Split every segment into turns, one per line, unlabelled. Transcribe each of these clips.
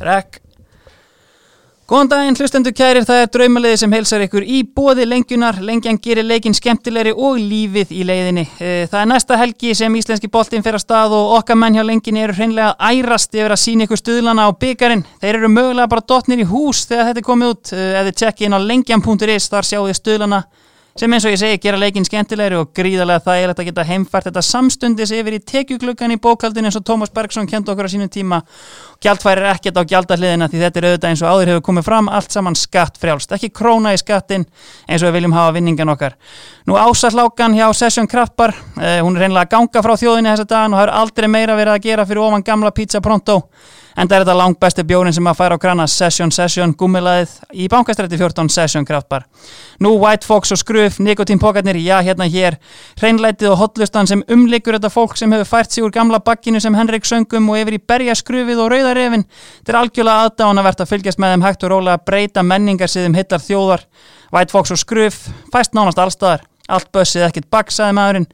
Rekk. Góðan daginn, hlustendur kærir, það er draumaliði sem heilsar ykkur í bóði lengjunar. Lengjan gerir leikin skemmtilegri og lífið í leiðinni. Eh, Það er næsta helgi sem íslenski boltinn fer að stað og okkar menn hjá lengjunni eru hreinlega að ærast yfir að sína ykkur stuðlana á byggarinn. Þeir eru mögulega bara dottnir í hús þegar þetta er komið út. Eh, Ef þið tjekkið inn á lengjan.is þar sjáu þið stuðlana sem eins og ég segi gera leikin skemmtilegri og gríðarlega þægilegt að geta heimfært þetta samstundis yfir í tekjugluggan í bókaldin eins og Tómas Bergson kendi okkur á sínum tíma gjaldfærir ekkert á gjaldahliðina því þetta er auðvitað eins og áður hefur komið fram allt saman skatt frjálst, ekki króna í skattin eins og við viljum hafa vinningan okkar nú ásatlákan hjá Session Krappar eh, hún er reynilega að ganga frá þjóðinni þessa dagan og það er aldrei meira verið að gera fyrir ofan gamla pizza pronto en það er þetta langbæsti bjórin sem að færa á krana Session Session gummilaðið í bankastræti 14 Session kraftbar. Nú White Fox og Skruf, nikotínpokarnir, já hérna hér, hreinlætið og hotlustan sem umlikur þetta fólk sem hefur fært sig úr gamla bakkinu sem Henrik söngum og yfir í berja skrufið og rauðarefin. Þetta er algjörlega aðdánavert að fylgjast með þeim hægt og rólega að breyta menningar síðum hittar þjóðar. White Fox og Skruf, fæst nánast allstaðar, allt bössið ekkert bakk, sagði maðurinn.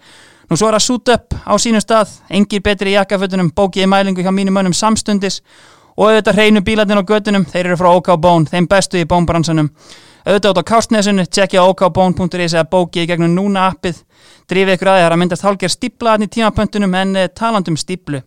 Nú svo er að suit up á sínum stað, engir betri í jakkafötunum, bókiði mælingu hjá mínum mönnum samstundis og auðvitað hreinu bílarnir á götunum, þeir eru frá OK Bón, þeim bestu í bónbransanum. Auðvitað út á kárstnesinu, tjekkja okbón.is eða bókið í gegnum núna appið, drifið ykkur aðeins, það er að myndast hálger stíplaðan í tímapöntunum en eh, talandum stíplu.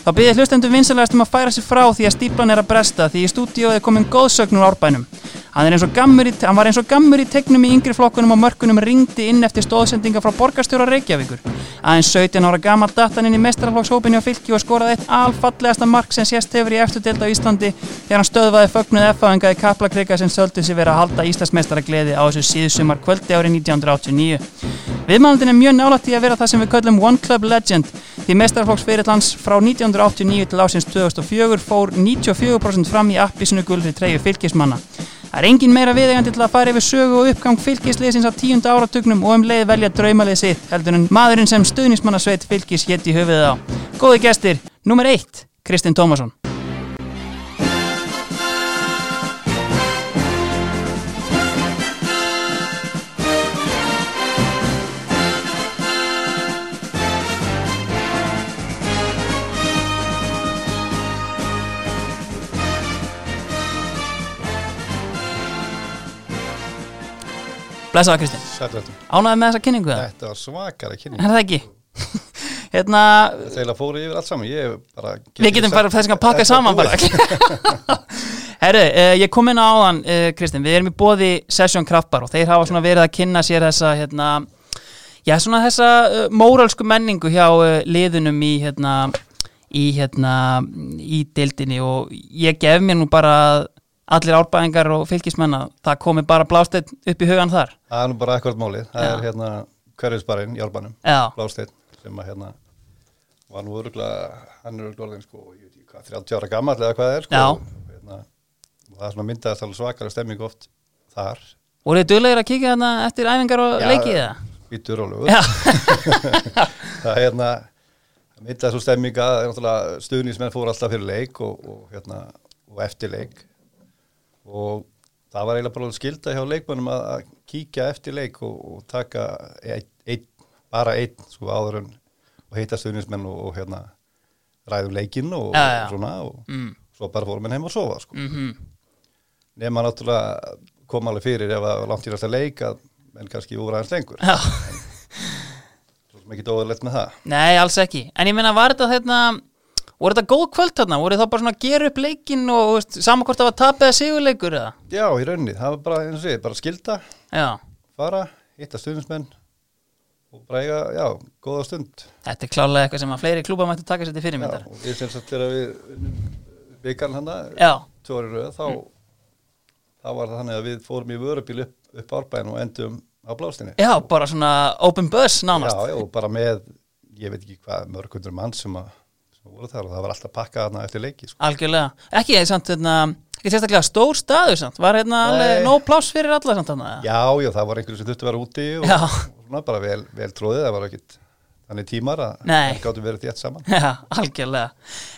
Þá byrðið hlustendum vinsalegast um að færa sér frá því að stíplan er að bresta því í stúdíóið er komin góðsögn úr árbænum. Hann, er eins og gammur í, hann var eins og gammur í tegnum í yngri flokkunum og mörkunum ringdi inn eftir stóðsendinga frá borgarstjóra Reykjavíkur. Aðeins 17 ára gammal datt hann inn í mestrarflokkshópinni á fylki og skoraði eitt alfallegasta mark sem sést hefur í eftirdeld á Íslandi þegar hann stöðvaði fögnuð F-aðingaði kaplakrika sem söldu sér verið að halda Íslandsmeistaragleði á þessu síðsumar kvöldi árið 1989. Viðmælandin er mjög nálægt í að vera það sem við köllum One Club Legend því meistarflokksferill hans frá 1989 til ásins 2004 fór 94% fram í appisinu gulfri treyju fylgismanna. Það er engin meira viðegandi til að fara yfir sögu og uppgang fylgisliðsins á tíunda áratugnum og um leið velja draumalið sitt heldur en maðurinn sem stuðnismannasveit fylgis hétt í höfuðið á. Góði gestir, nummer eitt, Kristinn Tómasson. Blessaða Kristinn,
Sælvöldum.
ánæði með þessa kynningu það?
Þetta var svakara kynning.
Er það ekki? hérna,
Þegar fóru yfir allt saman, ég bara...
við getum bara þess að pakka saman bara. Herru, uh, ég kom inn á áðan, uh, Kristinn, við erum í bóði Session Kraftbar og þeir hafa svona verið að kynna sér þessa, hérna, já, svona þessa uh, móralsku menningu hjá uh, liðunum í, hérna, í, hérna, í deildinni og ég gef mér nú bara að allir árbæðingar og fylgismenn að það komi bara blásteitt upp í hugan þar.
Það er nú bara ekkert málið. Það
Já.
er hérna hverjusbarinn í Albanum,
Já.
Blásteinn, sem að hérna var nú öruglega, hann er öruglega orðin sko, ég veit ekki hvað, 30 ára gammal eða hvað það er sko.
Já.
Og, Hérna, og það er svona myndaðist alveg svakara stemming oft þar.
Voruð þið duglegir að kíkja þarna eftir æfingar og
Já,
leikið það?
Bítur og lögur.
Já,
það er hérna mitt að svo stemminga, það er náttúrulega stuðnismenn fór alltaf fyrir leik og, og hérna og eftir leik og það var eiginlega bara skilda hjá leikmönnum að, að kíkja eftir leik og, og taka ein, ein, bara einn sko áður en og heita stuðnismenn og, og hérna ræðum leikinn og,
Já, já.
og svona og
Mm.
svo bara fórum enn heim að sofa sko.
mm
nema náttúrulega kom alveg fyrir ef það var langt í næsta leik að menn kannski voru aðeins lengur
já.
svo sem ekki dóðilegt með það
Nei, alls ekki. En ég meina, var þetta hérna, voru þetta góð kvöld þarna? Voru þá bara svona að gera upp leikinn og þú veist, sama hvort það var tapið eða sigurleikur eða?
Já, í rauninni, það var bara, eins og segið, bara skilda,
Já,
fara, hitta stuðnismenn og bara eiga, já, góða stund.
þetta er klálega eitthvað sem að fleiri klúpa mættu taka sér til
Já,
fyrirmyndar.
og við sem sagt þegar við byggarn hana,
Já, Mm.
tvorir röð, þá, þá var það þannig að við fórum í vörubíl upp, upp árbæðin og endum á blástinni.
já, bara svona open bus nánast.
Já, já, og bara með, ég veit ekki hvað, mörg hundur mann sem, að, sem voru þar og það var alltaf pakkað hana eftir leiki, sko.
Algjörlega. Ekki, samt, hérna, ekki sérstaklega stór staður, samt. Var hérna
Nei.
alveg nóg pláss fyrir alla, samt, þarna? eða?
Já, já, það var einhverju sem þurfti að vera úti og,
Já.
og svona bara vel, vel tróðið, það var ekkit þannig tímar að
Nei.
það gáttum verið þétt saman.
Já, algjörlega.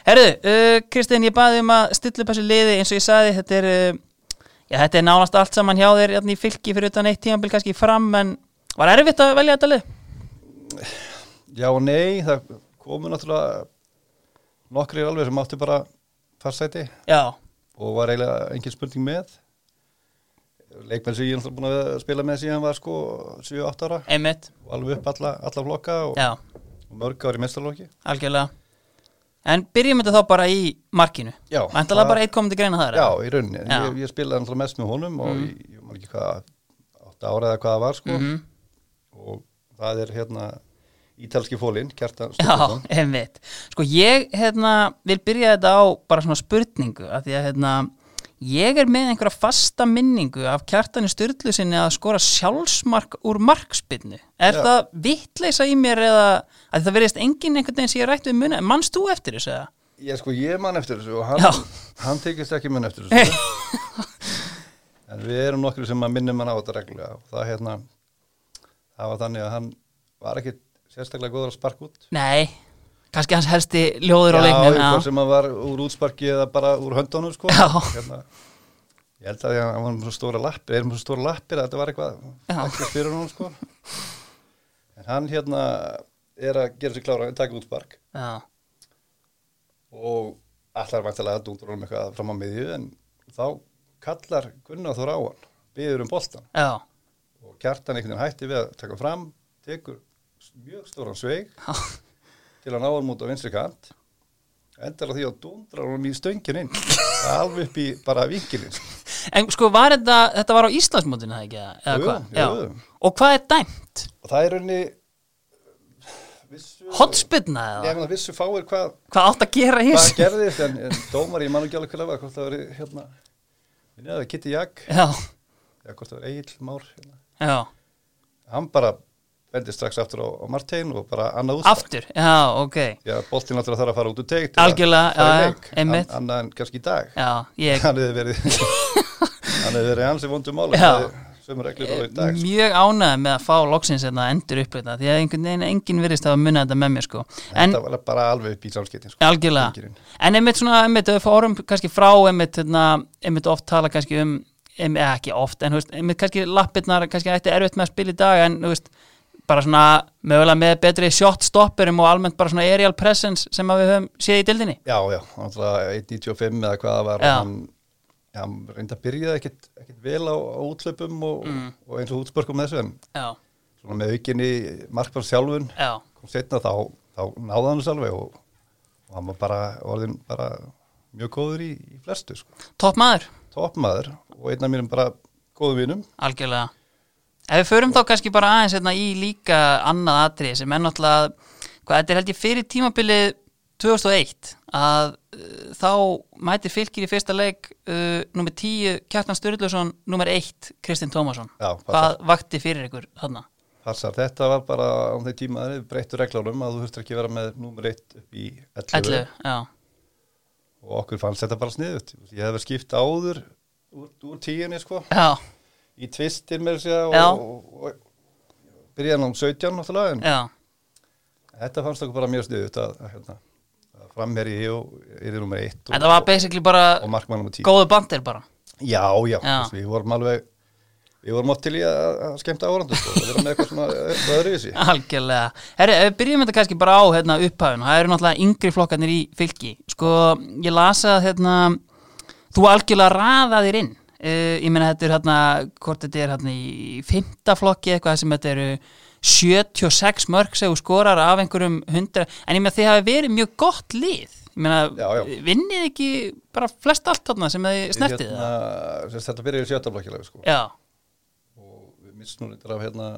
Herðu, uh, Kristinn, ég baði um að stilla upp þessu liði eins og ég saði, þetta er, uh, já, þetta er nánast allt saman hjá þér hérna í fylki fyrir utan eitt tímabil kannski fram, en var erfitt að velja þetta lið?
Já og nei, það komu náttúrulega nokkrir alveg sem áttu bara farsæti
Já,
og var eiginlega engin spurning með leikmenn sem ég er náttúrulega búin að spila með síðan var sko 7-8 ára
einmitt,
og alveg upp alla, alla flokka og,
já,
og mörg ári mestarlokki
algjörlega En byrjum þetta þá bara í markinu
Já,
Væntalega
það-
bara eitt komandi greina það
Já, í rauninni, En
Já.
ég, ég spilaði náttúrulega mest með honum og ég, ég man ekki hvað 8 ára eða hvað það var sko
Mhm.
og það er hérna ítalski fólinn, Kjartan
Já,
Stokkarsson
einmitt. Sko ég hérna, vil byrja þetta á bara svona spurningu af því að hérna, ég er með einhverja fasta minningu af kjartani styrlu sinni að skora sjálfsmark úr markspinnu. Er
Já.
það vittleisa í mér eða að það verðist enginn einhvern veginn sem ég rætt við muna? Manst þú eftir þessu eða?
Ég sko, ég man eftir þessu og hann,
Já.
hann tekist ekki mun eftir þessu sko. en við erum nokkru sem að minnum hann á þetta reglulega og það hérna það var þannig að hann var ekki sérstaklega góður að sparka út
Nei, kannski hans helsti ljóður á leiknum.
Já, eitthvað sem að var úr útsparki eða bara úr höndunum sko
Já.
hérna, Ég held að því að hann var með svo stóra lappir erum svo stóra lappir að þetta var
Já.
eitthvað ekki fyrir hún sko en hann hérna er að gera sér klára að taka útspark
já,
og allar væntalega að dúndur honum eitthvað fram á miðju en þá kallar Gunnar Þór á hann byður um boltan
já,
og kjartan einhvern veginn hætti við að taka fram tekur mjög stóran sveig
já,
til að ná hann út á vinstri kant endar á því að dundrar hann í stöngin inn alveg upp í bara vinkilin
En sko var þetta, þetta var á Íslandsmótinu það ekki? eða- eða
Jú,
hvað?
jú,
Já.
jú.
Og hvað er dæmt?
og það er rauninni vissu,
Hotspinna eða?
ég meina vissu fáir hvað,
hvað átt að gera í
hvað
þessu
gerðist en, en dómar ég man ekki alveg hvað það var hvort það veri hérna minni að það var Kitty Jack
já,
eða hvort það var Egil Már hérna.
já,
hann bara vendi strax aftur á, á Martein og bara annað útspark
aftur já, ok,
því að boltinn náttúrulega þarf að fara út úr teikt
Algjörlega, já, já, einmitt.
annað en kannski í dag
já ég
hann hefði verið hann hefði verið hans í vondum máli
Já.
sem reglur á í
er
dag sko.
mjög ánægð með að fá loksins hérna endur upplita því að einhvern veginn enginn virðist hafa munið þetta með mér sko en
þetta var bara alveg upp í samskiptin sko.
algjörlega,
Enginn.
en einmitt svona einmitt, ef við fórum kannski frá einmitt, hérna, einmitt oft tala kannski um einmitt, eða ekki oft, en þú veist, einmitt kannski lappirnar kannski ætti erfitt með að spila í dag en þú veist, bara svona mögulega með betri shot stopperum og almennt bara svona aerial presence sem að við höfum séð í dildinni
já, já, hann var 1.95 eða hvað það var
Já.
hann, hann reyndi að byrja ekkit, ekkit vel á, á útlöpum og,
Mm.
og eins og útspörkum þessu en
já,
svona með aukinni markmann sjálfun
já,
kom setna þá, þá náði hann þessu alveg og, og hann var bara orðin bara mjög góður í, í flestu sko.
topp maður
toppmaður og einn af mínum bara góðum vinum
Algjörlega Ef við förum þá kannski bara aðeins hérna, í líka annað atrið sem er náttúrulega hvað þetta er held ég fyrir tímabilið 2001 að uh, þá mætir fylgir í fyrsta leik uh, nummer 10 Kjartan Sturluson nummer 1 Kristinn Tómasson
Já,
Hvað
passar.
vakti fyrir ykkur þarna?
Passar, þetta var bara á þeim tíma að breyttu reglunum að þú þurftir ekki að vera með númer 1 upp í 11
11, já,
og okkur fannst þetta bara sniðut. Ég hefði skipt áður úr, úr tíunni sko,
já,
í tvistir með sér og,
Já.
og, og, og byrjaði hann um 17 náttúrulega en
já
þetta fannst okkur bara mjög sniðut að, að, hérna, að framherji og yfir númer 1
Þetta
og,
var basically bara
og markmann númer 10.
góðu bandir bara
Já, já,
Já.
já. við vorum alveg, við vorum átt til í að, að skemmta árandu sko, að vera með eitthvað svona öðruvísi.
Algjörlega. Herri, ef við byrjum þetta kannski bara á hérna, upphafun, það eru náttúrulega yngri flokkarnir í fylki. Sko, ég lasa að hérna, þú algjörlega raðaðir inn. Uh, ég meina þetta er hérna, hvort þetta er hérna í fymta flokki eitthvað sem þetta eru 76 mörg sem þú skorar af einhverjum 100, en ég meina þið hafi verið mjög gott lið. Ég meina,
Já, já.
vinnið ekki bara flest allt þarna sem þið snertið
Hérna,
það?
sem sagt, Þetta byrjaði í sjötaflokkilega sko.
Já,
og við mistum nú reyndar af hérna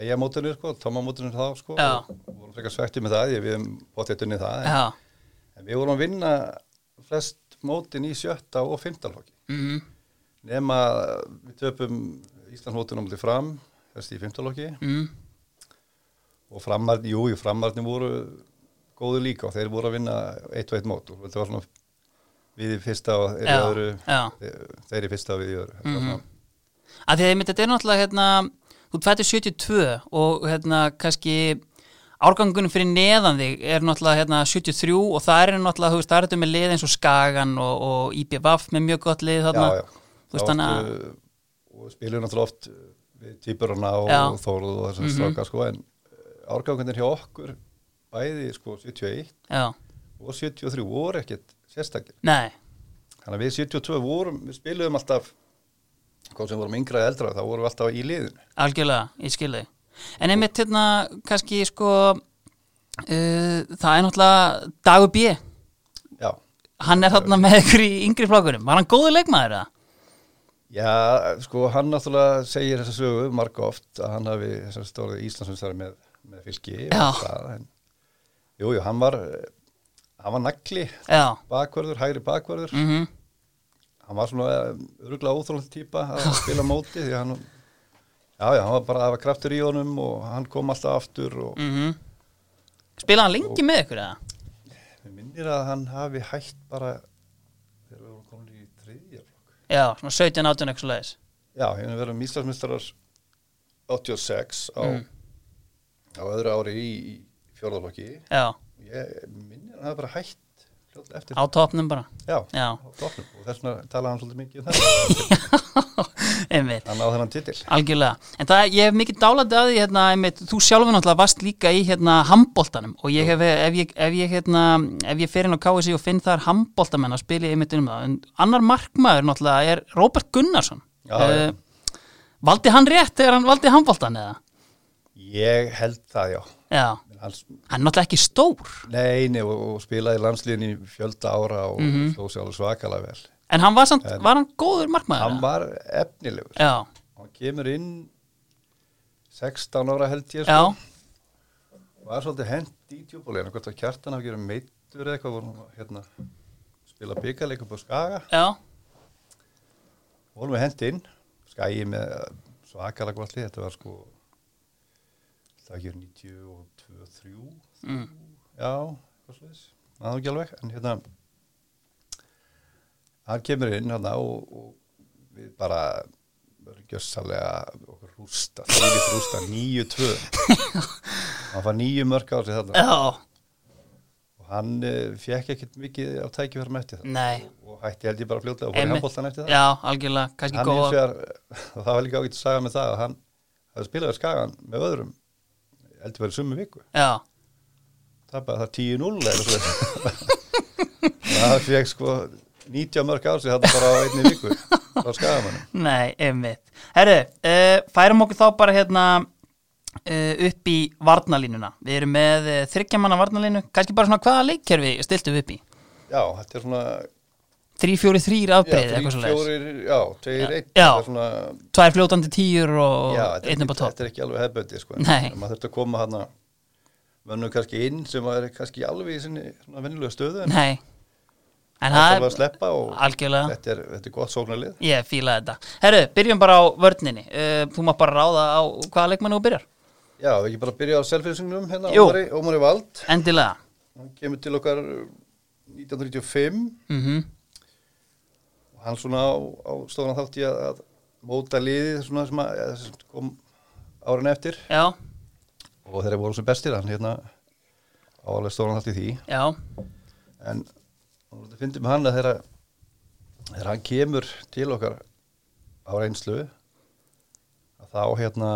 eigamótinu sko, tómamótinu þá sko
Já.
og vorum frekar svektið með það, ég við hefum bóttið unni það, en,
já,
en við vorum að vinna flest mótin í sjötta og fymtalflokki,
mhm,
nema við töpum Íslandsmótinu á mútið fram, þessi í fymtalflokki
mhm,
og framarni, jú, jú, framarni voru góðu líka og þeir voru að vinna eitt og eitt mót og þetta var svona við í fyrsta og þeir í
Já,
öðru
já. Mhm.
þeir- þeir í fyrsta og við í öðru Þetta var svona-
að því að einmitt, þetta er náttúrulega hérna, þú fættir 72 og hérna kannski árgangunum fyrir neðan þig er náttúrulega hérna, 73 og það er náttúrulega, þú veist, það er þetta með lið eins og Skagan og, og IBVF með mjög gott lið þarna.
já, já.
Þú veist, þannig að,
Oft, uh, og spilur náttúrulega oft uh, við týpurana og
Já. Mhm.
þóruð og þessum stráka sko, en árgangunir hjá okkur bæði sko 71
já,
og 73 voru ekkert sérstakir
nei,
Þannig að við 72 vorum, við spiluðum alltaf, hvað sem vorum yngra eða eldra, þá vorum við alltaf í liðinu.
Algjörlega, ég skil þau. En einmitt hérna, kannski sko, uh, það er náttúrulega Dagur B.
Já,
Hann er þarna með ykkur í yngri flokkurum. Var hann góður leikmaður eða?
já sko hann náttúrulega segir þessa sögu marga oft að hann hafi þessar stórið Íslandsumstari með, með fylki. og
Já.
Það, en, jú, jú, hann var, eh, hann var nagli,
Já.
bakvörður, hægri bakvörður.
Mm
Hann var svona öruglega óþrólandi típa að spila á móti því að hann, já, já, hann var bara að hafa kraftur í honum og hann kom alltaf aftur og
mm Spilaði hann lengi með ykkur eða?
Mér minnir að hann hafi hætt bara þegar við vorum komin í þriðja flokk.
Já, svona 17, 18 eitthvað leiðis.
Já, hérna verðum Íslandsmyndstarar 86 á,
Mm.
á öðru ári í, í fjórðarflokki.
Já,
Ég minnir að hann hafi bara hætt fljótt eftir.
á topnum bara.
Já,
Já.
á toppnum. Og þess vegna talaði hann svolítið mikið um það.
einmitt.
Hann á þennan titil.
Algjörlega. En það, ég hef mikið dálæti að því, hérna, einmitt, þú sjálfur náttúrulega varst líka í, hérna, handbóltanum og ég hef, ef ég, ef ég, hérna, ef ég fer inn á KSI og finn þar handbóltamenn að spila ég einmitt um það. En annar markmaður náttúrulega er Róbert Gunnarsson.
Já,
Eh, Valdi hann rétt þegar hann valdi handbóltan eða?
Ég held það, já.
Já.
En Hans,
Hann er náttúrulega ekki stór,
neini og, og spilaði landsliðin í fjölda ára og mm sló sér alveg svakalega vel.
en hann var samt, var hann góður markmaður?
Hann
eða?
var efnilegur.
Já,
Hann kemur inn 16 ára held ég. sko.
já,
var svolítið hent í djúbúleina hvort að kjartan hafi gerðið meittur eða eitthvað vorum að, hérna, spila byggarleik upp á Skaga
já,
vorum við hent inn Skagi með svakalega gott lið þetta var sko það ekki 92 3
Mm.
já, hvað sliðis náðu ekki alveg en hérna hann kemur inn hérna og, og við bara verðum gjössalega okkur rústa, þvílíkt rústa 9-2 hann fann nýju mörg á sig þarna
já,
og hann uh, fekk ekkert mikið af tækifærum eftir það
nei,
og hætti held ég bara fljóta og fór í
Einmitt.
handbóltan eftir það
já, algjörlega, kannski
hann hins
góða,
vegar, og það var líka ágætt að saga með það að hann hafði spilaði skagan með öðrum heldur verið sumu viku
já,
tapaði það 10-0 eða svo og hann fekk sko 90 mörg á sig þetta bara á einni viku á skagamannu
nei, einmitt. Herru, uh, færum okkur þá bara hérna uh, upp í varnalínuna. Við erum með uh, þryggjamanna varnalínu, kannski bara svona hvaða leikkerfi stiltum við upp í?
já, þetta er svona
3-4-3
já,
afbreyð,
þrír,
eitthvað svo leiðis.
fjórir, já, tveir, einn
Já.
þetta er svona
Tvær fljótandi tíur og
Já, þetta er
einn upp á
ekki-
topp.
Þetta er ekki alveg hefböndi, sko.
Nei.
En Maður þurfti að koma hana mönnum kannski inn sem er kannski alveg í sinni svona venjulega stöðu en
Nei, en
það
það
þarf að sleppa og
algjörlega.
þetta er, þetta er gott sóknarlið.
Ég fíla þetta. Herru, byrjum bara á vörninni. Uh, þú mátt bara ráða á hvaða leikmannu þú byrjar.
Já, við ekki bara að byrja á selfinsingnum hérna,
Jú.
Ómari, Ómari Vald.
Endilega.
Hann kemur til okkar eh, 1995
Mm
og hann svona á, á stofan þátt í að, að móta liðið svona sem, að, eða sem kom árin eftir
Já,
og þeir voru sem bestir, hann hérna á alveg stofan þátt í því.
já,
en það finnum hann að þegar þegar hann kemur til okkar á reynslu að þá hérna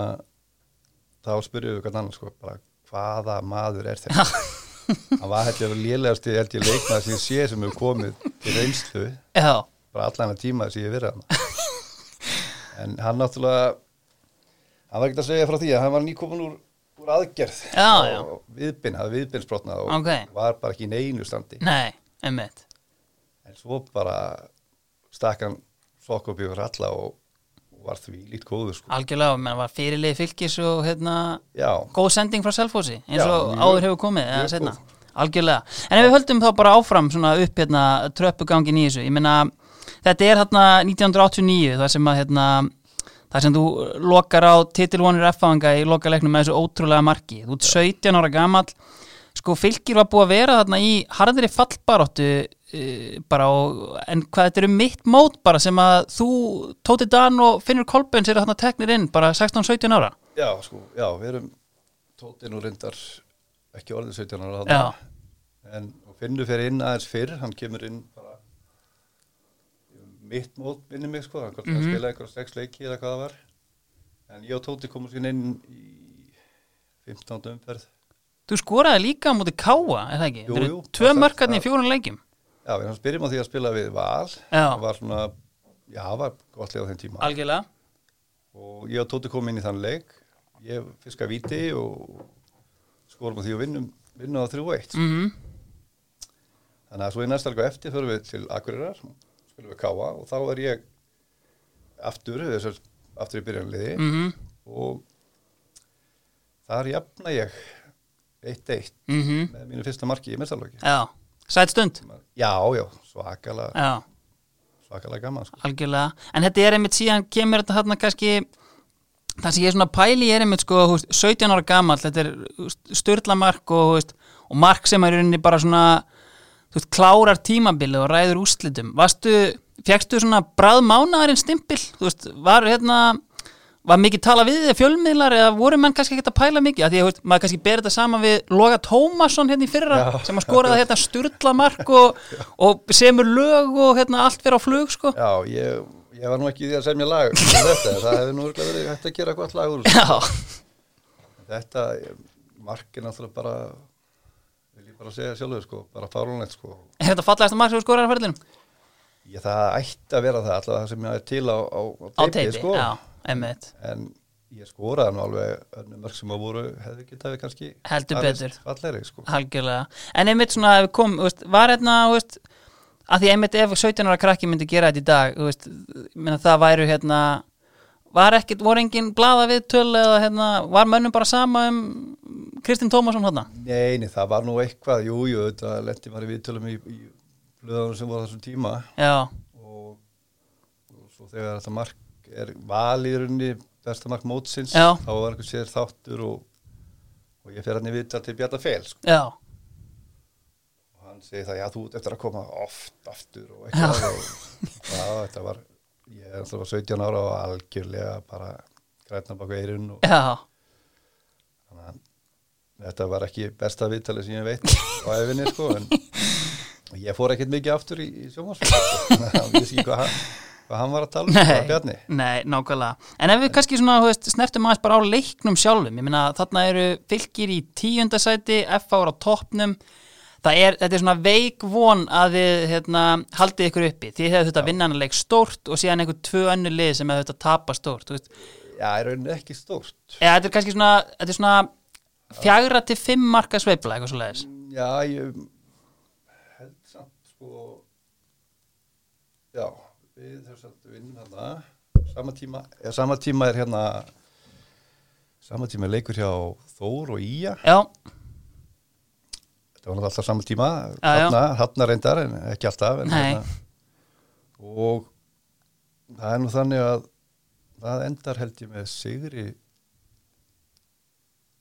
þá spyrjum við hvernig annan sko bara hvaða maður er þetta hann var heldur lélegasti held ég leikmaður sem ég sé sem hefur komið til reynslu
já,
bara allan að tíma sem ég hef verið hann en hann náttúrulega hann var ekkert að segja frá því að hann var nýkomin úr, úr aðgerð
Já, já.
og viðbinn, hafði viðbinnsbrotnað og
Ok.
var bara ekki í neinu standi
nei, einmitt
En svo bara stakk hann sokk upp yfir alla og, og var því lít góður sko.
Algjörlega, menn var fyrirlið fylgis og hérna,
Já,
góð sending frá Selfossi eins
Já,
og
mjög-
áður hefur komið eða
mjög
setna, algjörlega En ef við höldum þá bara áfram svona upp hérna, tröppugangin í þessu, ég meina þetta er hérna 1989 þar sem að hérna, þar sem þú lokar á titilvonir F-fanga í lokaleiknum með þessu ótrúlega marki, þú ert 17 ára gamall sko fylgir var búið að vera þarna í harðri fallbaróttu eh, bara og, en hvað þetta eru mitt mót bara sem að þú Tóti Dan og Finnur Kolbens eru þarna teknir inn bara 16-17 ára
já, sko, já, við erum tóttinn og reyndar ekki orðið 17 ára
Já.
þarna. en og Finnur fer inn aðeins fyrr, hann kemur inn bara mitt mót minni mig sko, hann mm
Mhm.
-hmm. spilaði einhverja sex leiki eða hvað það var en ég og Tóti komum sér inn í 15. umferð
Þú skoraði líka á móti Káa, er það ekki?
Jú,
Þetta eru
jú,
Tvö
það-
mörkarni í
það-
fjórun leikjum.
Já, við hans byrjum á því að spila við Val.
Já.
Það var svona, já, var gott leið á þeim tíma.
algjörlega
Og ég og Tóti kom inn í þann leik. Ég fiska viti og skorum á því og vinnum, vinnum á 3-1.
mm
Þannig að svo í næsta alveg eftir förum við til Akureyrar, spilum við Káa og þá er ég aftur, þessar aftur í byrjanliði
Mhm.
og þar jafna ég 1-1
Mhm.
með mínu fyrsta marki í mestarlóki.
Já, sætt stund
Já, já, svakalega,
Já,
svakalega gaman sko.
algjörlega En þetta er einmitt síðan kemur þetta þarna kannski Það sem ég er svona pæli er einmitt sko húst, 17 ára gamall, þetta er styrla mark og, húst, og mark sem er í rauninni bara svona þú veist, klárar tímabilið og ræður úrslitum Vastu, fjekkstu svona bráð mánaðarinn stimpil, þú veist, var hérna var mikið tala við þið fjölmiðlar eða voru menn kannski ekkert að pæla mikið að því að þú veist, maður kannski ber þetta saman við Loga Tómasson hérna í fyrra
Já.
sem að skoraði hérna styrla mark og, og semur lög og hérna allt fyrir á flug sko
Já, ég, ég var nú ekki í því að semja lag um þetta, en það hefði nú örugglega verið hægt að gera gott lag úr. þessu.
Já,
Þetta, markið náttúrulega bara, vil ég bara segja sjálfur sko, bara fárunlegt sko.
er þetta fallegasta mark sem þú skorar að ferðinu?
Ég, það ætti að vera það, alltaf það sem ég er til á, á,
Á
á teipi,
teipi,
sko.
já, einmitt
En ég skoraði nú alveg önnum mörg sem að voru, hefði getað við kannski...
Heldur
farist
betur.
Fallegri, sko.
Algjörlega, en einmitt svona ef við kom, þú veist, var hérna, þú veist að því einmitt ef 17 ára krakki myndi gera þetta í dag, þú veist, minna það væru hérna, var ekkert, voru engin blaða viðtöl eða hérna var mönnum bara sama um Kristinn Tómasson hérna?
Nei, nei, það var nú eitthvað, jú, jú, þetta lendi maður í viðtölum í, í blöðunum sem voru á þessum tíma
Já,
og, og svo þegar þetta mark er valýrunni, besta mark mótsins,
Já.
þá var einhver sér þáttur og, og ég fer hann í viðtal til Bjarta Fel, sko.
já,
og hann segi það, já þú ert eftir að koma oft aftur og eitthvað og já, þetta var, ég er alltaf 17 ára og algjörlega bara grætna bak veirun og
já
þannig að þetta var ekki besta viðtalið sem ég veit á efinni sko, en ég fór ekkert mikið aftur í, í sjónvarsfólk ég vissi ekki hvað hann, hvað hann var að tala um, hvað var Bjarni
nei, nákvæmlega En ef við kannski svona, þú veist, snertum aðeins bara á leiknum sjálfum Ég meina, þarna eru fylgir í tíundasæti, FH er á toppnum Það er, þetta er svona veik von að þið hérna, haldið ykkur uppi Þið hefðu þetta vinnan að leik stórt og síðan einhver tvö önnu lið sem hefðu þetta tapa stórt þú veist.
já, er raunin ekki stórt
Eða þetta er kannski svona, þetta er svona fjagra til fimm marka sveifla eitthvað svo leiðis
já, ég held samt sko já, við þess að vinna þarna sama tíma, eða sama tíma er hérna sama tíma er leikur hjá Þór og Ía
Já,
þetta var náttúrulega alltaf sama tíma
Já, já.
hafna, hafna reyndar en ekki alltaf en, hérna.
Nei.
og það er nú þannig að það endar held ég með Sigri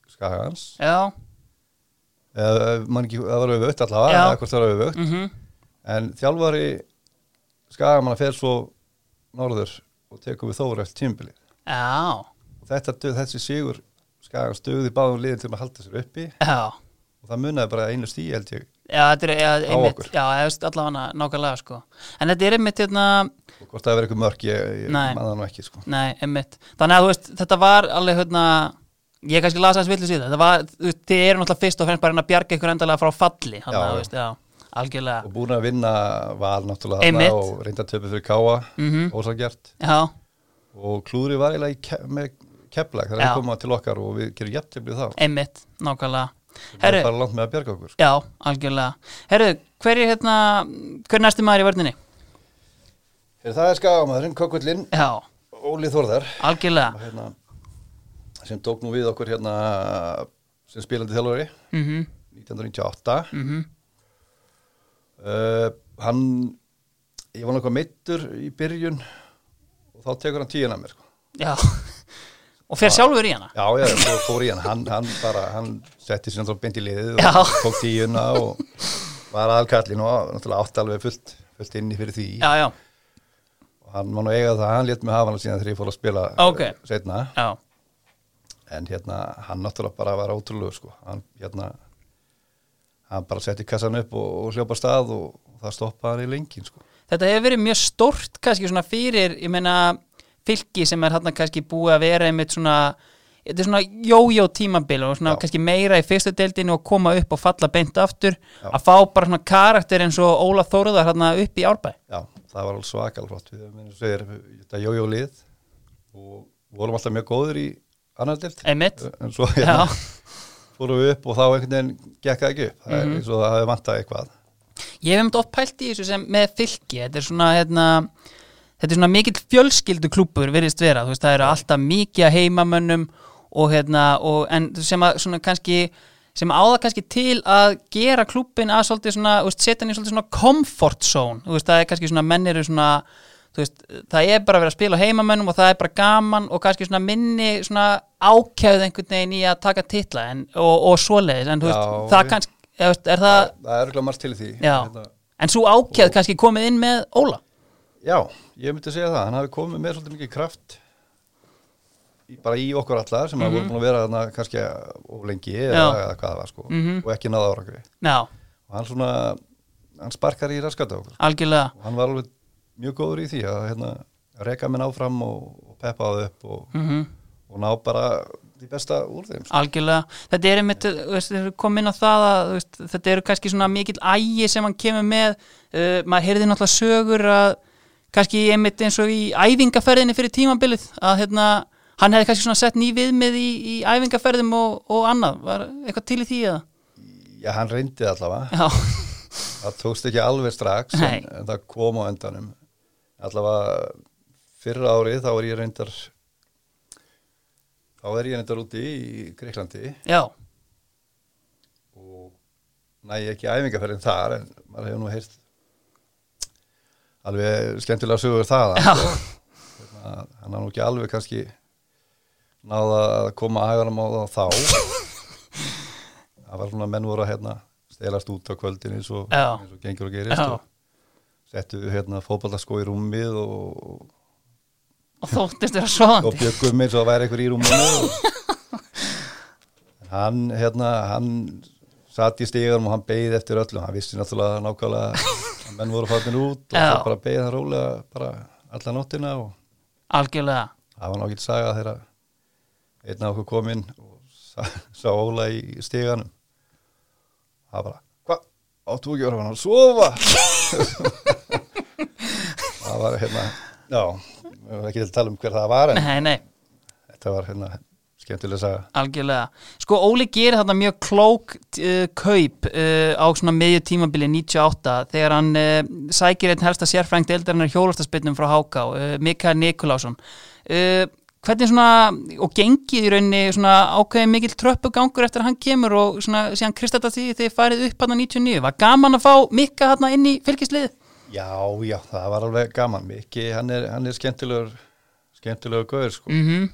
Skagans
já,
eða mann ekki, það var auðvögt allavega
Já.
eða hvort það var auðvögt
mhm
en þjálfari Skagamanna fer svo norður og tekur við Þóra eftir tímbili
Já,
og þetta, dug- þessi Sigur Skagans dögði báðum liðin til að halda sér uppi
já
og það munaði bara einu stíi held ég
Já, þetta er já, einmitt,
okkur.
já, ég veist allavega nákvæmlega sko. En þetta er einmitt hérna,
og hvort það verið eitthvað mörg ég, ég
Nei.
man það nú ekki sko
nei, einmitt Þannig að þú veist, þetta var alveg hérna Ég kannski lasa þess villu síðan Þetta var, þú veist, þið eru náttúrulega fyrst og fremst bara að reyna að bjarga ykkur endalega frá falli Þannig að
Já,
þú
já.
veist, já, algjörlega
og búin að vinna val náttúrulega
Einmitt.
þarna og reynda töpu fyrir Káa
Mhm.
ósagjart
Já,
og klúri var eiginlega í ke með keplag þegar
Já.
það koma til okkar og við gerum jættibli þá
einmitt, nákvæmlega
það
Herru,
er bara langt með að bjarga okkur sko.
já, algjörlega Herru, hver er hérna, hver er næsti maður í vörninni?
Heyrðu, það er skagamæðurinn, kokkullinn,
Já,
Óli Þórðar og
algjörlega
hérna, sem tók nú við okkur hérna sem spilandi þjálfari
mm -hmm,
1998
mm
uh, hann ég var náttúrulega meittur í byrjun og þá tekur hann tíðina mér sko.
Já, og fer sjálfur í hana
Já, já, svo fór ég hann, hann, hann bara, hann setti sér náttúrulega beint í liðið
Já.
og tók tíuna og var aðalkallin og náttúrulega átt alveg fullt, fullt inni fyrir því
Já, já,
og hann var nú eiga það, hann létt mig hafa hann síðan þegar ég fór að spila
Ok.
eh, seinna
já,
en hérna, hann náttúrulega bara var ótrúlega sko, hann hérna hann bara setti kassan upp og, og hljópa stað og, og það stoppaði hann í lengin sko.
þetta hefur verið mjög stórt kannski svona fyrir, ég meina fylki sem er hann kannski búið að vera einmitt svona þetta er svona jójó tímabil og svona
Já.
kannski meira í fyrstu deildinu og koma upp og falla beint aftur
Já.
að fá bara svona karakter eins og Óla Þóruðar hérna upp í árbæ
Já, það var alveg svakal flott við erum eins og þeir, þetta jójó lið og vorum alltaf mjög góður í annar dild
Einmitt.
en svo
Já.
hérna, fórum við upp og þá einhvern veginn gekk það ekki upp það
Mhm.
er eins og það hefði vantað eitthvað
Ég hef um þetta oft pælt í þessu sem með fylki þetta er svona hérna, þetta er svona mikill fjölskyldu klúpur virðist vera þú veist það eru alltaf mikið að heimamönnum og hérna og, en sem að svona kannski sem á það kannski til að gera klúbin að svolítið svona, þú veist, setja hann í svolítið svona comfort zone, þú veist, það er kannski svona menn eru svona, þú veist, það er bara að vera að spila á heimamönnum og það er bara gaman og kannski svona minni svona ákjæð einhvern veginn í að taka titla en, og, og svoleiðis, en þú veist,
Já,
það
við-
kannski, eða, þú veist, er það
það er örgulega margt til í því
Já,
Hérna,
en svo ákjæð kannski komið inn með Óla
já, ég myndi segja það hann hafi komið með svolítið mikið kraft í, bara í okkur allar sem mm voru búin að vera þarna kannski of lengi eða,
Já.
eða hvað það var sko og ekki náða árangri
Já,
og hann svona, hann sparkar í raskata okkur
algjörlega
og hann var alveg mjög góður í því að hérna, reka minn áfram og, og peppa það upp og,
Mhm.
og ná bara því besta úr þeim sko.
Algjörlega, þetta er einmitt þú veist, þegar við komum inn á það að þú veist, þetta eru kannski svona mikill ægi sem hann kemur með uh, maður heyrði náttúrulega sögur að kannski einmitt eins og í æfingaferðinni fyrir tímabilið að hérna, hann hefði kannski svona sett ný viðmið í, í æfingaferðum og, og annað, var eitthvað til í því eða?
Já, hann reyndi það allavega
Já,
það tókst ekki alveg strax
Nei.
en, en það kom á endanum allavega fyrra árið þá er ég reyndar þá er ég reyndar úti í Greiklandi
já,
og næ ekki æfingarferðin þar en maður hefur nú heyrt alveg skemmtilega sögur það
já,
að hann hafði nú ekki alveg kannski náða að koma aðeins á það þá það var svona menn voru að hérna stelast út á kvöldin eins og,
Já.
eins og gengur og gerist
já
og settu hérna fótballaskó í rúmið og,
og þóttist þér að
og
svoðandi
bjöggum eins og það væri einhver í rúminu og, En hann hérna hann satt í stíðum og hann beigð eftir öllum hann vissi náttúrulega nákvæmlega að menn voru farin út og
Já.
það bara beigð hann rólega bara alla nóttina og
Algjörlega,
það var nákvæmt saga þegar einn af okkur kom inn og sá, sá Óla í stíganum það bara hvað, áttu ekki að vera hann að sofa það var hérna já, við erum ekki til að tala um hver það var en
nei, nei
þetta var hérna skemmtilega saga
Algjörlega. Sko Óli gerir þarna mjög klók uh, kaup uh, á svona miðju tímabili 98 þegar hann uh, sækir einn helsta sérfræng deildarinnar hjólastaspinnum frá Háká, uh, Mikael Nikulásson. Uh, hvernig svona, og gengið í rauninni svona ákveðið mikill tröppugangur eftir að hann kemur og svona síðan kristallast því þið farið upp hann 99. Var gaman að fá Mikka hann inn í fylgislið?
já, já, það var alveg gaman Miki, hann er, hann er skemmtilegur skemmtilegur gauður sko
Mm -hmm.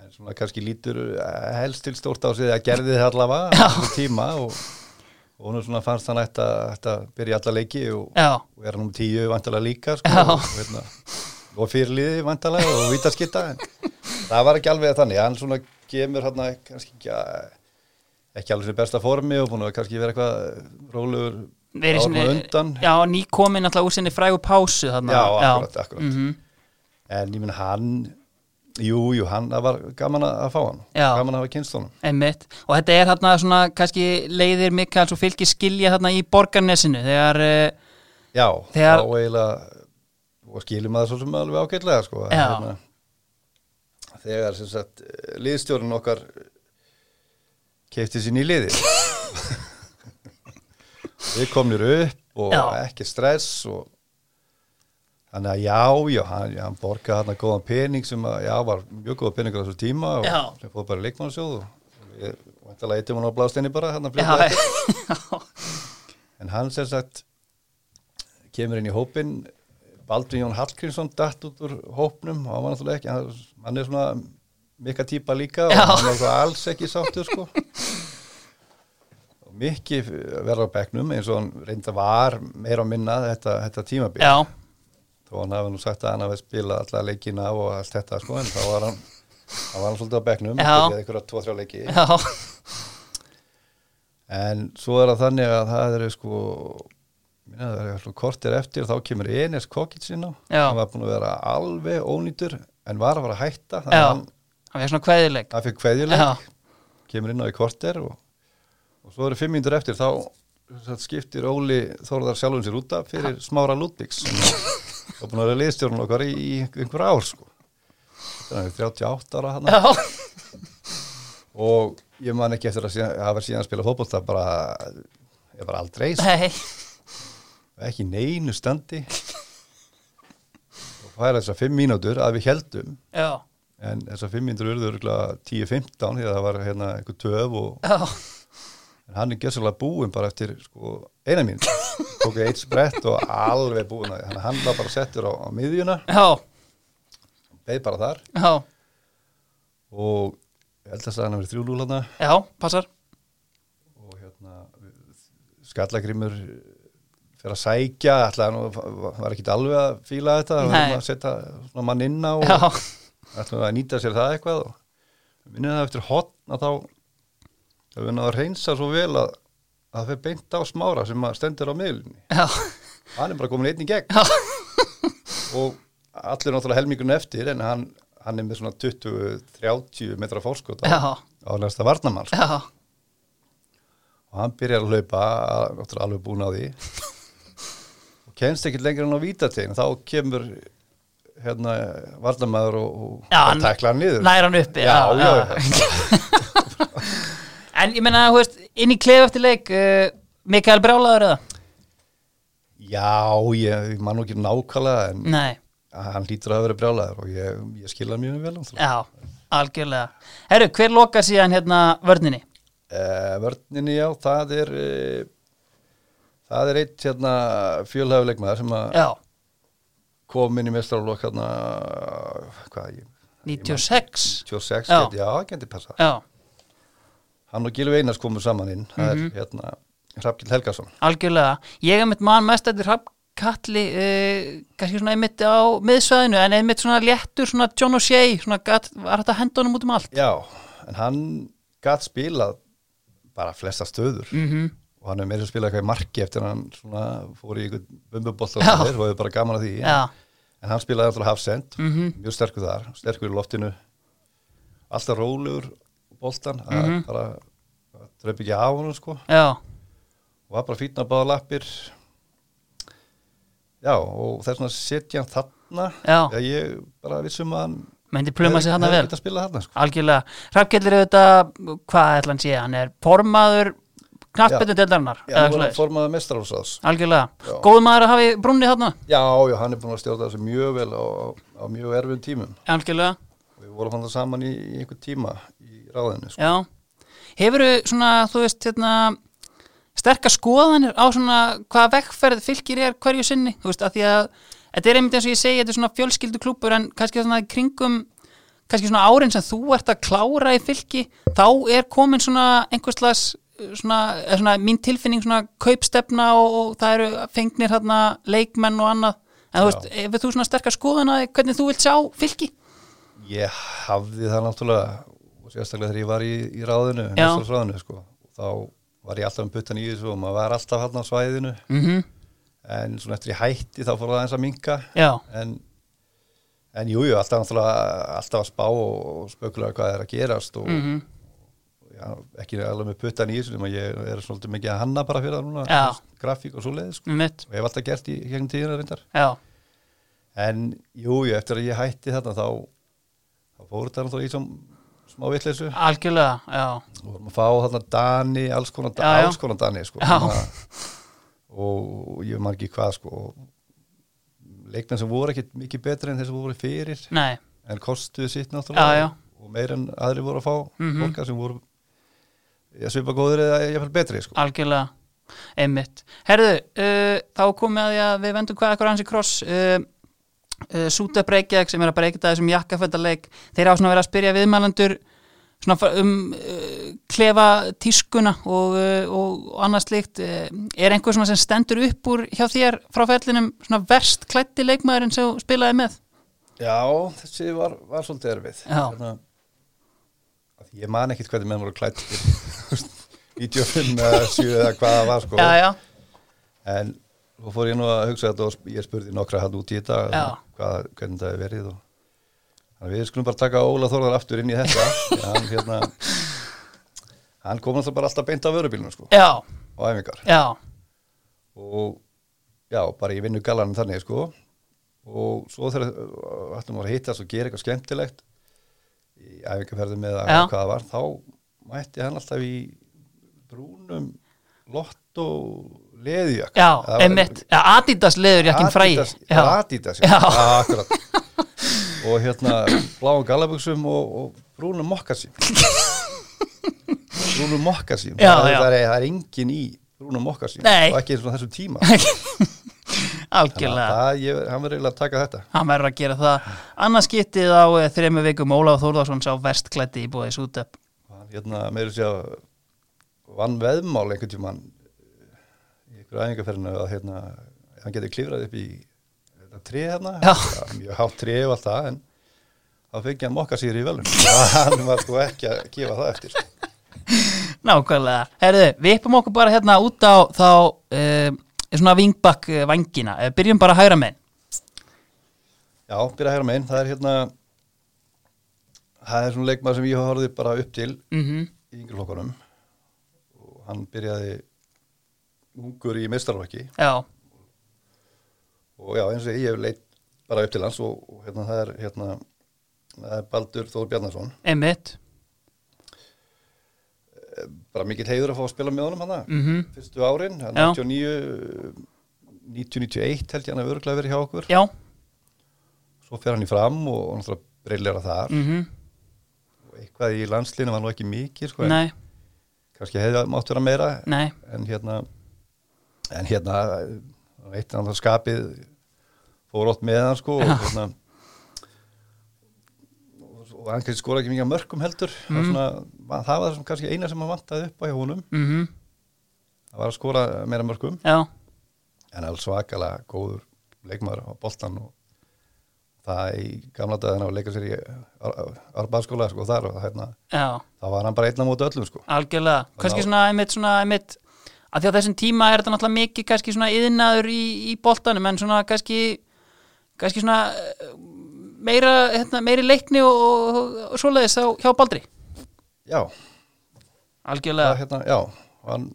en svona kannski lítur eh, helst til stórt á sig að gerði það allavega á þessum tíma og, og hún svona fannst hann ætti að, ætti að byrja alla leiki og,
Já,
og er hann um tíu vantalega líka sko,
Já.
og, hérna, og fyrirliði vantalega og vítaskitta en það var ekki alveg þannig hann svona kemur hann kannski ekki, að- ekki alveg sem besta formi og búin að kannski vera eitthvað rólegur
verið
árum á
sinni-
undan
Já, nýkomin alltaf úr sinni frægu pásu þarna.
Já, akkurat, akkurat.
Mhm.
en ég minn hann jú, jú, hann það var gaman að að fá hann
Já.
gaman að hafa kynst honum
Einmitt. Og þetta er þarna svona kannski leiðir Mikael og fylgir skilja þarna í borgarnesinu þegar uh,
Já,
Þegar-
þá eiginlega og skilum maður svo sem alveg ágætlega sko,
Já.
þegar sem sagt liðstjórun okkar keipti sín í liði við komnir upp og
Já.
ekki stress og þannig að já, já, hann, já, hann borgaði hann góðan pening sem að, já, var mjög góða peningur á þessu tíma og
Já.
sem fóð bara í leikmannsjóð og ég vantalega eittum hann á blásteini bara hann að
já,
fljóta
já,
en hann sem sagt kemur inn í hópin Baldvin Jón Hallgrímsson datt út úr hópnum og hann var náttúrulega ekki hann, hann er svona mikka típa líka og
Já.
hann var svo alls ekki sáttur sko og mikki verður á bekknum eins og hann reynda var meira að minna þetta, þetta tímabil
já,
þó hann hafi nú sagt að hann hafi spilað alla leikina og allt þetta sko en þá var hann, þá var hann svolítið á bekknum
Já.
byrjaði einhverja tvo-þrjá leiki
já,
En svo er það þannig að það eru sko minna, það eru alltaf kortir eftir þá kemur Enes Kokic inn á
Já.
hann var búin að vera alveg ónýtur en var að vera að hætta þannig
Já.
að hann,
Það er svona kveðileg.
það fyrir kveðjuleik
Já,
kemur inn á í korter og, og svo eru fimm mínútur eftir þá það skiptir Óli Þórðar sjálfum sér út af fyrir smára Ludvigs og búin að vera liðstjórnum okkar í, í einhver ár sko þannig að 38 ára hann
já,
og ég man ekki eftir að síðan, hafa síðan að spila fótbolta bara, ég bara aldrei sko.
nei,
ekki í neinu standi og færa þessar fimm mínútur að við heldum
já,
en þessar fimm mínútur urðu örgulega 10-15 því að það var hérna einhver töf og
já,
En hann er gjössalega búinn bara eftir sko, eina mín. Tók eitt sprett og alveg búinn. Þannig að hann var bara settur á, á miðjuna,
já,
beð bara þar
já,
og ég held að það hann verið þrjúlúlana
já, passar.
og hérna skallagrimur fyrir að sækja, ætlaði hann og var ekki alveg að fíla þetta,
Nei.
var hann að setja svona mann inn á og
Já,
ætlaði að nýta sér það eitthvað og minnið það eftir hotn að þá það við náðu að reynsa svo vel að, að það fyrir beint á smára sem að stendur á miðlunni.
já,
hann er bara komin einn í gegn
Já.
og allir náttúrulega helmingun eftir en hann, hann er með svona 20-30 metra fórskot á,
já,
á næsta varnamann sko.
já,
og hann byrjar að hlaupa að- náttúrulega alveg búin á því og kemst ekkert lengur en á vítategin þá kemur hérna varnamaður og, og
Já,
bara
hann-
tæklar hann niður
næra hann uppi.
Já, já,
En ég menna, hú veist, inn í klef eftir leik, uh, Mikael Brjálaður eða?
já, ég man nú ekki nákvæmlega en
Nei,
hann hlýtur að hafa verið brjálæður og ég, ég skil hann mjög vel náttúrulega.
já, algjörlega. Herru, hver lokar síðan hérna vörninni?
Uh, vörninni já, það er uh, það er eitt hérna, fjölhæfuleikmaður sem að
Já,
kom inn í mestrarlokk hérna, hvað ég
96.
26,
Já.
gæti- já, það geti passa
Já,
hann og Gilvi Einars komu saman inn það
Mhm.
er hérna Hrafkil Helgason
algjörlega. Ég er mitt mann mest eftir Hrafnkalli, uh, kannski svona einmitt á miðsvæðinu, en einmitt svona léttur, svona John O'Shea, svona gat, var þetta hendunum út um allt?
já, en hann gatt spilað bara flesta stöður
Mhm.
og hann er meira að spila eitthvað í marki eftir hann svona, fór í ykkur bumbubolt og
Já.
það er bara gaman að því
Já,
en hann spilaði alltaf hafsend
Mhm.
mjög sterkur þar, sterkur í loftinu alltaf rólegur boltan, það
Mhm.
er bara dröp ekki af honum sko
já,
og var bara fýtna báða lappir já og þess vegna setja hann þarna
Já.
ég bara vissum að hann
myndi pluma sig þarna vel.
að spila þarna sko
Algjörlega. Hrafnkjallir auðvitað, hvað ætla hann sé, hann er formaður knattbyrnu deildarinnar.
já,
eða
hann var
svoleiðis.
formaður mestrarhúsás
Algjörlega.
Já.
Góð maður að hafi brúnni þarna.
já, já, hann er búin að stjórna þessu mjög vel á, á mjög erfum tímum
Algjörlega,
og við vorum hann saman í, í einhver tíma í ráðinu sko.
já. Hefurðu svona, þú veist, hérna, sterkar skoðanir á svona hvaða vegferð fylgir er hverju sinni, þú veist, að því að þetta er einmitt eins og ég segi, þetta er svona fjölskyldu klúpur en kannski svona í kringum kannski svona árin sem þú ert að klára í fylki, þá er komin svona einhverslas, svona, eða svona mín tilfinning svona kaupstefna og, og það eru fengnir hérna leikmenn og annað, en þú veist, hefur þú svona sterkar skoðan að hvernig þú vilt sjá fylki?
sko. Ég hafði það náttúrulega og sérstaklega þegar ég var í, í ráðinu,
Já.
mestrarráðinu sko. þá var ég alltaf um puttan í þessu og maður var alltaf hann á svæðinu
Mm
en svona eftir ég hætti þá fór það eins að minka
Já,
en, en jújú, jú, alltaf náttúrulega alltaf að spá og spökulega hvað er að gerast og mm
Mhm.
já, ekki alveg með puttan í þessu nema ég er svolítið mikið að hanna bara fyrir það núna
Já.
grafík og svoleiði sko.
mitt,
og ég hef alltaf gert í gegnum tíðina reyndar
já,
En jú, jú, eftir að ég hætti þetta þá, þá fór þetta náttúrulega í som, smá vitleysu
algjörlega, já,
og vorum að fá þarna Dani, alls konar,
Já, já.
Alls konar Dani sko,
Já.
Svona- og ég man ekki hvað sko, leikmenn sem voru ekkit mikið betri en þeir sem voru fyrir
nei,
en kostuðu sitt
Já,
náttúrulega
já.
og meir en aðri voru að fá mm
Mhm.
sem voru ég svipa góður eða ég fyrir betri sko.
algjörlega, einmitt. Herðu, uh, þá komið að því að við vendum hvað ekkur hans í kross, uh, uh, Súta Breykjag sem er að breykja þessum jakkaföldaleik, þeir á svona að vera að spyrja viðmælandur svona fa- um uh, klefa tískuna og, uh, og og annað slíkt. Uh, er einhver svona sem stendur upp úr hjá þér frá ferlinum svona verst klætti leikmaðurinn sem þú spilaði með?
Já, þessi var, var svolítið erfið
Já.
að því ég man ekkit hvernig menn voru klætt 95 eða 7 eða hvað það var sko.
Já, já,
en þú fór ég nú að hugsa þetta hérna, og sp- ég spurði nokkra hann út í þetta
Já.
hvað, hvernig það hefur verið og Þannig að við skulum bara taka Óla Þorðar aftur inn í þetta. Því að hann, hérna, hann kom alltaf bara alltaf beint á vörubílunum sko,
Já,
á æfingar.
já,
Og já, bara ég vinnu galanum þannig sko. Og svo þegar uh, ætlum við að hittast og gera eitthvað skemmtilegt í æfingarferðum með að
Já.
hvað það var, þá mætti hann alltaf í brúnum lott og leðjök.
já, einmitt Já, Adidas leður jakkin fræ
Adidas, já,
Já,
Adidas,
Já.
já, já akkurat og hérna bláum galabuxum og, og brúnum mokkasím brúnum mokkasím
Já,
það, er-
já.
það er, það er engin í brúnum mokkasím
Nei.
og ekki eins og þessum tíma Þannig að
algjörlega
það, ég, hann verður eiginlega að taka þetta
Hann verður að gera það Annars getið á eh, þremur vikum Ólaf Þórðarsson sá verstklætti í bóði sútöp
hann hérna meður sér að segja vann veðmál einhvern tímann eh, í einhverju æfingarferðinu að hérna, hann getur klifrað upp í þetta tré þarna
Já.
Það er mjög hátt tré og allt það en þá fengi hann mokka í velun hann var sko ekki að gefa það eftir
Nákvæmlega Herðu, við uppum okkur bara hérna út á þá um, svona vingbakk eh, vangina Eh, Byrjum bara að hægra með
já, byrja hægra megin, það er hérna það er svona leikmaður sem ég horfði bara upp til
mm -hmm.
í yngri flokkunum og hann byrjaði ungur í mestarflokki
Já,
og já, eins og ég, ég hef leitt bara upp til hans og, og hérna það er hérna, það er Baldur Þór Bjarnason
einmitt
bara mikill heiður að fá að spila með honum hann
mm
fyrstu árin, hann
Já.
99 90-91 held ég hann að örglega verið hjá okkur
Já,
svo fer hann í fram og, og náttúrulega brillera þar
mm
og eitthvað í landslinu var nú ekki mikið sko, en
nei,
kannski hefði mátt vera meira
nei
en hérna en hérna eh, eitt annar skapið fór ótt með hann sko og,
Já.
hérna, og, og hann kannski skora ekki mikið af mörkum heldur mm. svona, va- það var sem kannski eina sem hann vantaði upp á hjá honum
mm
það var að skora meira mörkum
Já,
en alls svakalega góður leikmaður á boltan og það í gamla dagana að leika sér í Arbaðskóla sko þar og hérna,
já
það var hann bara einna móti öllum sko
Algjörlega, kannski
ná-
svona einmitt, svona einmitt að því að þessum tíma er þetta náttúrulega mikið kannski svona yðnaður í, í boltanum en svona kannski kannski svona eh, meira, hérna, meiri leikni og, og, og svoleiðis þá hjá Baldri
já, það,
Algjörlega,
hérna, já, hann,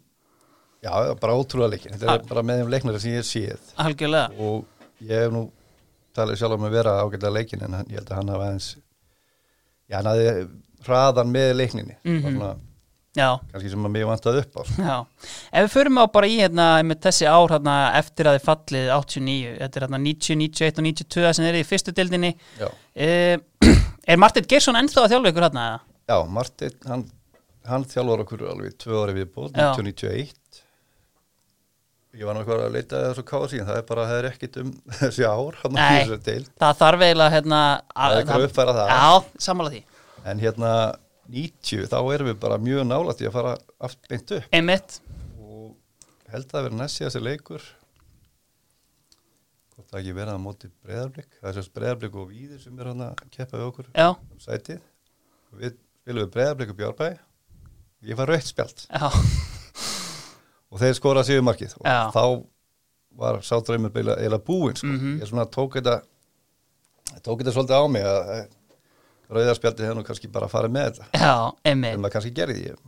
já, bara ótrúlega leikin þetta er bara með þeim leiknara sem ég séð
algjörlega
og ég hef nú talið sjálf um að vera ágætlega leikin en hann, ég held að hann hafa aðeins já, hann hafði hraðan með leikninni mm
Mhm.
svona,
Já,
kannski sem að mig vantaði upp á sko.
já Ef við förum á bara í hérna einmitt þessi ár hérna eftir að þið fallið 89 þetta er hérna 90, 91 og 92 sem þeir eru í fyrstu dildinni
já,
eh, Er Martin Geirsson ennþá að þjálfa ykkur hérna? eða?
já Martin, hann, hann þjálfur okkur alveg tvö ári viðból,
Já.
1991 ég var nú eitthvað að leita að þessu kási en það er bara, það er ekkit um þessi ár hann
Nei.
þessu deil
Það þarf eiginlega hérna að-
Það er eitthvað að uppfæra það.
Já, sammála því
en hérna 90, þá erum við bara mjög nálætt í að fara aft beint upp
Einmitt,
og held að það verið næst síðast leikur hvort það ekki verið að móti breyðarblik það er sérst breyðarblik og víðir sem er hann að keppa við okkur
já,
um sætið og við spilum við breyðarblik og bjárbæ ég var rautt spjald
já,
og þeir skora síðumarkið og
Já.
þá var sá draumur eiginlega eiginlega búinn sko.
Mhm.
ég svona tók þetta tók þetta svolítið á mig að að rauðarspjaldið hefði nú kannski bara farið með þetta
já,
en
einmitt
maður kannski gerði því ég-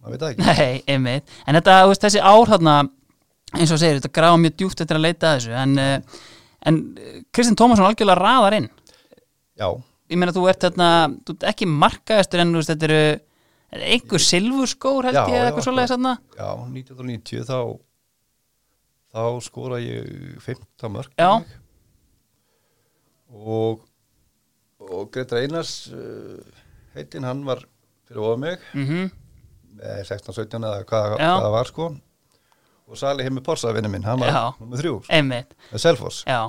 maður veit það ekki
Nei, einmitt, en þetta, þú veist, þessi ár hérna, eins og þú segir, þetta gráða mjög djúpt eftir að leita að þessu, en uh, en eh, Kristinn Tómasson algjörlega raðar inn
já,
ég meina þú ert þarna, þú ert ekki markaðastur en þú veist, þetta eru er einhver silfurskór held
Já,
ég,
já,
eitthvað svoleiðis þarna
Já, 1990 þá þá skora ég 15 mörg
Já.
og og Gretar Einars uh, heitinn hann var fyrir ofan mig
mm
eh, 16-17 eða hvað,
Já.
hvað það var sko og Sali heimur Porsa vinnu minn, hann var
Já.
nummer þrjú, sko,
einmitt,
með Selfoss
já,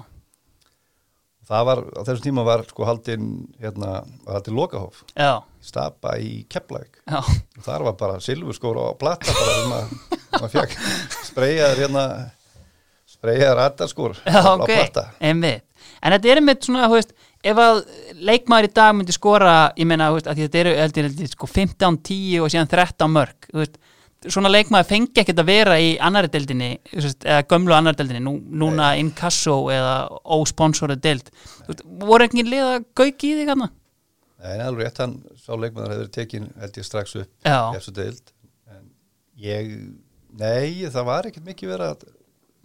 það var, á þessum tíma var sko haldinn hérna, var haldinn Lokahóf
já,
í Stapa í Keflavík
já
og þar var bara silfurskóra og plata bara um að maður fekk spreyjaður hérna spreyjaður ratarskór
Já,
á
ok,
plata
einmitt En þetta er einmitt svona, þú veist ef að leikmaður í dag myndi skora ég meina, þú veist, að því þetta eru heldur, heldur, sko, 15, 10 og síðan 13 mörg þú veist, svona leikmaði fengi ekkert að vera í annari deildinni þú veist, eða gömlu annari deildinni nú, núna inkasso eða ósponsoru deild Þú veist, voru engin lið að gauki í því kannar?
En alveg rétt hann, sá leikmaður hefur tekin held ég strax upp
Já.
eftir deild en ég, nei, það var ekkert mikið verið að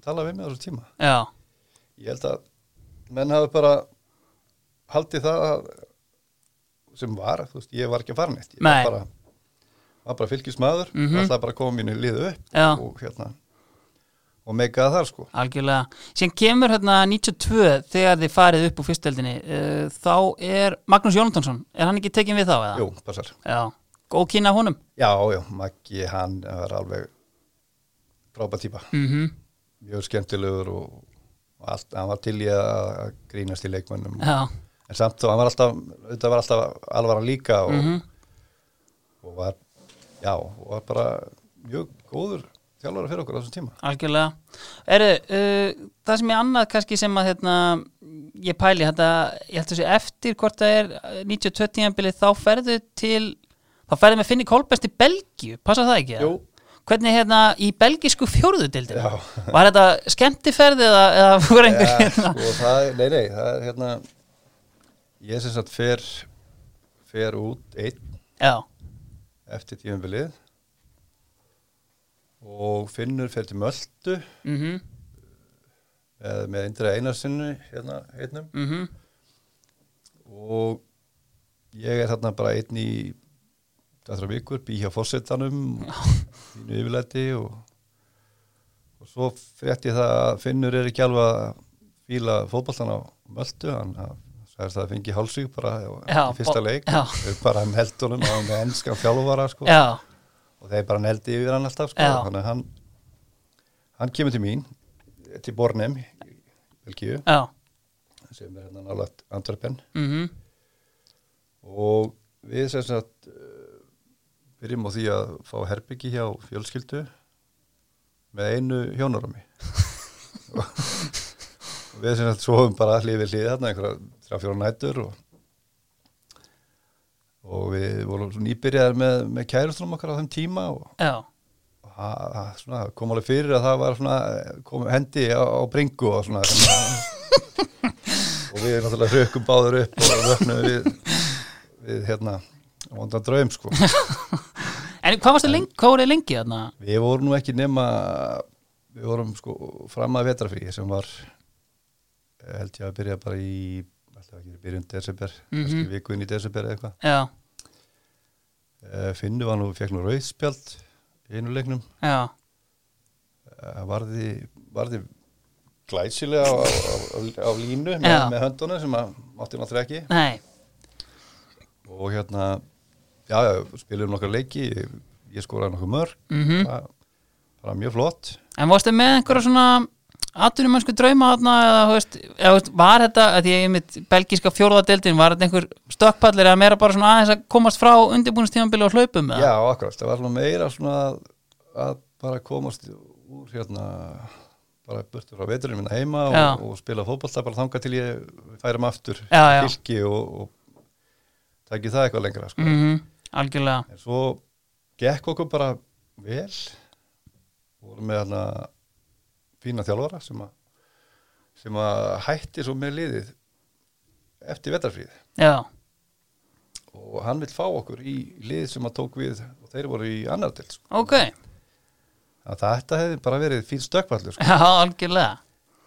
tala við mig á þessu tíma.
Já,
Ég held að menn hafi bara haldið það að, sem var, þú veist, ég var ekki að fara neitt. Ég
Nei.
var bara, var bara fylgismadur, mm
Mhm.
alltaf bara að koma mínu lið upp
Já.
og hérna, og meikaða þar sko.
algjörlega sem kemur hérna 92 þegar þið farið upp úr fyrsteldinni uh, þá er Magnús Jónatansson er hann ekki tekin við þá eða?
Jú, passar.
Já, góð kynna honum
Já, já, Maggi, hann var alveg frábæð típa.
mm
mjög skemmtilegur og og allt, hann var til í að grínast í leikmönnum
Já,
en samt þó, hann var alltaf, auðvitað var alltaf alvara líka og,
Mhm.
og var, já, og var bara mjög góður þjálfara fyrir okkur á þessum tíma.
algjörlega Eru, uh, það sem ég annað kannski sem að hérna, ég pæli þetta, ég held þessi eftir hvort það er uh, 92 tímanbilið þá ferðu til, þá ferðu með Finni Kolbest í Belgíu, passa það ekki? eða?
Jú.
Hvernig hérna í belgísku fjórðudildin?
Já.
Var þetta skemmtiferð eða, eða voru einhver
Ja,
hérna?
sko, það, er- nei, nei, það er hérna ég sem sagt fer fer út einn
Já,
eftir tímabilið og Finnur fer til Möldu
mhm, mhm
með, með Indra Einarsinnu hérna einnum og ég er þarna bara einn í dættra vikur, bý hjá fórsetanum mínu yfirleiti og, og svo frétti það að Finnur er ekki alveg að fíla fótboltan á möldu hann sagði það að fengi hálsvík bara
Já,
í fyrsta
bo-
leik
já.
Þau bara um heldunum og hann með ennskan fjálfara sko,
Já,
og þeir bara neldi yfir hann alltaf sko,
Já.
þannig að hann, hann kemur til mín til Bornem í Belgíu
já,
sem er hérna nálaðt Antwerpen
mhm
og við sem sagt eh, byrjum á því að fá herbyggi hjá fjölskyldu með einu hjónarami og við sem sagt svofum bara hlið við hlið þarna einhverja þrjá fjóra nætur og, og við vorum svo nýbyrjaðar með, með kærustunum okkar á þeim tíma og,
já,
og það- það svona, kom alveg fyrir að það var svona, kom hendi á, á bringu og svona svona. og við náttúrulega hrökkum báður upp og vöknum við við hérna vondan draum sko
En hvað varstu lengi, hvað voruð þið lengi þarna?
við vorum nú ekki nema við vorum sko fram að vetrafrí sem var eh, held ég að byrja bara í alltaf ekki byrjun desember,
Mhm.
kannski vikuinn í desember eða eitthvað,
Já,
Eh, Finnu var nú fekk nú rauðspjald í einu leiknum
já,
Eh, varði, varði glæsilega á, á, á- á línu með,
Já.
með höndunum sem að mátti náttúrulega ekki
nei,
og hérna já, já, spilum nokkar leiki ég, ég skoraði nokkuð mörg
mhm
bara, bara mjög flott
En varstu með einhverja svona atvinnumennsku drauma þarna eða, þú veist, eða þú veist, var þetta, að ég er mitt belgíska fjórðadeildin, var þetta einhver stökkpallir eða meira bara svona aðeins að komast frá undirbúinustímanbili og hlaupum
já,
eða?
akkurat, það var svona meira svona að, að bara komast úr hérna bara burtur frá veturinn minna heima
Já.
og, og spila fótballta bara þangað til ég færum aftur
Já, já.
fylki og, og takki það eitthvað lengra sko.
Mhm, algjörlega,
En svo gekk okkur bara vel vorum með hana fína þjálfara sem að sem að hætti svo með liðið eftir vetarfríð
já,
og hann vill fá okkur í liðið sem að tók við og þeir voru í annar til sko.
ok,
að þetta hefði bara verið fín stökkvallur sko.
já, algjörlega,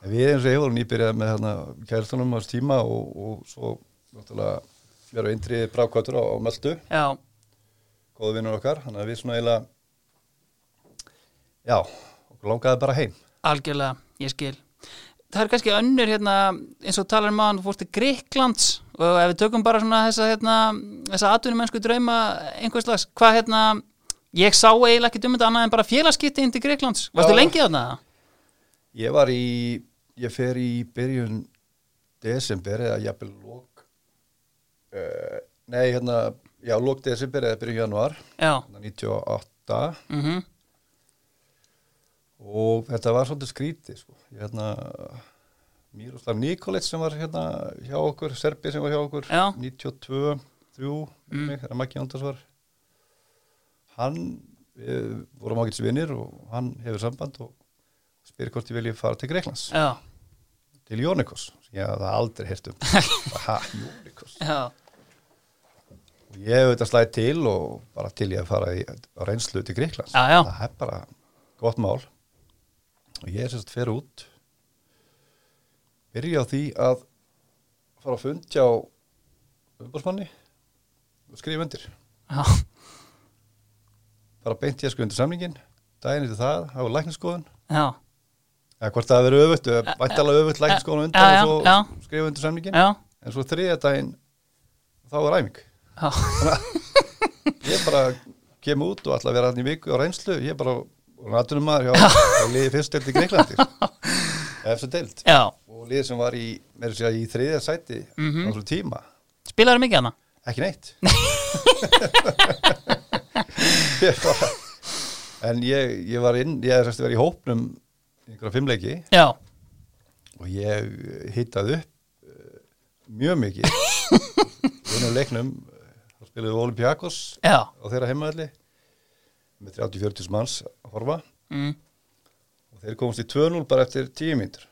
En við eins og ég vorum nýbyrjað með hana kærtunum ás tíma og, og svo náttúrulega verðum indriði brákvættur á, á Möldu
já,
góðu vinnur okkar, þannig að við svona eiginlega já, okkur langaði bara heim
algjörlega, ég skil. Það er kannski önnur hérna, eins og talar um aðan, þú fórst til Greiklands og ef við tökum bara svona þessa, hérna, þessa atvinnumennsku drauma einhvers slags, hvað hérna, ég sá eiginlega ekki dumönda annað en bara félagskipti inn til Greiklands. Varstu
Já.
lengi þarna?
Ég var í, ég fer í byrjun desember eða jafnvel lók uh, nei hérna já lók desember eða byrjun januar
Já,
hérna 98
mhm,
og þetta var svolítið skrítið sko. ég hérna Miroslav Nikolic sem var hérna hjá okkur Serbi sem var hjá okkur
Já.
92, 3 mm. þegar Maggi Andars var hann við vorum ágætis vinnir og hann hefur samband og spyr hvort ég vilji fara til Greiklands
já,
til Jónikos, sem ég hafði aldrei heyrt um ha, Jónikos
já,
og ég hef auðvitað slæði til og bara til ég að fara í, á reynslu til Greiklands
Já, já.
það er bara gott mál og ég er sérst fyrir út byrja á því að fara að fundja á umbúrsmanni og skrifa undir
já,
bara beint ég að skrifa undir samlingin daginn eftir það, hafa lækniskoðun
já,
eða hvort það verið öfutt, væntalega öfutt lækniskoðun á undan
Já, já,
og svo
já.
skrifa undir samlingin
já,
en svo þriðja daginn þá er æming
já,
ég bara kem út og ætla að vera hann í viku á reynslu ég er bara naturnum maður hjá, hjá liði fyrst deild í Greiklandi eftir deild
já,
og liði sem var í, meira að segja í þriðja sæti mm
Mhm.
á svo tíma,
spilaður mikið hana?
ekki neitt ég bara en ég, ég var inn, ég er sérst að vera í hópnum í einhverja fimmleiki
Já,
og ég hittaði upp eh, mjög mikið vinnum leiknum eh, þá spilaði við Olympiakos
já,
á þeirra heimaðalli með 30-40 manns að horfa
mm,
og þeir komast í 2-0 bara eftir 10 mínútur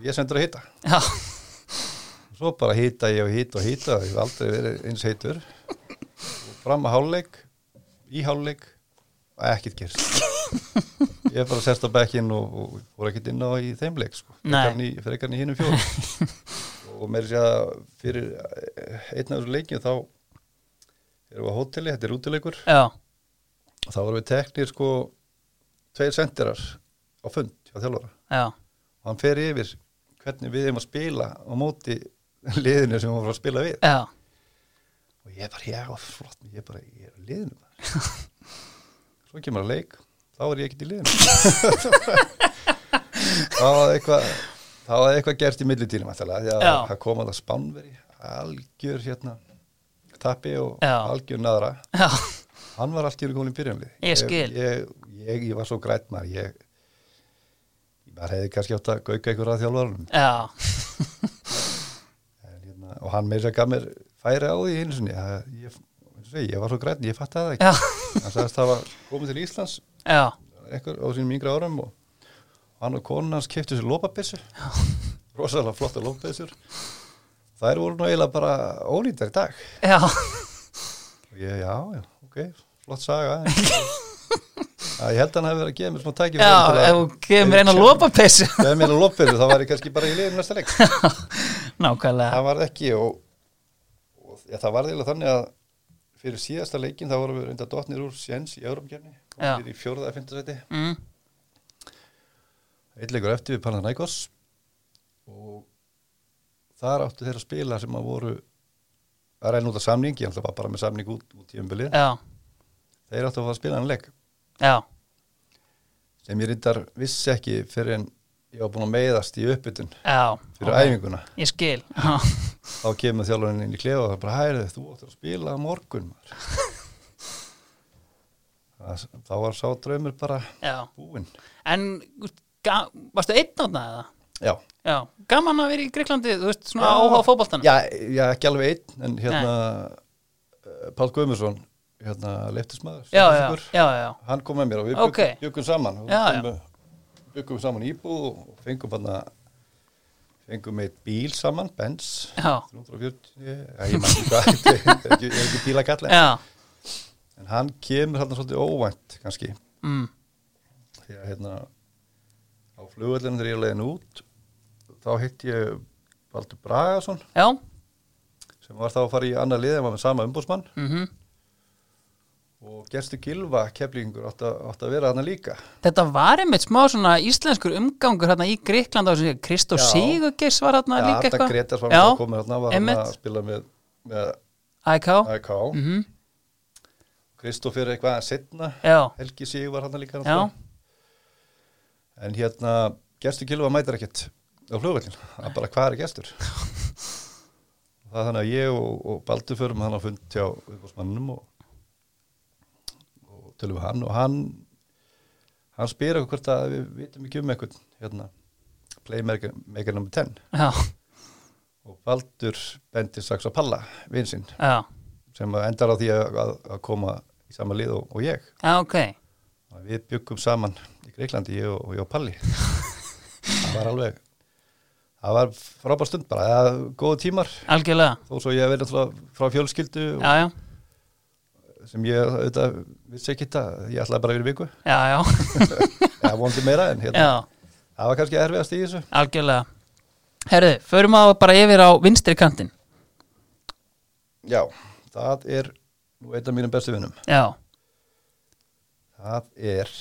og ég sendur að hita
já,
og svo bara hita ég og hita og hita ég hef aldrei verið eins heitur og fram að háluleik í háluleik og ekkert gerst ég er bara sérst á bekkinn og, og fór ekkert inn á í þeim leik sko.
Nei.
Frekarn í- frekar en í hinum fjórum og meiri sér að segja fyrir eh, einn af þessu leikinu þá erum við á hóteli, þetta er útileikur
já,
og þá vorum við teknir sko tveir sendirar á fund hjá þjálfara
já,
og hann fer yfir hvernig við erum að spila á móti liðinu sem við varum að spila við
já,
og ég bara, já, flott, ég bara, ég er á liðinu maður. svo kemur að leik þá er ég ekkert í liðinu þá var eitthvað þá var eitthvað gert í millitíðum ætlaði, já,
Já.
það kom að það spánveri algjör hérna tappi og
Já.
algjör naðra
já,
hann var allt í rúkólinn byrjumlið
Ég skil.
ég, ég, ég var svo grætt maður ég, ég maður hefði kannski átt að gauka ykkur að þjálfarunum
já,
en, hérna, og hann meira gaf mér færi á því einu sinni Það- ég, ég, segi, ég var svo grætt, ég fatt að það ekki
já,
hann sagðist það var komið til Íslands
já,
einhver á sínum yngra árum og hann og konan hans keftu sér lópabissur rosalega flotta lópabissur þær voru nú eiginlega bara ónýttar í dag
já,
Og Ég, já, já, ok, flott saga. en- Já, ég held að hann hafi verið að gefa mér smá tæki.
já, ef þú kemur einn að lopa pissu,
Gefa mér að lopa þessu, þá var ég kannski bara í liðinu næsta leik.
nákvæmlega,
Það var ekki og, og já, það var eiginlega þannig að fyrir síðasta leikin þá vorum við reynda dotnir úr Sjens í Európakefni.
Já.
Við í fjórða að fynda sæti.
mm,
Eitt leikur eftir við Panathinaikos og þar áttu þeir að spila sem að voru að reyna út af samning, ég ætla bara, bara með samning út, út í umbilið.
já,
Þeir áttu að fá að spila hann leik.
já,
sem ég reyndar vissi ekki fyrir en ég var búin að meiðast í uppbytun
já,
fyrir
ok,
æfinguna
ég skil, já,
þá kemur þjálfurinn inn í klefa og það er bara hærið þú áttur að spila á morgun maður." Það- þá var sá draumur bara
já,
búinn
en, úst, ga, varstu einn átna eða?
já.
Já, gaman að vera í Greiklandi, þú veist, svona
Já.
áhuga á fótboltanum.
Já, já, ekki alveg einn en hérna uh, Pál Guðmursson hérna leiftismæður
já, já, já, já,
hann kom með mér og við
Ok.
okay. byggum saman og
Já, já.
byggum, byggum saman íbúð og fengum hérna fengum eitt bíl saman, Benz
já,
340, já, ég maður ekki hvað þetta er ekki, er ekki bílakall en,
já,
en hann kemur hérna svolítið óvænt kannski,
mm,
því að hérna á flugvöllinu þegar ég er leiðin út þá hitt ég Baldur Bragason
já,
sem var þá að fara í annað lið en var með sama umbúsmann
mhm.
og Gerstu Gilva keflingur átt að, átt að vera þarna líka
Þetta var einmitt smá svona íslenskur umgangur hérna í Gríkland á þessu Kristó
Já.
Sigurgeis var hérna
Já,
líka
Arda
eitthvað.
Gretas var að
Já,
koma þarna var hann
einmitt.
að spila með, með
æk,
AK
Mhm.
Kristoffer eitthvað setna
já,
Helgi Sigur var hann líka
já,
En hérna, gestur Gilva mætir ekkert á flugvöllin, að bara hvað er gestur? það er þannig að ég og, og Baldur förum hann á fund hjá uppbúrsmannum og, og tölum við hann og hann hann spyr okkur hvort að við vitum ekki um eitthvað hérna, playmaker maker number 10
já,
og Baldur bendir strax á Palla, vinn sinn
já,
sem að endar á því að, að, að koma í sama lið og, og ég
já, ok,
að við byggum saman í Greiklandi, ég og, og ég og Palli það var alveg það var frábær stund bara það var góðu tímar,
algjörlega
þó svo ég hef verið náttúrulega frá fjölskyldu
já, já,
og sem ég auðvitað vissi ekki þetta, ég ætlaði bara að vera í viku
já, já,
eða vondi meira en hérna,
já
það var kannski erfiðast í þessu
algjörlega herðu, förum að bara yfir á vinstri kantinn
já, það er nú einn af mínum bestu vinnum
já,
það er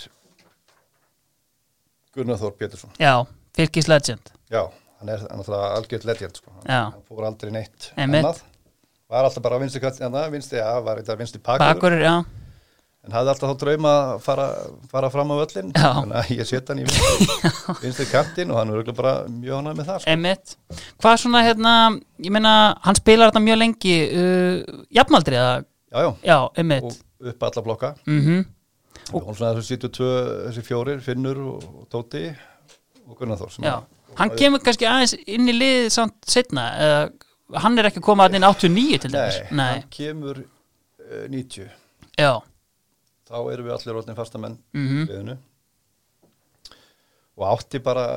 Gunnar Þór Pétursson
já, fylgis legend
Já, hann er hann er náttúrulega algjörð legend sko. hann,
Já.
hann fór aldrei neitt
Einmitt.
var alltaf bara vinstri kall hérna, vinstri, já, var þetta vinstri pakur,
bakur, já,
en hafði alltaf þá drauma að fara, fara fram á völlin
Já.
þannig að ég setja hann í vinstri, vinstri kantinn og hann er örugglega bara mjög hann með það sko.
emitt hvað svona, hérna, ég meina hann spilar þetta mjög lengi uh, jafnaldri, eða,
já, já,
já, emitt
og upp alla blokka
mhm
og hún svona þessu 72, þessi fjórir Finnur og, og Tóti og Gunnar Þór sem
Já,
að-
hann kemur kannski aðeins inn í liðið samt setna eða hann er ekki að koma að inn 89 til dæmis
nei,
Nei,
hann kemur uh, 90
já,
þá erum við allir orðin fastamenn
Mhm.
liðinu og átti bara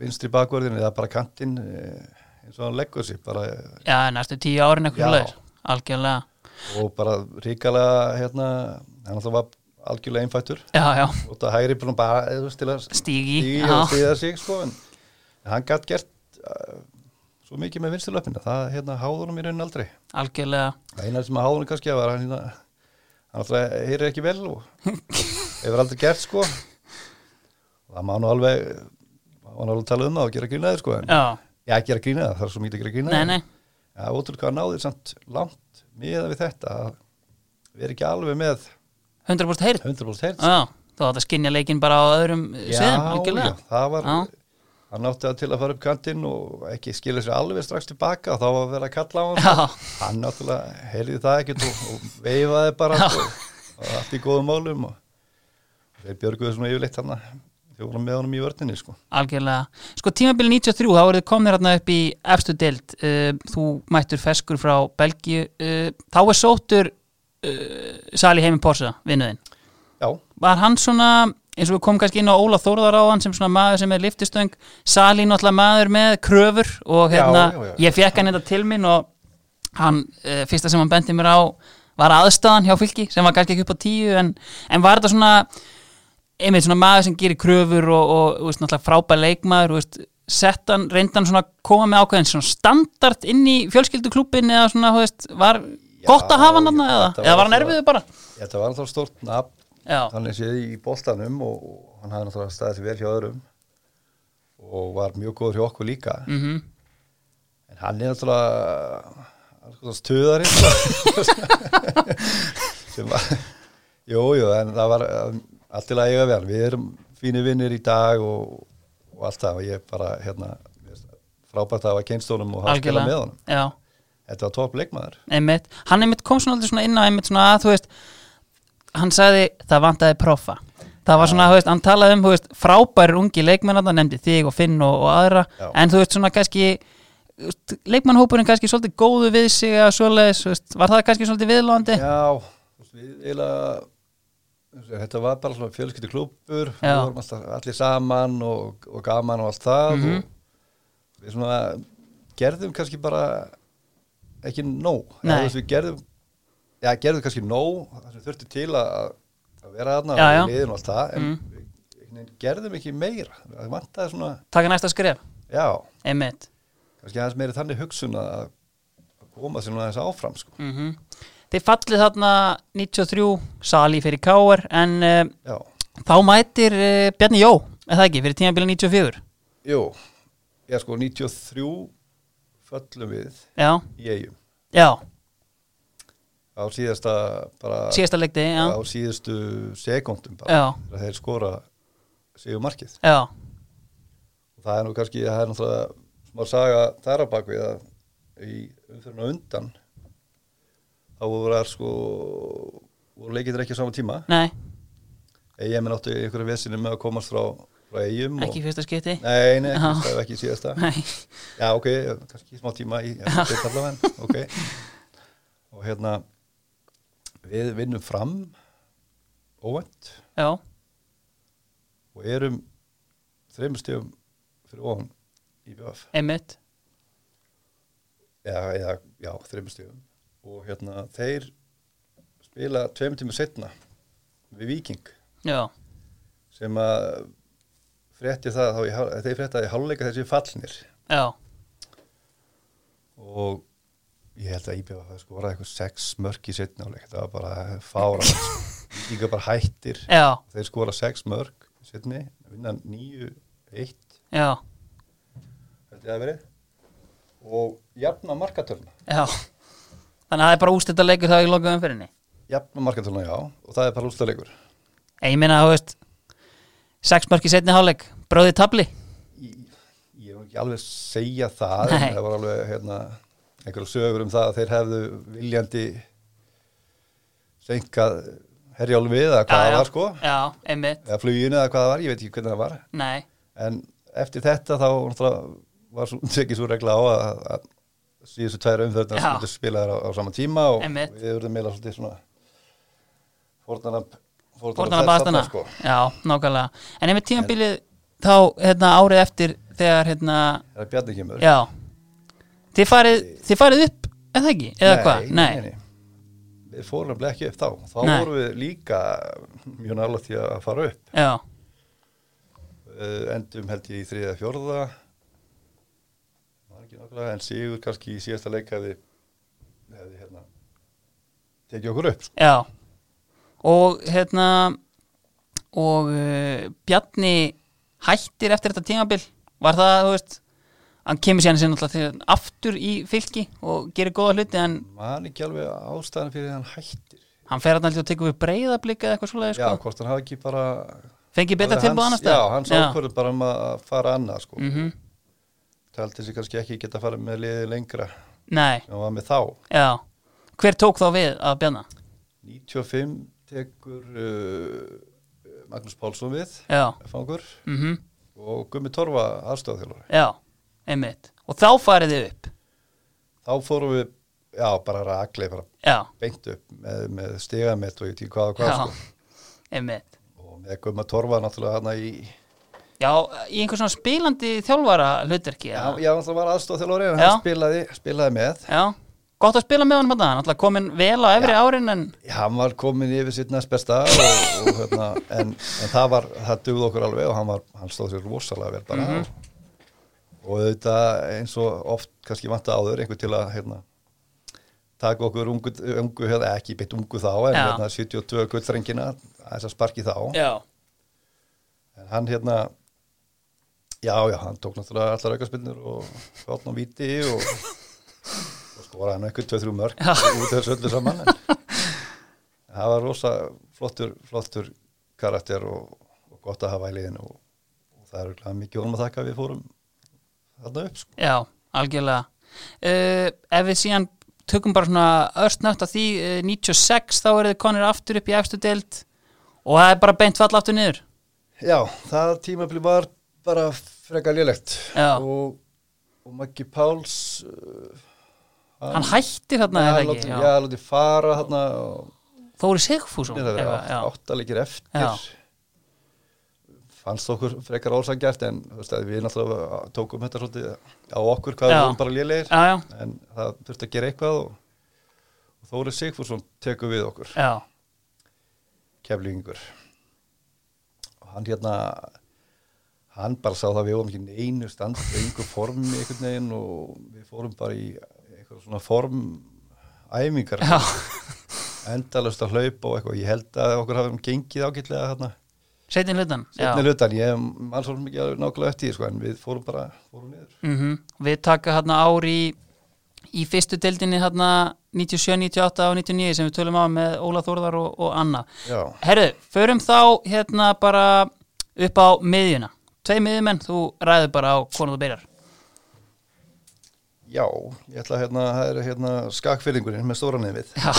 vinstri bakverðin eða bara kantinn eh, eins og hann leggur sér bara, eh,
já, næstu tíu árin
Já.
eitthvað leir, algjörlega
og bara ríkalega hérna, hann alltaf var algjörlega einfættur
Já, já,
og það hægri bara, bara eh, þú veist, til að
stígi
stíga og
já,
stíða sig sko, en, en hann gætt gert uh, svo mikið með vinstri löpina það hérna háðunum í raunin aldrei
algjörlega
það eina sem að háðunum kannski að var hann hérna, hann alltaf heyrir ekki vel og hefur aldrei gert sko og það má nú alveg má nú alveg tala um það og gera grínaði sko en,
Já,
já, gera grínaði, það er svo mikið að gera grínaði
nei, nei,
já, ótrúlega hvað náðir samt langt miða við þetta að vera ekki alveg með
100% heyrt
100% hertz
Já, þú átt að skinja leikinn bara á öðrum sviðum, algjörlega
það var
Já.
hann átti að til að fara upp kantinn og ekki skilja sér alveg strax tilbaka og þá var að vera að kalla á hann
Já,
hann náttúrulega heyrði það ekkert og, og veifaði bara og, og allt í góðum málum og þeir björguðu svona yfirleitt hann þeir voru með honum í vörninni sko
algjörlega Sko, tímabili 93, þá voruð þið komnir hérna upp í efstu deild, uh, þú mættur feskur frá Belgíu uh, þá er sóttur uh, Sali Heimin Porsa, vinnuðinn
já,
var hann svona eins og við komum kannski inn á Óla Þórðar á hann sem svona maður sem er liftistöng Sali náttúrulega maður með kröfur og
Já,
hérna,
já, já.
ég fekk hann þetta til minn og hann, e, fyrsta sem hann benti mér á var aðstæðan hjá fylki sem var kannski ekki upp á tíu en, en var þetta svona einmitt svona maður sem gerir kröfur og, og, og veist, náttúrulega frábær leikmaður og, veist, sett hann, reyndi hann svona að koma með ákveðin svona standard inn í fjölskylduklúbin eða svona, þú veist, var
Já,
gott að hafa hann
já,
þarna eða,
þetta
eða
var
var hann
svona-
erfiðu bara
þetta var náttúrulega stort nafn
já,
hann er séð í boltanum og, og hann hafði náttúrulega staðið sér vel hjá öðrum og var mjög góður hjá okkur líka
mhm
en hann er náttúrulega alls konar stuðari sko. sem var jú, jú, en það var um, allt í lagi að eiga vel, við erum fínir vinnir í dag og, og allt það og ég bara, hérna mér finnst frábært að hafa kynstónum og hafa spila með honum
já,
þetta var topp leikmaður
einmitt, hann einmitt kom svona, aldrei svona inn á einmitt svona að þú veist hann sagði það vantaði profa það var svona, þú veist, hann talaði um þú veist, frábærir ungi leikmenn hann nefndi þig og Finn og, og aðra
Já.
en þú veist svona kannski þú veist, leikmannhópurinn kannski svolítið góðu við sig eða svoleiðis, þú veist, var það kannski svolítið viðlóðandi
já, þú veist, við eiginlega þú veist, þetta var bara svona fjölskyldi klúpur við
Já.
vorum alltaf, allir saman og, og gaman og allt það
Mhm.
og við svona gerðum kannski bara ekki
Nei.
nóg Eða, þú veist, við gerðum já, gerðum kannski nóg það sem þurfti til að, að vera þarna
Já,
og
já.
í liðinu og allt það en
Mm.
við, einhvern veginn gerðum ekki meira það vantaði svona,
taka næsta skref,
já,
einmitt
kannski aðeins meiri þannig hugsun að að koma sér nú aðeins áfram sko.
mm þið fallið þarna 93 sali fyrir Káar en uh,
já,
þá mætir uh, Bjarni Jó, eða ekki, fyrir tímabili 94
jú ég sko 93 föllum við
já,
í eigum
já
á síðasta bara
síðasta leikti, já,
á síðustu sekundum bara
já,
þegar þeir skora sigur markið
já,
og það er nú kannski, það er náttúrulega smá saga þar á bakvið að í umfyrinu undan þá voru það sko voru leikindir ekki á sama tíma
nei,
eigin minn áttu einhverja vesinu með að komast frá, frá eigum
ekki í fyrsta skipti
og Nei, nei,
Já.
það er ekki síðasta.
nei,
Já, ok, kannski smá tíma í allavega, en ok. Og hérna, við vinnum fram óvænt
já,
og erum þreymur stegum fyrir ofan í BF
Einmitt.
eða, eða já, þreymur stegum og hérna þeir spila tveim tímur setna við Viking
Já,
sem að frétti það þá í, hál- þeir frétta í hálfleika þessi fallnir
já,
og ég held að IBF hafi skoraði sko, eitthvað sex mörk í setna áleik það var bara fára Viking var bara hættir
já,
þeir skora sex mörk í setni, vinna nýju eitt,
já,
held ég að verið og jafna markatölna
já. Þannig að það er bara ústætt að leikur það í lokaðum fyrirni.
jafna markatölna, já, og það er bara úrstæðleikur
Ég meina, þú veist, sex mörk í setni hálfleik, bróði tabli.
ég vil ekki alveg segja það
Nei.
en það var alveg hérna, einhverju sögur um það að þeir hefðu viljandi senkað herjálu við eða hvað
Já,
það
já.
var sko
Já, einmitt,
eða fluginu eða hvað það var, ég veit ekki hvernig það var
nei,
en eftir þetta þá náttúrulega, var svo, tekið svo regla á að, að síðustu tæra umferðna
Já.
skildu spilaðar á, á sama tíma og
Einmitt.
við verðum meila svolítið svona fórnarnamp
fórnana bastana.
sko.
Já, nákvæmlega. En einmitt tímabilið þá, hérna, árið eftir þegar, hérna,
það er bjarni kemur
já, þið farið, þið farið upp, eða ekki, eða hvað?
Við fórum nefnilega ekki upp þá þá
Nei.
vorum við líka mjög nálægt í að fara upp
Já,
uh, endum held ég í þriða fjórða var ekki nákvæmlega en sigur kannski í síðasta leik hefði, hefði hérna, tekið okkur upp sko.
já. Og, hérna, og uh, Bjarni hættir eftir þetta tímabil, var það, þú veist, hann kemur síðan sér náttúrulega til- aftur í fylki og gerir góða hluti, en
man ekki alveg ástæðan fyrir því að hann hættir
hann fer alltaf og tekur við breyðablika eða eitthvað svoleiði,
já,
sko.
hvort hann hafi ekki bara
Fengið betra
Alveg
tilbúð
hans-
annars staðar?
já, hans ákvörður bara um að fara annað sko. mm
Mhm.
taldi sig kannski ekki geta að fara með liðið lengra
Nei,
sem hann var með þá
já. Hver tók þá við að bjanna?
95 tekur uh, Magnús Pálsson við
Já,
fangur
mhm,
og Gummi Torfa aðstofþjálfari
já, einmitt. Og þá farið þið upp?
þá fórum við, já, bara rakleif bara
Já,
beint upp með, með stigamett og ég tík hvað og hvað
já,
sko.
einmitt.
og með Gummi Torfa náttúrulega hann í
Já, í einhver svona spilandi þjálfara hlutverki?
já,
eða?
já, hann var aðstofþjálfari en
Já.
hann spilaði, spilaði með
Já, gott að spila með hann hann, hann alltaf komin vel á efri árin en
hann var komin yfir sitt næst besta og, og hérna, en, en það var það dugði okkur alveg og hann, var, hann stóð sér rosalega vel bara
Mhm.
og, og auðvitað eins og oft kannski vanta áður einhver til að hérna, taka okkur ungu, ungu hérna, ekki beitt ungu þá en
Já.
hérna, 72 gullrengina þess að sparki þá
Já,
en hann hérna já já hann tók náttúrulega allar aukarspinnur og fjátt ná viti og, og skoraði hann eitthvað 2-3 mörg út þessu öllu saman en en það var rosa flottur, flottur karakter og, og gott að hafa í liðinu og, og það er örugglega mikið honum að þakka að við fórum þarna upp sko.
já, algjörlega. Uh, ef við síðan tökum bara svona örstnögt að því uh, 96 þá eru þið konir aftur upp í efstu deild og það er bara beint fall aftur niður.
já það tímabili var bara freka lélegt
Já.
og, og Maggi Páls uh,
Hann hættir þarna
já,
eða
láti,
ekki?
já, láti fara þarna og
Þóri Sigfússon
Nei, það verið
eitthvað,
átt,
já.
áttalegir eftir
Já.
fannst okkur frekar ósangjart en þú veist, að við náttúrulega tókum þetta svolítið á okkur hvað
Já.
við vorum bara lélegir
já, já,
en það þurfti að gera eitthvað og, og Þóri Sigfússon tekur við okkur
já,
keflingur og hann hérna hann bara sá það að við vorum ekki í neinu stand einhver form einhvern veginn og við fórum bara í einhver svona form æfingar
já,
endalust að hlaupa og eitthvað ég held að okkur hafum gengið ágætlega hérna
setjum hlutan já.
setni hlutan, ég mann svo mikið alveg nákvæmlega eftir því, sko, en við fórum bara fórum niður.
Mhm. Við taka hérna ár í, í fyrstu deildinni hérna 97, 98 og 99 sem við tölum á með Óla Þórðar og, og Anna
Já,
Herru, förum þá hérna bara upp á miðjuna Tvei miðjumenn, þú ræður bara á hvona þú byrjar
já, ég ætla að hérna, það er hérna skakfyrringurinn með stóra nefið,
Já,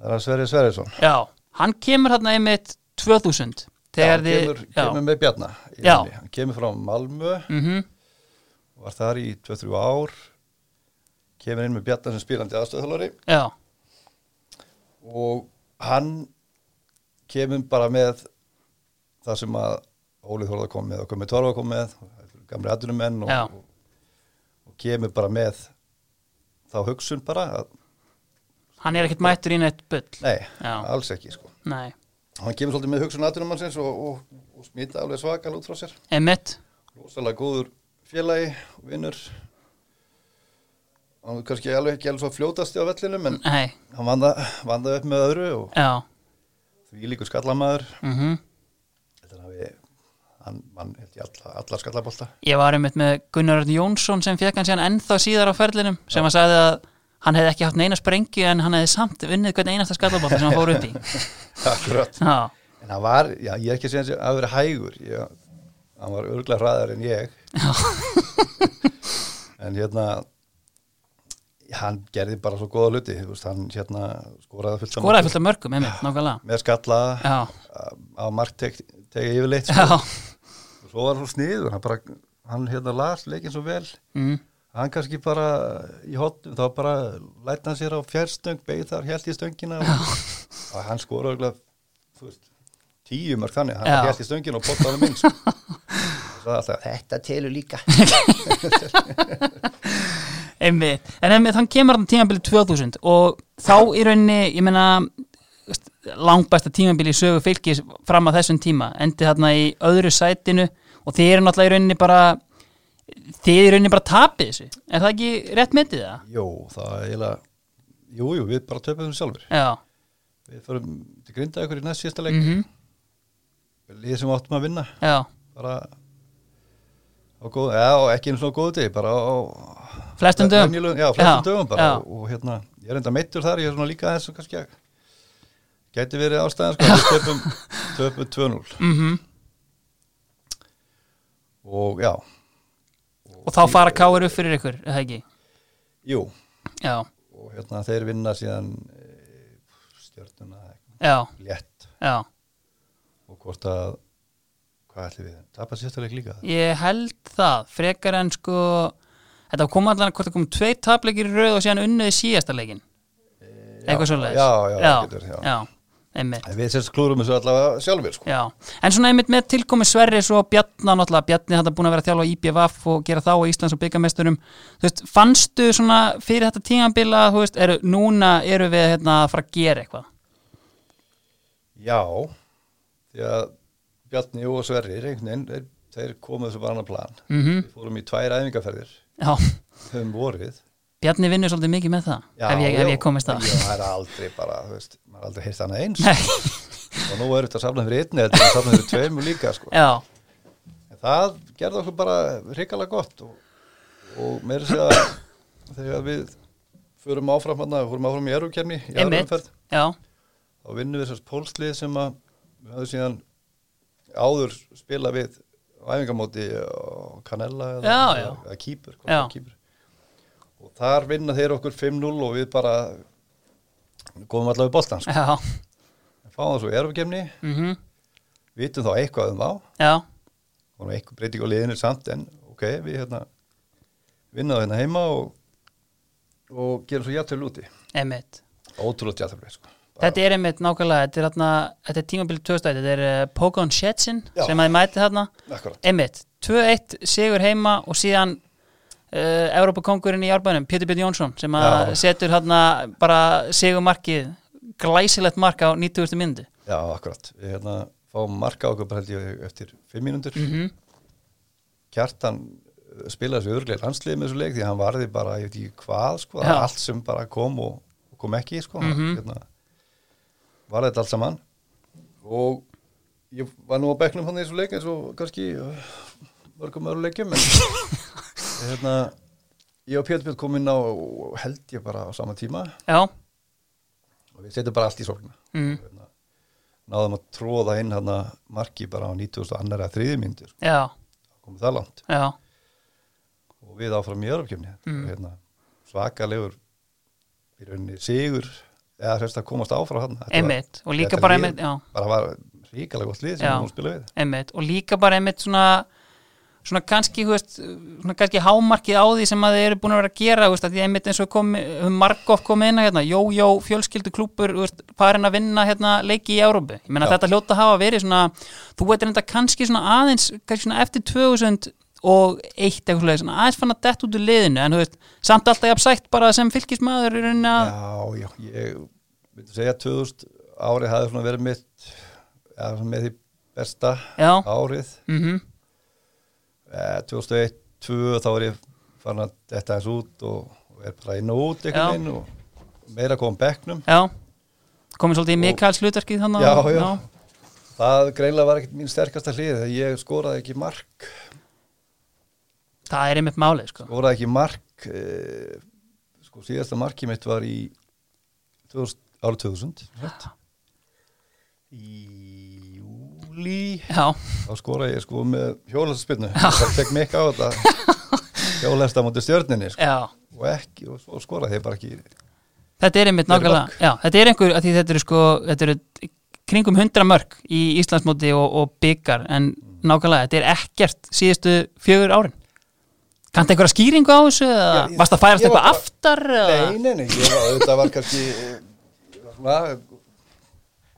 það er að Sverri Sverrisson
já, hann kemur hérna einmitt 2000
Já,
þegar
hann
þið
kemur,
já,
kemur með Bjarna í
Já.
rauninni. hann kemur frá Malmö,
mhm,
var þar í 2-3 ár kemur inn með Bjarna sem spilandi aðstöðhjálfari
já,
og hann kemur bara með það sem að Ólið Þorða kom með og komið Torfa kom með gamli aðdunumenn og,
Já.
og, og kemur bara með þá hugsun bara að,
Hann er ekkert mættur í neitt bull.
nei,
Já.
alls ekki sko.
Nei.
hann kemur svolítið með hugsun aðdunumannsins og, og, og smita alveg svakal út frá sér
Emmett.
rosalega góður félagi og vinnur hann var kannski alveg ekki alveg svo fljótasti á vellinum en
Nei.
hann vanda, vandaði upp með öðru og
Já.
því líku skallamæður
Mm
þetta er að við hann vann held ég alla, alla skallabolta
Ég var einmitt með Gunnar Örn Jónsson sem fekk hann síðan ennþá síðar á ferlinum sem að sagði að hann hefði ekki haft neina sprengju en hann hefði samt unnið hvern einasta skallabóta sem hann fór upp í.
akkurat
Já.
en hann var, já ég er ekki að segja hans að vera hægur ég, hann var örgla hraðar en ég en hérna hann gerði bara svo góða hluti þú veist, hann hérna skoraði fullt af
Skoraði
mörkum.
fullt af mörgum, einmitt, nákvæmlega.
með skalla
Já.
á markteg yfirleitt sko.
Já.
og svo var hann svo sniður hann, bara, hann hérna las leikinn svo vel
Mm.
hann kannski bara í hotnum þá bara lætna hann sér á fjárstöng beigð þar held í stöngina og, og hann skora örugglega, þú veist, tíu mörg þannig hann
Já.
held í stöngina og potta á minn sko. Og sagði alltaf, þetta telur líka
Einmitt. En einmitt, hann kemur hann tímabili 2000 og þá í rauninni, ég meina veist, langbæsta tímabili í sögu fylgis fram að þessum tíma, endi þarna í öðru sætinu og þið eru náttúrulega í rauninni bara þið í rauninni bara tapið þessu, er það ekki rétt myndið það?
jú, það er eiginlega jú, jú, við bara töpum þeim sjálfur
Já,
við förum til grinda ykkur í næst síðasta leik
mhm,
lið sem við áttum að vinna
já
bara á góð, já, og ekki einu svona góðu degi bara á
flestum dögum,
venjulegum- já, flestum
Já,
dögum bara
já.
og, og hérna, ég er enda meittur þar ég er svona líka þess og kannski að gæti verið ástæðan sko, við töpum, töpum 2-0
mhm
og já,
og þá fara káir upp fyrir ykkur, er það ekki?
jú
Já,
og hérna þeir vinna síðan e, stjörnuna
já,
létt
já
og hvort að hvað ætlum við, tapa sérstæleik líka
Ég held það, frekar en sko Þetta kom allan hvort það kom tvei tapleikir í rauð og síðan unnuði síðasta leikin Eitthvað svo leiðis
Eh, já, já,
já,
getur, já.
einmitt
En við sérst klúrum þessu allavega sjálfur sko.
já. En svona einmitt með tilkomi Sverri svo Bjarnar náttúrulega, Bjarni þetta búin að vera að þjálfa á IBVF og gera þá á Íslands og byggamesturum Þú veist, fannstu svona fyrir þetta tímambila Þú veist, eru, núna eru við hérna að fara að gera eitthvað
Já, því að Bjarni og Sverrir, einhvern veginn, þeir, þeir komu þessu bara annar plan.
Mhm.
Við fórum í tvær æfingarferðir
Já,
um vorið.
Bjarni vinnur svolítið mikið með það ef, ég, ef ég komist
það.
það
Já, það er aldrei bara, þú veist, maður er aldrei heyrt annað eins.
Nei,
Og nú er þetta að safna fyrir einni, þetta er að safna fyrir tveimur líka, sko.
já,
En það gerði okkur bara hrikalega gott og, og meira sér að segja, þegar við förum áfram hann að, fórum áfram í erumkemni í aðra
einmitt
umferð,
Já,
þá vinnum við þessast pólslið sem að við höfum síðan áður spila við á æfingamóti eh, á Canella eða,
Já, já.
eða, eða Kýpur, hvort
Já.
það er Kýpur og þar vinna þeir okkur 5-0 og við bara góðum allavega í boltan sko.
já,
fáum það svo í erfkemni,
mhm
vitum þá eitthvað um þá
Já,
og nú eitthvað breyting á liðinu samt en ok, við hérna vinnaðum hérna heima og, og gerum svo játtölu úti
einmitt
ótrúlega játtölu sko.
Þetta er einmitt nákvæmlega, þetta er, þarna, þetta er tímabilið 2001, þetta er uh, Pogon Shetsin
Já.
sem að þið mæti þarna,
Akkurat.
einmitt, 2-1 sigur heima og síðan uh, Evrópakongurinn í árbænum, Pétur Björn Jónsson sem að
Já.
setur þarna bara sigurmarkið, glæsilegt mark á 90. myndu
Já, akkurat. Við hérna fáum marka okkur bara held ég eftir fimm mínútur.
Mhm.
Kjartan uh, spilaði þessu örglega landslið með þessu leik því að hann varði bara, ég veit ekki hvað, sko,
Já.
allt sem bara kom og, og kom ekki, sko.
Mhm.
hérna, varði þetta allt saman. Og ég var nú á bekknum hann í þessu leik eins og kannski uh, mörgum öru leikjum, en hérna, ég og Pétur Björn kom inn á og held ég bara á sama tíma
Já,
og við setjum bara allt í sorgna
mm,
hérna, náðum að tróða inn hérna marki bara á 92. að þriði myndir sko,
já,
komum það langt
já,
og við áfram í Örupkjöfni
Mm.
hérna, svakalegur í rauninni sigur eða sérst að komast áfram hérna
einmitt og líka
þetta
bara
lið-
einmitt, já
bara var ríkalega gott lið sem
Já.
hún spila við
einmitt, og líka bara einmitt svona svona kannski, þú veist, svona kannski hámarkið á því sem að þið eru búin að vera að gera þú veist, að því einmitt eins og komi, um Markov kom inn að, hérna, jójó, fjölskyldu klúpur farin að vinna hérna, leiki í Európu ég meina
Já.
þetta hljóta hafa verið svona þú veitir enda kannski svona aðeins kannski svona eftir 2000 og eitt eitthvað svoleiðis, svona aðeins fann að dett út úr liðinu en þú veist, samt alltaf jafn sætt bara sem fylgismæður í rauninni að
Já, já, ég myndi segja 2000 árið hafði svona verið mitt ja, svona með því besta
Já.
árið
mhm,
eh, 2001, 2002 þá var ég farin að detta eins út og, og er bara inn og út
Já.
einhvern veginn og meira kom bekknum
já komið svolítið í Mikaels hlutverkið þannig
Já, já. það greinlega var ekkert mín sterkasta hlið þegar ég skoraði ekki mark
það er einmitt málið sko.
skoraði ekki mark eh, sko síðasta markið mitt var í 2000, árið 2000 rétt. í júli
já,
þá skoraði ég sko með hjólasspinnu það tek mikið á þetta hjólasta múti stjörninni sko.
já
og, ekki, og, og skoraði ég bara ekki
Þetta er einmitt
Þetta eru
nákvæmlega, já, þetta er einhver, af því þetta eru sko, þetta eru kringum hundra mörg í Íslandsmóti og, og byggar, en nákvæmlega, þetta er ekkert síðustu fjögur árin. Kanntu einhverja skýringu á þessu, eða
ég-
varst að færast
ég var
eitthvað
bara-
aftar, eða?
nei, nei, nei, ég var, þetta var kannski eh, svona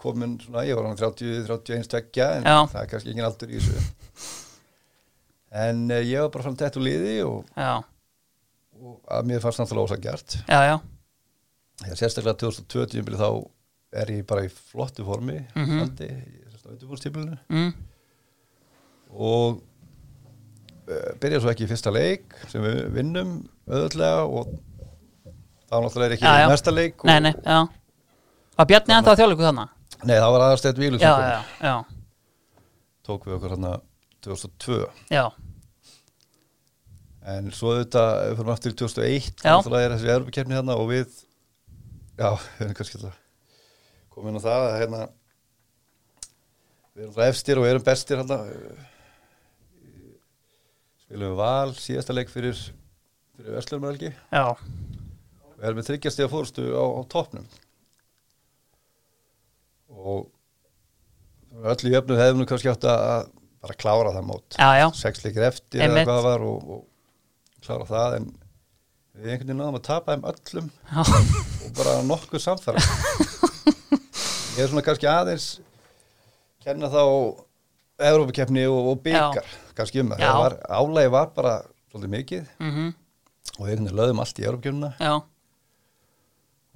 komin svona, ég var hann 30-31 tveggja en
Já.
það er kannski engin aldur í þessu en eh, ég var bara frá tett úr liði og,
Já,
og að mér fannst náttúrulega ósagjart
já, já,
sérstaklega 2020 þá er ég bara í flottu formi mm
Mhm.
-hmm. standi, ég er svona undirbúrstiplunum
mm,
og eh, byrja svo ekki í fyrsta leik sem við vinnum auðvöldlega og þá náttúrulega er ekki
Já, já.
næsta leik og,
nei, nei, já. Var Bjarni ennþá þjálfleiku þarna?
Nei, það var aðastætt Vílu
Já, já, já,
tók við okkur hann 2002
já,
en svo þetta, við fyrir aftur í 2001 þá
Já.
náttúrulega er þessi erfukefni hérna og við já, við erum kannski alltaf komin á það að hérna við erum alltaf efstir og við erum bestir hérna spilum við val síðasta leik fyrir fyrir Vestlurmarelgi
já,
við erum með þryggjast í að fórstu á, á toppnum og öllu jöfnu hefðum nú kannski átt að að bara klára það mót
já, já,
sex leikir eftir
Einmitt.
eða hvað það var og, og klára það en við einhvern veginn náðum að tapa þeim öllum
já,
og bara nokkuð samfara ég er svona kannski aðeins kenna þá Evrópakeppni og, og byggar kannski um að
Já.
það var álægi var bara svolítið mikið
mhm,
og við einhvern veginn löðum allt í Evrópakeppnina
já,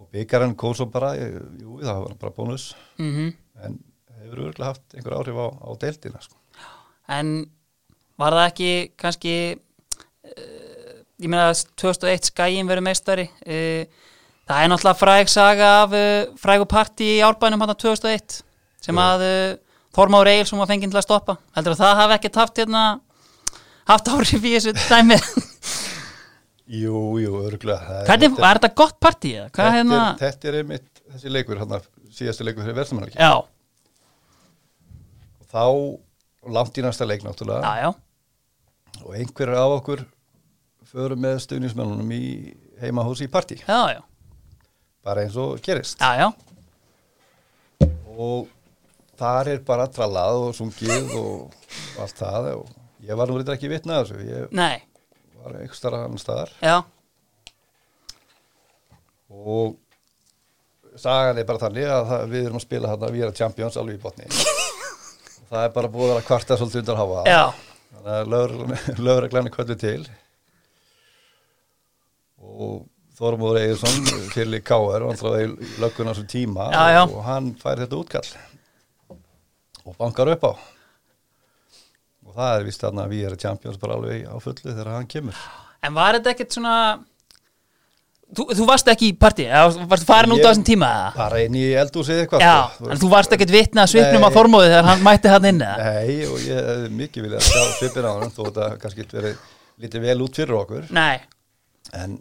og byggarinn kom svo bara, eh, jú það var bara bónus
mhm.
en það hefur örgulega haft einhver áhrif á, á deildina sko.
en var það ekki kannski uh, ég meina að 2001 skæin verið meistari uh, það er náttúrulega fræg saga af uh, frægu partí í árbænum hann 2001 sem
Jú.
að uh, Þormár Egil sem var fenginn til að stoppa heldur að það hafi ekkert haft hérna haft áhrif í þessu dæmi
Jú, jú, örgulega það er-
hvernig,
þetta,
var þetta gott partí eða?
þetta,
hvað hérna
er, þetta er einmitt þessi leikur, hann síðasti leikur fyrir verðsamannarki
já,
og þá langt í næsta leik náttúrulega
já, já,
og einhverjar af okkur förum með stuðnismennunum í heimahúsi í partí,
já, já,
bara eins og gerist
já, já.
og þar er bara trallað og sungið og allt það og ég var nú reyndar ekki vitna að þessu, ég
nei,
var einhver starra annars staðar
já,
og sagan er bara þannig að það, við erum að spila þarna, við erum champions alveg í botni það er bara búið að vera að kvarta svolítið undan háa
já,
þannig að lögreglan- lögreglan er kvöldu til og Þormóður Eigursson fyrir K.R. og hann þráði lögguna sem tíma
Já, já.
og hann fær þetta útkall og bankar upp á og það er vist þarna að við erum champions bara alveg á fullu þegar hann kemur
En var þetta ekkert svona Þú, þú varst ekki í partí eða Varst farin út á
Ég-
þessum tíma eða?
bara inn í eldúsið eitthvað
Já,
sko.
en þú varst ekkert vitna að svipnum á
Nei.
þormóði þegar hann mætti hann inn eða?
Nei, og ég hefði mikið viljað að sjá svipin á hann þó þetta kannski verið lítið vel út fyrir okkur
Nei,
en,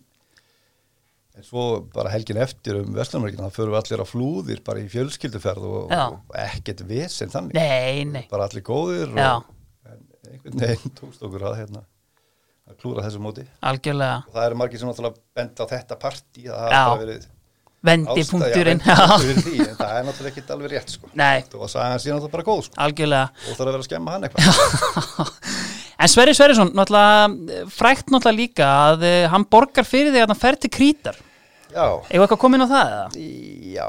en svo bara helgin eftir um Vestlandmörkina þá förum við allir á flúðir bara í fjölskylduferð og,
Já.
og ekkert vesen þannig
nei, nei
bara allir góðir
Já.
og, en einhvern veginn tókst okkur að, hérna, að klúra þessu móti
Algjörlega,
og það eru margir sem náttúrulega benda á þetta partí það
Já.
hafa bara verið
vendi
ástæða-
punkturinn
já,
Já,
vendipunkturinn því, en það er náttúrulega ekkert alveg rétt sko.
Nei.
og að sagan sé náttúrulega bara góð sko.
algjörlega
og það er að vera að skemma hann eitthvað
En Sverri Sverrisson, náttúrulega, frækt náttúrulega líka að eh, hann borgar fyrir því að hann fer til krítar.
Já,
Eða eitthvað komin á það eða?
já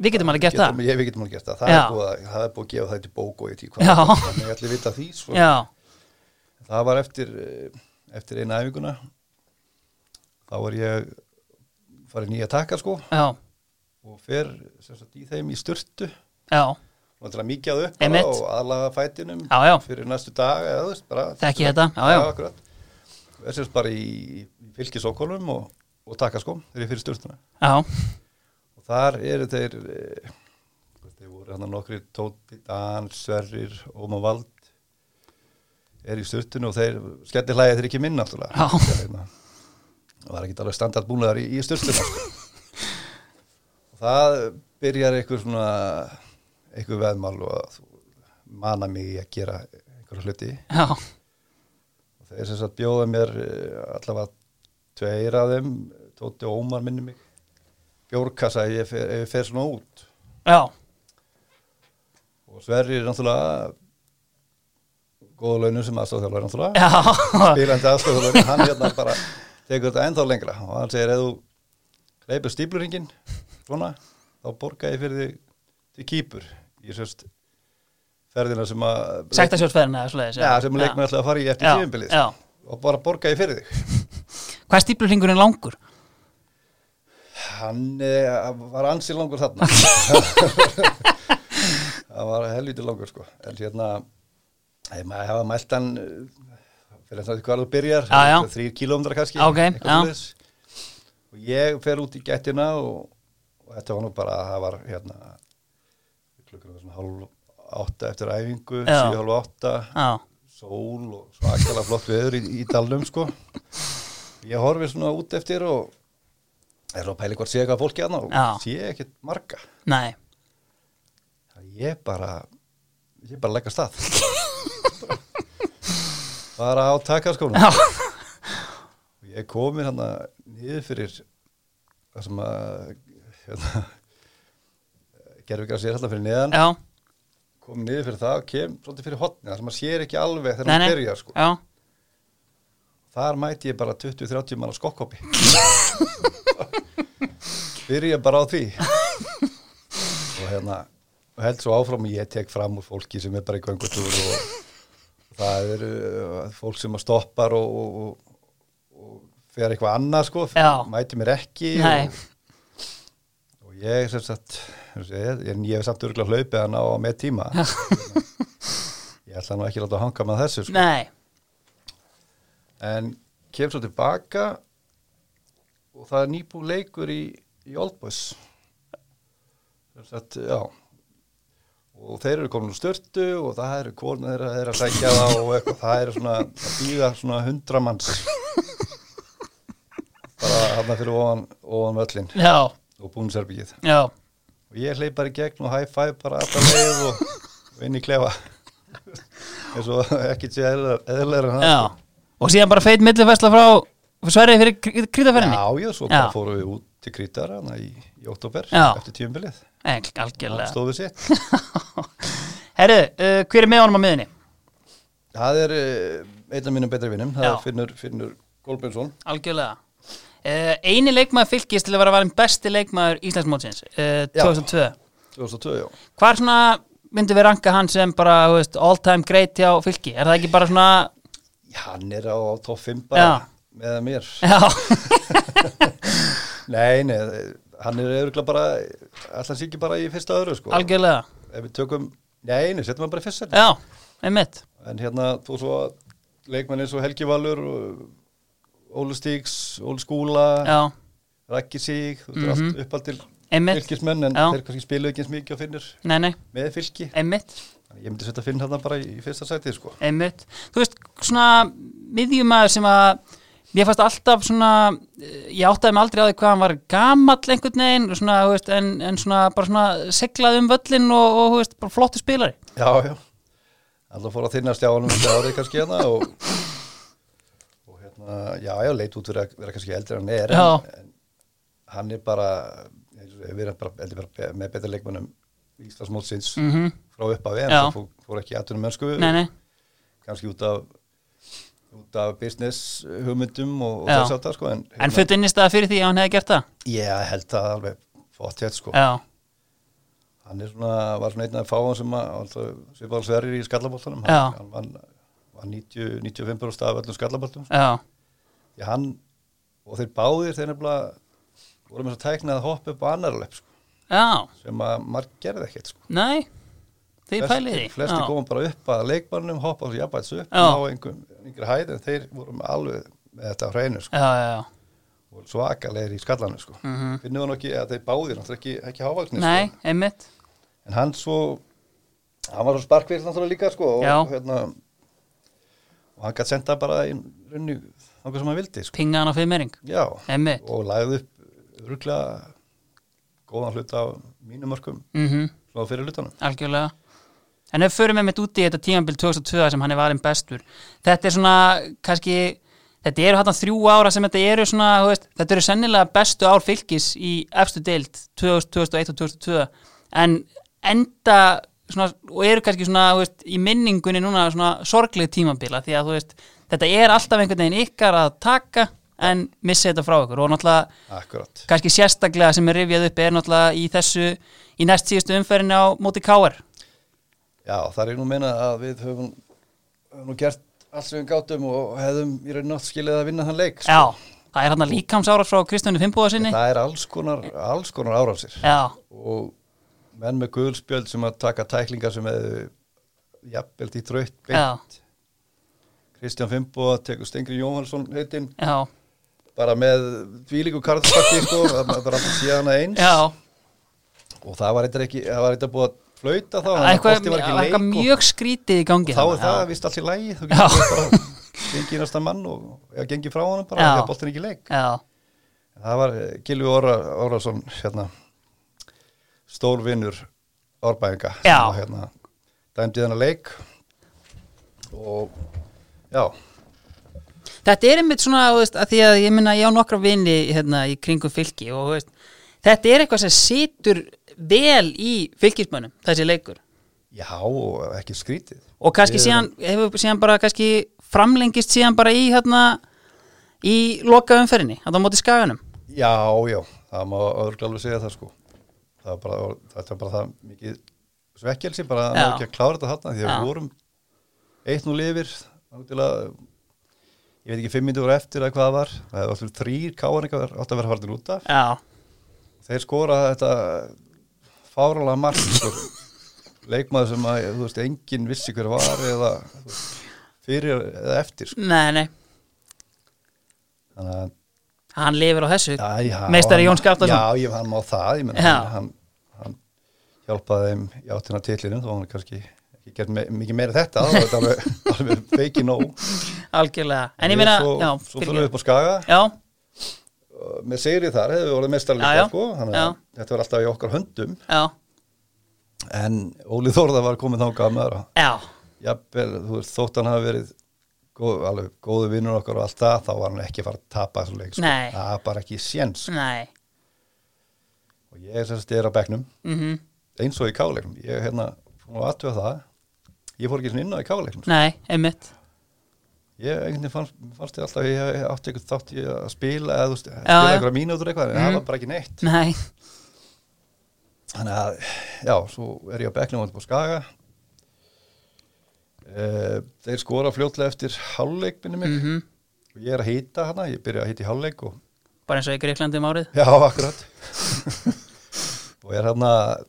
Við getum alveg gert
Getum-
það.
ég- Við getum alveg gert það, það
Já.
er, búið, að- það er búið að gefa það til bók og ég tík
Já.
hvað Þannig ég ætli að vita því svo.
Já,
Það var eftir, eh, eftir eina æfinguna Þá var ég farið nýja taka sko
já,
og fer sem sagt, í þeim í sturtu
já,
og til að mikjað upp
Einmitt.
bara og aðlaga fætinum
já, já,
fyrir næstu dag eða þú veist bara
Þekki ég þetta, já, já.
akkurat. Og er sérst bara í, í fylgisókólum og, og taka sko þegar ég fyrir sturtuna
já,
og þar eru þeir eh, þeir voru hann nokkri Tóti, Dan, Sverrir, Óma Vald er í sturtunu og þeir skellir hlæði þeir ekki minn náttúrulega
Já.
Þeir hérna, og það er ekki alveg standardbúnaðar í, í sturtuna sko. og það byrjar einhver svona einhver veðmál og að þú mana mig í að gera einhverja hluti
já,
og þeir sem sagt bjóða mér eh, allavega tveir af þeim Tóti og Ómar minni mig bjórkassa ef ég fer, ef ég fer svona út
já,
og Sverri er náttúrulega góða launum sem aðstofþjálfur náttúrulega,
já,
spilandi aðstofþjálfur hann hérna bara tekur þetta ennþá lengra og hann segir ef þú leipur stípluringin svona þá borga ég fyrir þig til kýpur í sérst ferðina sem að
sekta sjálfsferðina eða svoleiðis.
ja, sem að leikmenn ætlaði að fara í eftir sko.
Já,
tíðumbilið
já.
og bara borga ég fyrir þig
Hvað er stíplurringurinn langur?
Hann eh, var ansi langur þarna Það var helviti langur sko En hérna Ég maður hafa mælt hann eh, Fyrir þess að hvað þú byrjar
Já, já.
Þrýr kílómetrar kannski
Ok,
eitthvað
já.
svoleiðis. Og ég fer út í gættina og, og þetta var nú bara Það var hérna Klukkan var svona hálf átta eftir æfingu
Já.
Sjö hálf átta
Já,
sól og svakalega flott veður í, í dalnum sko ég horfi svona út eftir og er að pæli hvort sé eitthvað fólki aðna og
Já.
sé ekkert marga
nei,
Það ég bara ég bara leggast að bara á taka sko
já,
ég komin hann niður fyrir það sem að hérna, gerfingar sér alltaf fyrir neðan
já,
komin niður fyrir það og kem svolítið fyrir hotnið það sem að sér ekki alveg þegar
nei,
hann
nei,
byrjar sko
já,
Þar mæti ég bara 20-30 manna skokkopi. Byrja bara á því. Og hérna, og held svo áfram að ég tek fram úr fólki sem er bara í göngutúr og það eru uh, fólk sem að stoppar og, og, og, og fer eitthvað annað sko,
Já.
mæti mér ekki.
nei,
Og, og ég sem sagt, ég, ég, ég, ég hef samt örgulega hlaupið hana á með tíma. ég ætla nú ekki að láta hanga með þessu sko
nei,
en kemur svo tilbaka og það er nýbú leikur í, í Oldboys Þetta, já og þeir eru komin úr störtu og það eru kona þeirra þeirra að sækja það og eitthvað, það eru svona að býða svona hundra manns bara hann fyrir ofan, ofan völlin
já,
og búinserbyggið
já,
og ég hleyp bara í gegn og high five bara alltaf leið og, og inn í klefa eins og ekki sé eðlilega eðlilegra en það,
já.
sko.
Og síðan bara feit millifærsla frá Sverri fyrir krítaferðinni?
Já, já, svo
Já.
bara fórum við út til Krítar hana í, í oktober
Já.
eftir tíumbilið.
Engl,
Það
algjörlega
stóðu sér.
Herru, uh, hver er með honum á miðinni?
Það er eh, einn af mínum betri vinnum, það
Já.
er Finnur, Finnur Kolbjörnsson.
Algjörlega uh, Eini leikmaður fylgist til að vera valinn besti leikmaður Íslandsmótsins uh, 2002
2002, já.
Hvar svona myndi við ranka hann sem bara þú veist, all time great hjá fylki? Er það ekki bara svona
Já, Hann er á, á topp 5 bara
Já.
með mér.
Já,
Sko. Nei, nei, hann er örugglega bara, alltaf sé ekki bara í fyrsta öðru, sko.
algjörlega
Ef við tökum, nei, nei, setjum hann bara í fyrsta.
Já, einmitt
En hérna, þú svo leikmenn eins og Helgi Valur, og Óli Stíks, Óli Skúla,
Já, Mhm.
Raggi Sig, þú veist, allt upp allt til
einmitt
fylgismenn en
Já.
þeir kannski spiluðu ekki eins mikið og finnir
Nei, nei,
með fylki.
einmitt
Þannig Ég myndi setja finn hérna bara í, í fyrsta sætið sko.
einmitt, þú veist, svona miðjumæður sem að mér fannst alltaf svona eh, ég áttaði mig aldrei á því hvað hann var gamall einhvern veginn, svona, þú veist, en, en svona bara svona seglað um völlin og, og þú veist, bara flottu spilari
Já, já. Alltaf fór að þinnast hjá honum þetta árið kannski hérna og, og hérna, já, já, leit út fyrir að vera kannski eldri en hann er.
Já.
En, en hann er bara, við erum bara, heldur bara be- með betur leikmennum Íslandsmótsins
mm
frá uppafi en
Já.
það fór, fór ekki aðtunum mennsku.
nei, nei,
kannski út af út af business hugmyndum og, og
Já.
þess aftar sko en,
En futt innistaða fyrir því að hann hefði gert það?
ég held það alveg fótt hér sko
Já,
hann er svona, var svona einn af fáum sem að, alltaf, sem var sverjir í skallabóltanum
Já.
hann, hann vann- var 90, 95% af öllum skallabóltum sko.
já,
Því hann, og þeir báðir þeir nefnilega voru með þess að tækna að hoppa upp á annar löp sko,
já,
sem að marg gerði ekkert sko.
nei, þið pælið því.
flesti
Já.
komum bara upp að leikmannum hoppa þessu jafnvægt upp
Já.
á einhver, einhver hæð en þeir voru með alveg með þetta á hreinu sko,
Já, já, já,
voru svakalegir í skallanum sko. mm -hmm. finnum hann ekki að þeir báðir náttúrulega ekki, ekki hávaksni
Mhm. nei,
sko.
einmitt,
en hann svo hann var svo sparkvill náttúrulega líka sko, og,
Já.
hérna, og hann gætt senda bara í runni þangað sem hann vildi sko.
pinga hann á fimmering,
já,
einmitt,
og lagði upp rúglega góðan hlut á mínum mörkum
mhm,
svo á fyrir hlutanum
algjörlega. En ef við förum einmitt út í þetta tímabil 2002 sem hann er valinn bestur, þetta er svona, kannski, þetta eru hann þrjú ára sem þetta eru svona, þú veist, þetta eru sennilega bestu ár fylgis í efstu deild 2000, 2001 og 2002, en enda svona, og eru kannski svona, þú veist, í minningunni núna svona sorglið tímabila, því að þú veist, þetta er alltaf einhvern veginn ykkar að taka, en missið þetta frá ykkur og náttúrulega
akkurat
kannski sérstaklega sem er rifjað upp er náttúrulega í þessu, í næst síðustu umferðinu á móti K.R.
Já, það er nú meina að við höfum, höfum nú gert allt sem við gátum og hefðum í raun nátt skilið að vinna þann leik. sko.
Já, það er hann að líkamsára frá Kristjánu Fimboða sinni
Það er alls konar, alls konar árásir
Já,
og menn með guðulspjöld sem að taka tæklingar sem hefðu jafnveld í þraut beint.
já,
Kristján Fimbo tekur Stengri Jóhansson heitinn
já,
bara með dvílíku karðspakki sko, það maður bara alltaf sé hana eins
já
og það var eitthvað ekki, það var eitthvað búið að flauta þá, þannig að
Eitthvað,
bolti var ekki í leik
eitthvað mjög skrítið í gangi
þá er
þarna,
það
já.
vist allt í lægi þú
Já.
getur bara gengið næsta mann og ja, gengið frá honum bara
Já.
því að boltin ekki í leik
Já,
En það var eh, Gylfi Óra, Órason hérna, stór vinnur árbæðinga sem
Já.
að, hérna, dæmdi þennan leik og já,
þetta er einmitt svona, þú veist, að því að ég minna ég á nokkra vini hérna í kringum fylki og þú veist, þetta er eitthvað sem situr vel í fylkismönnum, þessi leikur
já og ekki skrítið
og kannski
Við
síðan, hefur síðan bara kannski framlengist síðan bara í hérna í loka umferðinni, að það móti skaganum
já, já, það má öðruglega alveg segja það sko það var bara, þetta var bara það mikið svekkelsi bara
Já.
að ná ekki að klára þetta þarna því að
Já.
við vorum eitt nú lifir náttúrulega ég veit ekki fimm myndur eftir að hvað það var það hefði alltaf þrýr káaningar átt að vera hardin út af
Já,
þeir skora þetta fáralega mark sko. leikmaður sem að þú veist enginn vissi hver var eða þú veist, fyrir eða eftir sko.
nei, nei
þannig að
hann lifir á þessu
já, já,
meistari
hann-
Jón Skaftason
já, ég, hann má það, ég menn
Já.
hann, hann, hann hjálpaði þeim í áttina tillinum þó hann kannski ekki gert me mikið meira þetta þá var þetta alveg, alveg feiki nóg
algjörlega en ég meina,
svo,
já, fyrirgefðu.
svo þurfum við upp á skaga
já,
uh, með sigri þar hefur við orðið meistari
Já, já.
líka sko, þannig að
Já.
þetta var alltaf í okkar höndum
já,
en Óli Þórða var komið þangað með það
já
jafnvel, þú veist, þótt hann hafi verið góð, alveg góðu vinnur okkar og allt það, þá var hann ekki að fara að tapa þessu leik, sko.
Nei.
það var bara ekki séns sko.
nei,
og ég er semst er á bekknum,
mhm,
eins og í káleiknum ég hérna, fór nú aðtöða það ég fór ekki svona inn á í káleiknum sko.
nei, einmitt
ég einhvern veginn fannst, fannst ég alltaf að ég hef átti eitthvað þátt ég að spila eða þú veist,
já.
spila einhverja mínútur eitthvað en
Mhm.
það var bara ekki neitt
nei,
þannig að, já, svo er ég á bekknum og þetta búið skaga Eh, þeir skora fljótlega eftir hálfleik minni mig
mhm
og ég er að hýta hana, ég byrja að hýta í hálfleik og
bara eins og í Greiklandi um árið
Já, akkurat og er hann að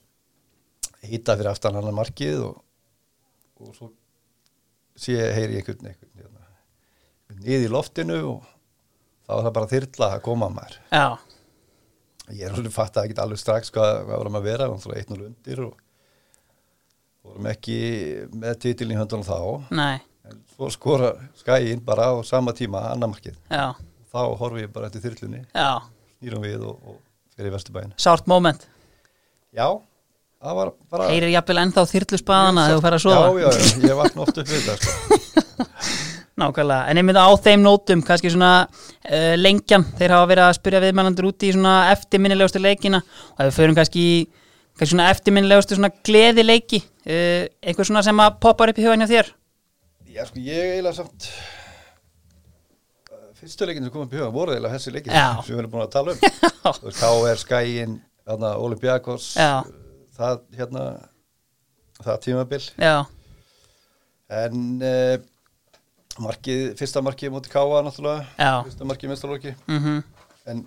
hýta fyrir aftan hann að markið og, og svo sé, heyri ég einhvern einhvern hérna, niður í loftinu og þá er það bara þyrla að koma að maður
já,
ég er alveg fatt að ekki alveg strax hvað, hvað var að maður vera, hann þurfa eitt núl undir og vorum ekki með titilin í höndunum þá
nei,
en svo skora skæin bara á sama tíma annar markið
já,
þá horfi ég bara eftir þyrlunni
já
snýrum við og, og fyrir vesturbæin
sárt moment,
Já, það var bara
heyrir jafnvel ennþá þyrlusbaðana þegar þú fer að
Já,
sofa,
já, já, ég vakna oft upp við þetta sko.
nákvæmlega en ég mynda á þeim nótum, kannski svona uh, lengjan, þeir hafa verið að spyrja viðmælandur úti í svona eftirminnilegustu leikina og ef við förum kannski í kannski svona eftirminnilegustu svona gleðileiki eh, uh, einhver svona sem að poppar upp í hugan hjá þér
Já, sko, ég eiginlega samt fyrstu leikin sem kom upp í huga voru eiginlega þessi leikin
Já.
sem við erum búin að tala um Þú veist, K.R. Skæin, Olympiakos
Já.
það hérna það tímabil
já,
en uh, markið, fyrsta markið mútið K.A. náttúrulega
Já.
fyrsta markið mestarlóki
mhm,
en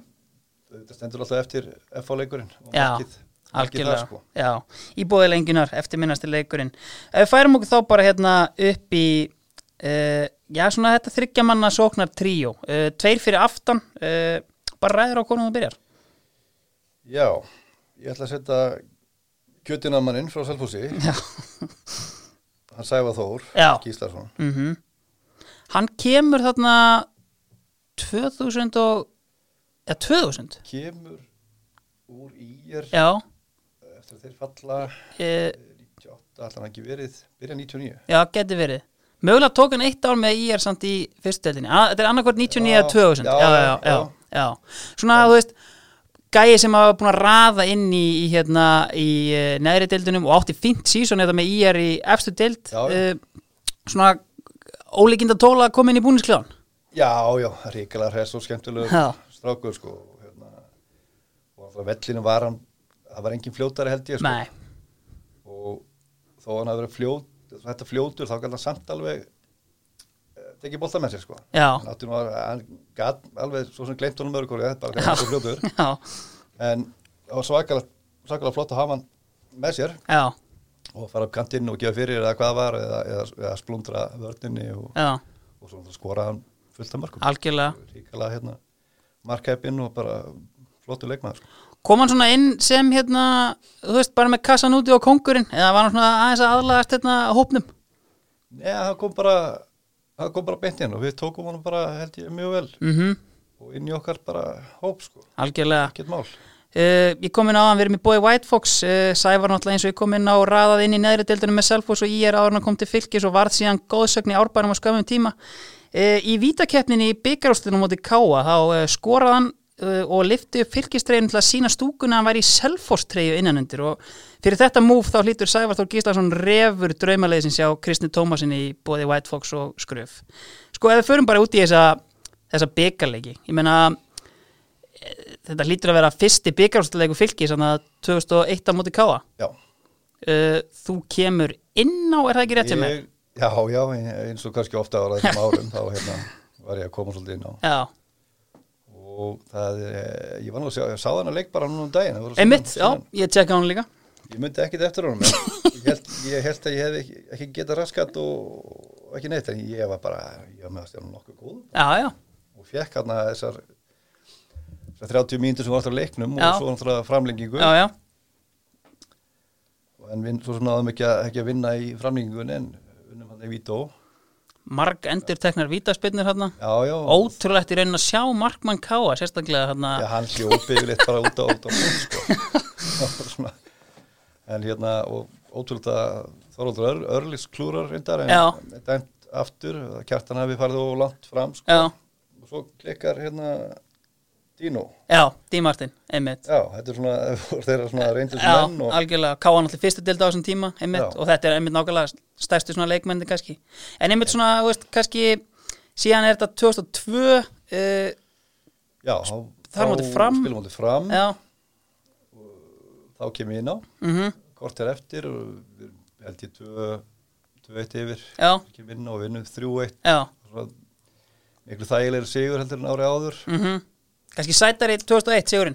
þetta stendur alltaf eftir F.A. leikurinn og
já
markið, markið
algjörlega,
það sko
já, í bóði lengunar eftir minnasti leikurinn ef við færum okkur þá bara hérna upp í uh, já, svona þetta þryggja manna sóknar tríó, uh, tveir fyrir aftan uh, bara ræður á konum það byrjar
Já, ég ætla að setja kjötinamaninn frá Selfossi
já,
hann Sæfa Þór,
Já.
Gíslason
mhm hann kemur þarna 2000 og eða 2000,
kemur úr ír
já
eftir að þeir falla
uh,
98, allan ekki verið byrja 99
já, geti verið mögulega tók hann eitt ár með IR samt í fyrstdeldinni, þetta er annarkvort 99 eða
Já,
2000 já,
já,
já, já,
já.
já, svona þú veist gæi sem hafa búin að raða inn í, í hérna, í uh, neðri deildunum og átti fint síson eða með IR í efstu deild
Já, já.
uh, svona ólíkinda tóla að koma inn í búniskljón
já, já, ríkilega hress og skemmtilegur
Já.
strákur sko hérna. og á vellinu var hann það var engin fljótari held ég sko.
nei,
og þó hann hafi verið fljót þetta fljótur þá gæti hann samt alveg eh, tekið bolta með sér sko
Já.
hann, átti nú að- hann gat alveg svo sem glemt honum örgóri bara hvað hann er svo fljótur
já,
en það var svakalega, svakalega flott að hafa hann með sér
já,
og fara upp kantinn og gefa fyrir eða hvað var eða, eða, eða splundra vörninni og,
já
og svo náttúrulega skora hann fullt af markum
algjörlega
ríkala hérna markhæpinn og bara flottu leikmaður sko.
kom hann svona inn sem hérna þú veist, bara með kassan úti og kongurinn eða var hann svona aðeins að aðlagast hérna hópnum
neða, hann kom bara hann kom bara beint inn og við tókum hann bara held ég mjög vel
mhm
og inn í okkar bara hóp sko,
Algjörlega.
ekkert mál
Uh, ég kom inn á hann, við erum í bóði White Fox, uh, Sævar náttúrulega eins og ég kom inn á og raðað inn í neðri deildunum með Selfoss og ég er áður en hann kom til fylgis og varð síðan góðsögn í árbærum á skömmum tíma. Uh, í vítakeppninni í byggarústunum móti Káa þá uh, skoraði hann uh, og lifti upp fylgistregin til að sína stúkuna að hann væri í Selfoss-treyju innanundir og fyrir þetta múf þá hlýtur Sævar Þór Gíslason refur draumaleiðsins hjá Kristni Tómasin í bóði White Fox og Skröf. Sko, ef við förum bara út í þessa, þessa byggarleiki, ég meina þetta lítur að vera fyrsti byggarústuleiku fylki svona 2001 á móti Káa
já,
uh, þú kemur inn á, er það ekki rétt sem er?
ég, já, já, eins og kannski ofta ára þessum árum þá hérna var ég að koma svolítið inn á
Já,
og það, er, ég var nú að sjá, ég sá hann að leik bara núna um daginn það voru síðan-
einmitt, já,
síðan-
ég tjekka hún líka
Ég myndi ekkit eftir honum en ég held, ég held að ég hef ekki, ekki getað raskat og ekki neitt en ég var bara, ég var með að stjána nokkuð góð
Já, já,
og fekk hann að þessar, þessar 30 mínútur sem var alltaf leiknum
Já.
og svo náttúrulega framlengingu
já, já,
en við svo sem náðum ekki að, ekki að vinna í framlengingun en unnum hann í Vító
marg endur teknar vítaspinnir hérna
Já, já,
ótrúlegt í raunin að sjá markmann Káa sérstaklega hérna,
já hann hljópið yfirleitt bara út á út á út sko. Það var svona- en hérna og ótrúlega Þorvaldur Ör, Örlis klúrar reyndar en,
Já.
en dæmt aftur, kjartan hafi farið og langt fram sko.
já,
og svo klikkar hérna Dino
já, Dímartin, einmitt
já, þetta er svona, voru þeirra svona reyndir
Já,
menn og
algjörlega, Káa náttúrulega fyrstu deild á þessum tíma einmitt,
Já.
og þetta er einmitt nákvæmlega stærstu svona leikmenni kannski, en einmitt svona þú veist, kannski, síðan er þetta 2002 uh,
já,
þar
þá- þá
móti Fram.
spilum móti fram,
já,
þá kem ég inn á
mhm
kort er eftir og við erum, held ég 2-1 yfir
Já,
kem inn og vinnum 3-1
já,
Svo miklu þægilegri sigur heldur en ári áður
mhm Kannski sætari 2001, Sigurinn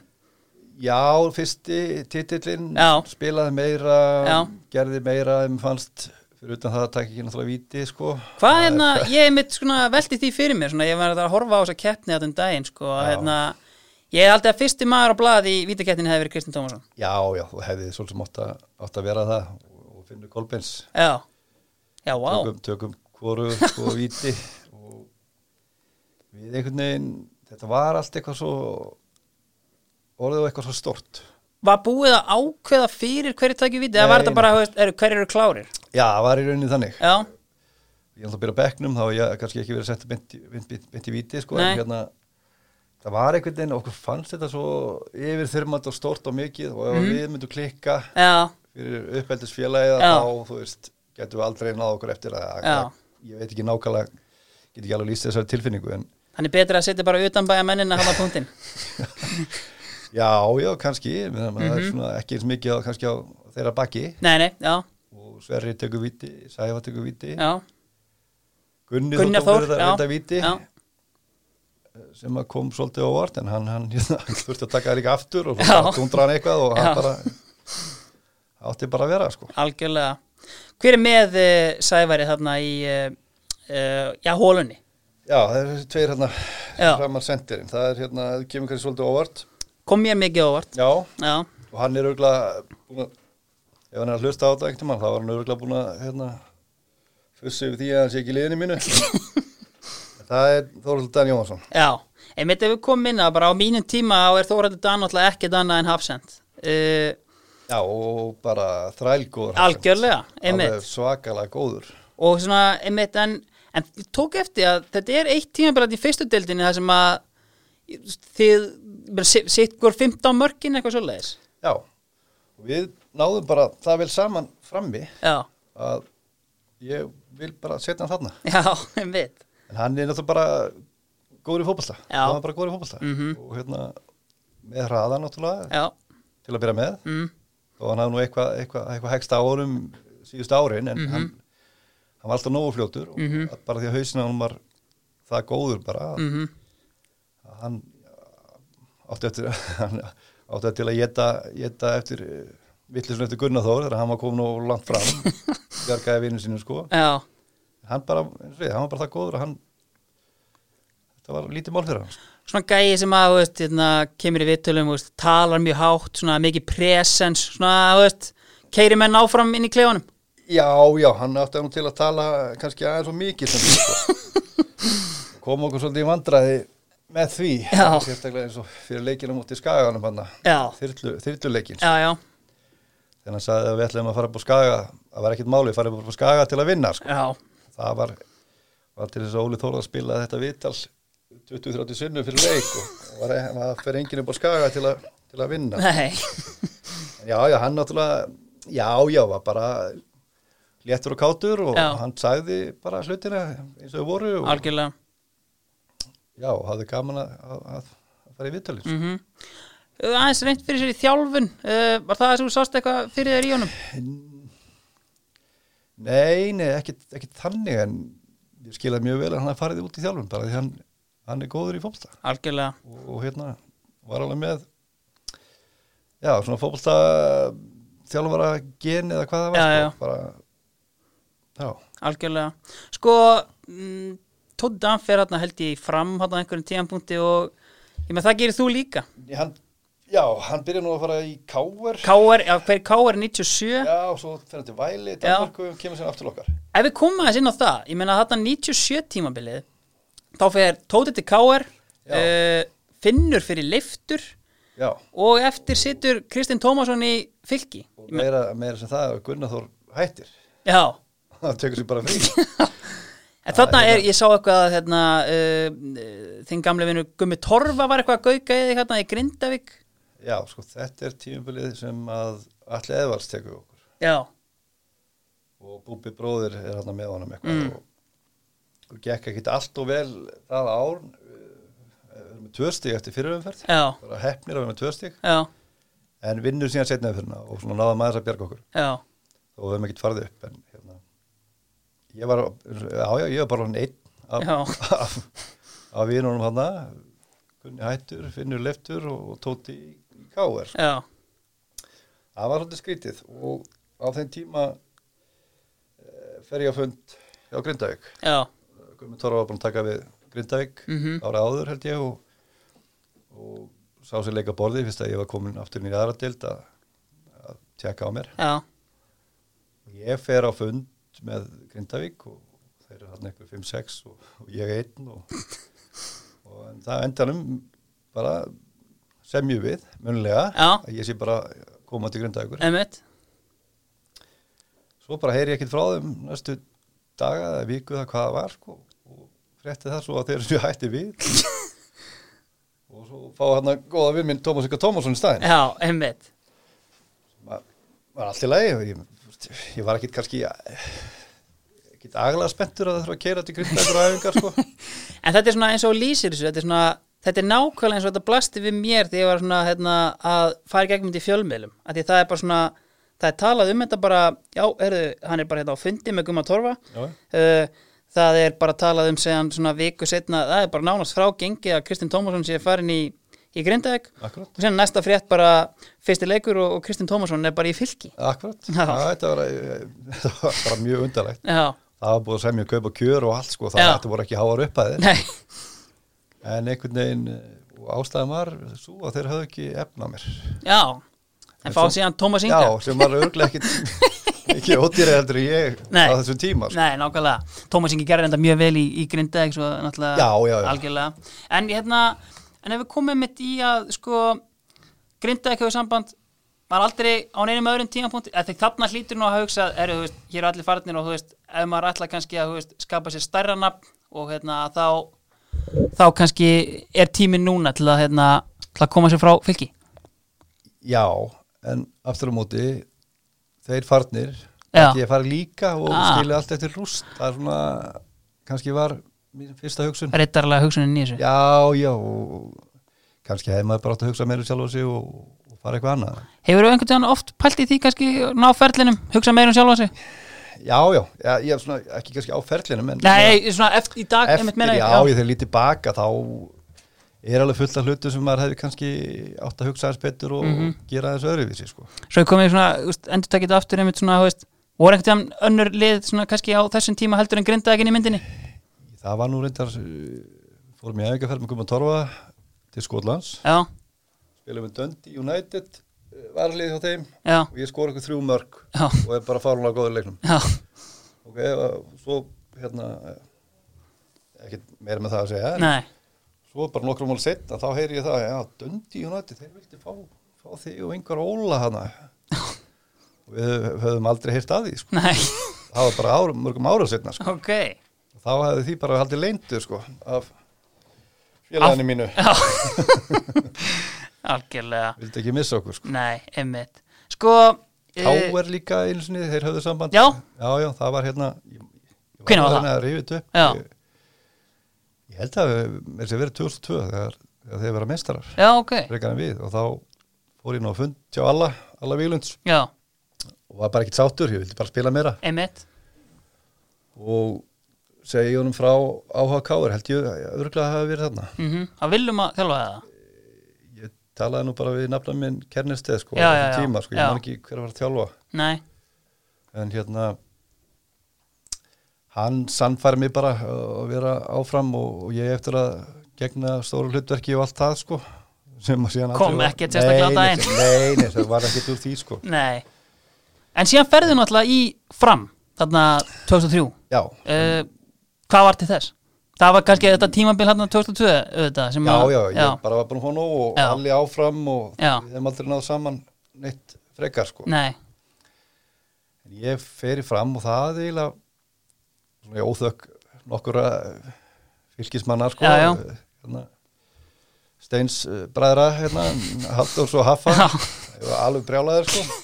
já, fyrsti titillinn
Já.
spilaði meira
Já.
gerði meira, þeim fannst fyrir utan það að taka ekki náttúrulega víti sko.
Hvað hérna, ég er mitt svona velti því fyrir mér svona, ég var að horfa á þessa keppni á þenn daginn sko, að
Já.
hérna, ég er aldrei að fyrsti maður á blaði í vítakeppninni hefði verið Kristinn Tómasson
já, já, þú hefði svolítið mátt að, átt að vera það og, og finnur Kolbens
Já, já, vá
tökum, tökum hvoru sko viti og við einhvern veginn þetta var allt eitthvað svo orðið og eitthvað svo stort
Var búið að ákveða fyrir hverju tæki víti, eða
Nei,
var þetta
nei.
bara, þú veist, eru, hverju eru klárir
já, það var í rauninni þannig
Já,
ég ætla að byrja á bekknum, þá hef ég kannski ekki verið sett beint, í- beint, beint, beint í viti sko,
Nei.
en hérna það var einhvern veginn, okkur fannst þetta svo yfir þyrmand og stort og mikið og
Mhm.
ef við myndum klikka
já,
fyrir uppeldisfélagið
Já.
þá, þú veist, getum við aldrei náð okkur eftir að,
Já.
að ég veit ekki nákvæmlega, get ekki alveg lýst þessari tilfinningu en
Hann er betra að setja bara utanbæja mennin að hafa punktin
Já, já, kannski, menn að maður
Mhm.
er svona ekki eins mikið á, kannski á þeirra bakki
Nei, nei, já,
og Sverri tekur viti, Sæfa tekur viti,
já,
Gunni
Gunnar
Þór
Þór
tók verið
já,
að reynda viti
já,
sem að kom svolítið óvart en hann, hann, hérna, hann þurfti að taka það líka aftur og
Já.
svo tundra hann eitthvað og hann
Já.
bara átti bara að vera sko.
algjörlega Hver er með uh, Sævari þarna í uh, uh, já, hólunni?
Já, það eru þessi tveir hérna
Já.
framar sendirinn, það er hérna, það kemur kannski svolítið óvart
Kom mér mikið óvart
Já,
Já,
og hann er örgulega búin að ef hann er að hlusta á þetta einhvern mann þá er hann örgulega búin að hérna, fussi yfir því að hann sé ekki í liðinu mínu það er Þórhildur Dan Jóhansson
já Einmitt ef við komum inn að bara á mínum tíma þá er Þóraldur Dan alltaf ekkert annað en hafsend uh,
já og bara þrælgóður
Algjörlega, einmitt
Alveg svakalega góður
og svona, einmitt, en, en ég tók eftir að þetta er eitt tímabilat í fyrstu deildinni það sem að þið, bara si- sitt hvort 15 mörkin eitthvað svoleiðis
já og við náðum bara það vel saman frammi
já,
að ég vil bara setja hann þarna
já, einmitt
en hann er náttúrulega bara góður í fótbolta
Já.
hann er bara góður í fótbolta og hérna með hraða náttúrulega
já,
til að byrja með
mm,
og hann hafði nú eitthvað eitthva, eitthva hekst á honum síðust árin en hann, hann var alltaf nógu fljótur og bara því að hausina hann var það góður bara að
mm
að hann átti eftir hann átti eftir að geta, geta eftir vittlisun eftir Gunnar Þór þegar hann var komin og langt fram bjargaði vinnu sínum sko
já,
hann bara, eins og við, hann var bara það góður að hann þetta var lítið mál fyrir hann sko.
svona gæi sem að, þú veist, hérna, kemur í vittulum, veist, talar mjög hátt svona mikið presens, svona, þú veist keiri menn áfram inn í klefunum
Já, já, hann átti nú til að tala kannski aðeins og mikið sem sko. kom okkur svolítið í vandræði með því
Já.
sérstaklega eins og fyrir leikina múti skaganum hann
já,
þyrlu, þyrluleikin
já, já,
þegar hann sagði að við ætlum að fara upp á skaga það var ekkit máli, fara upp á skaga til að vinna sko.
já
það var, var til þess að Óli Þóra spilaði þetta vital 20-30 sinnum fyrir leik og og var, e- var fyrir enginn upp á skaga til að, til að vinna
nei,
Já, já, hann náttúrulega, já, já, var bara léttur og kátur og
Já.
hann sagði bara hlutina eins og þau voru og
algjörlega
já, hafði gaman að, að, að fara í viðtalið. sko.
mm aðeins reynt fyrir sér í þjálfun uh, var það að þú sást eitthvað fyrir þér í honum
Nei, nei, ekkit, ekkit þannig en ég skilaði mjög vel að hann hafi farið út í þjálfum bara því hann, hann er góður í fótbolta
algjörlega
og, og hérna var alveg með já, svona fótbolta þjálfara gen eða hvað það var
Já,
sko, bara, já,
algjörlega sko mm, Tóti Dan fer hérna held ég í fram hérna á einhverjum tíðanpunkti og ég með það gerir þú líka
Nei, hann, já, hann byrja nú að fara í káver
K.R. já, hver K.R. 97
Já, og svo fyrir hann til væli Danmarku og kemur sér aftur til okkar
ef við komum aðeins inn á það ég meina þarna 97 tímabilið þá fer Tóti til K.R.
Já.
Uh, finnur fyrir leiftur
Já,
og eftir situr Kristinn Tómasson í fylki
og meira, meira sem það Gunnar Þór hættir
já
Það tekur sér bara frí
En þarna er, ég sá eitthvað að hérna, uh, þinn gamle vinur Gummi Torfa var eitthvað að gauka eða hérna í Grindavík.
Já, sko, þetta er tímubilið sem að Alli Eðvars tekur við okkur
Já,
og Búbi bróðir er hann með honum eitthvað og, og gekk ekkit allt og vel það ár eh, við erum með tvö stig eftir fyrirumferð
já,
bara hefnir að við erum með tvö stig
já,
en vinnur síðan setna umferðina og svona náðum aðeins að bjarga okkur
já,
og við höfum ekkert farið upp en hérna ég var, já já, ég var bara hann einn
Já.
af, af, af vinunum hann Gunni Hættur, Finnur Leftur og, og Tóti í Káver
já,
það var svolítið skrítið og á þeim tíma eh, fer ég að fund hjá Grindavík
já,
Gunni Tóra var búin að taka við Grindavík
Mhm.
ára áður held ég og, og sá sér leika borði fyrst að ég var komin aftur inn í aðra dild að, að tjekka á mér
já,
Ég fer á fund með Grindavík og þeir eru hann eitthvað 5-6 og, og ég einn og, og en það endanum bara semju við, munlega
Já.
að ég sé bara koma til Grindavíkur
emmitt,
svo bara heyri ég ekkert frá þeim næstu daga eða viku eða hvað það var sko, og frétti það svo að þeir eru hætti við og svo fá hann að góða við minn Tómas Ykka Tómasson í staðinn
já, emmitt,
Ma- var allt í lagi og ég, ég var ekkit kannski ekki aglega spenntur að það þurfa að keira til grindagur æfingar sko.
En þetta er svona eins og þú lýsir þessu, þetta er svona þetta er nákvæmlega eins og þetta blasti við mér þegar ég var svona hérna, að fara í gegnum þetta í fjölmiðlum að því það er bara svona, það er talað um þetta bara, já, heyrðu, hann er bara hérna á fundi með Guma Torfa
Já.
uh, það er bara talað um segjan svona viku setna, það er bara nánast frá gengi að Kristinn Tómasson sé farin í, í Grindavík
Akkurat.
og sen næsta frétt bara fyrsti leikur og, og Kristinn Tómasson er bara í fylki
Akkurat,
Já.
ja, þetta, var, eh, þetta var bara mjög undarlegt
Já,
það var búið að semja kaup og kjör og allt sko, það
Já.
þetta voru ekki háar upphæðir
nei,
en einhvern veginn eh, og ástæðan var svo að þeir höfðu ekki efna mér
já en fá síðan Tómas Inga
Já, sem var örglega ekkit ekki ódýra heldur en ég
Nei.
á þessum tíma sko.
Nei, nákvæmlega. Tómas Ingi gerði þetta mjög vel í, í grinda, ekki svo náttúrulega
Já, já, já.
algjörlega. En, hérna, en ef við komum mitt í að sko, grinda ekki hefur samband, maður aldrei á neinum öðrum tímapunkti, eða þegar þarna hlýtur nú að hugsa, eru, þú veist, hér eru allir farnir og þú veist, ef maður ætla kannski að þú veist, skapa sér stærra nafn og hérna, þá, þá kannski er tíminn núna til að, hérna, til að koma sér frá fylki.
Já, en aftur á móti þeir farnir
Já.
ekki ég farið líka og
Ah.
ah. skilja allt eftir rúst það er svona, kannski var mín fyrsta hugsun
Rittarlega hugsunin í þessu.
Já, já, og kannski hefði maður bara átt að hugsa meira um sjálf og sig og, og fara eitthvað annað
Hefur þú einhvern tíðan oft pælt í því kannski ná ferlinum, hugsa meira um sjálfa sig?
Já, já, já ég hef svona, ekki kannski á ferlinum en
Nei, svona eftir í dag
svona
einmitt
eftir,
meina
já,
ég,
ég þegar ég lítið baka þá er alveg fullt af hlutu sem maður hefði kannski átt að hugsa aðeins betur og
Mhm.
gera þessu öðruvísi sko.
Svo ég komið svona, þú veist, endur takkið aftur einmitt svona, þú veist, voru einhvern veginn önnur lið svona kannski á þessum tíma heldur en grindaðeginn í myndinni?
Það var nú reyndar uh, fórum ég aðeins að ferð með Guðmund Torfa til Skotlands,
Já,
spilum við Dundee United uh, varlið hjá þeim
já,
og ég skora eitthvað þrjú mörg
já,
og er bara fárunlega góður í leiknum
já,
ok, og svo hérna ekki meira með það að segja en
nei,
svo bara nokkrum mál setna þá heyri ég það, já, Dundi United þeir vildi fá, fá þig og einhver óla hana og við höfum aldrei heyrt að því sko.
nei,
það var bara árum, mörgum ára setna sko.
ok,
Og þá hefði því bara haldið leindur sko, af félaginu mínu
já, algjörlega,
vildi ekki missa okkur sko.
nei, einmitt, sko,
þá er líka einu sinni, þeir höfðu samband
Já.
já, já, það var hérna ég, ég
Hvenær var
að
það?
reyna að rifja þetta upp.
Já.
ég, ég held að það er verið 2002 þegar, þegar þeir vera mestarar
já, ok,
frekar en við og þá fór ég nú að fund hjá alla, alla Vílunds
já,
og var bara ekkert sáttur, ég vildi bara spila meira
einmitt,
og segi ég honum frá áhuga káur, held ég örglega hafa verið þarna
mhm, mm að viljum að þjálfa það,
ég talaði nú bara við nafna minn kernisteð sko,
Já,
á
já,
þessum
já.
tíma, sko,
Já.
ég man ekki hver var að þjálfa
nei,
en hérna hann sannfæri mig bara uh, að vera áfram og, og ég eftir að gegna stóru hlutverki og allt það sko sem að síðan
Kom
aldrei var-
ekkert sérstaklega á
Nei,
daginn.
nei, Nei, nei, það var ekkert úr því sko
nei, en síðan ferðu náttúrulega í fram, þarna 2003,
Já,
uh, hvað var til þess? Það var kannski þetta tímabil hérna 2002 auðvitað sem
já,
að-
já, ég bara var búin að fá nóg og
Já.
allir áfram og
Já.
við hefum aldrei náð saman neitt frekar sko
Nei,
en ég fer í fram og það eiginlega svona ég óþökk nokkura fylgismannar sko
Já, já.
Hérna, Steins eh, bræðra hérna, Halldórs og Haffa
Já.
Þeir voru alveg brjálaðir sko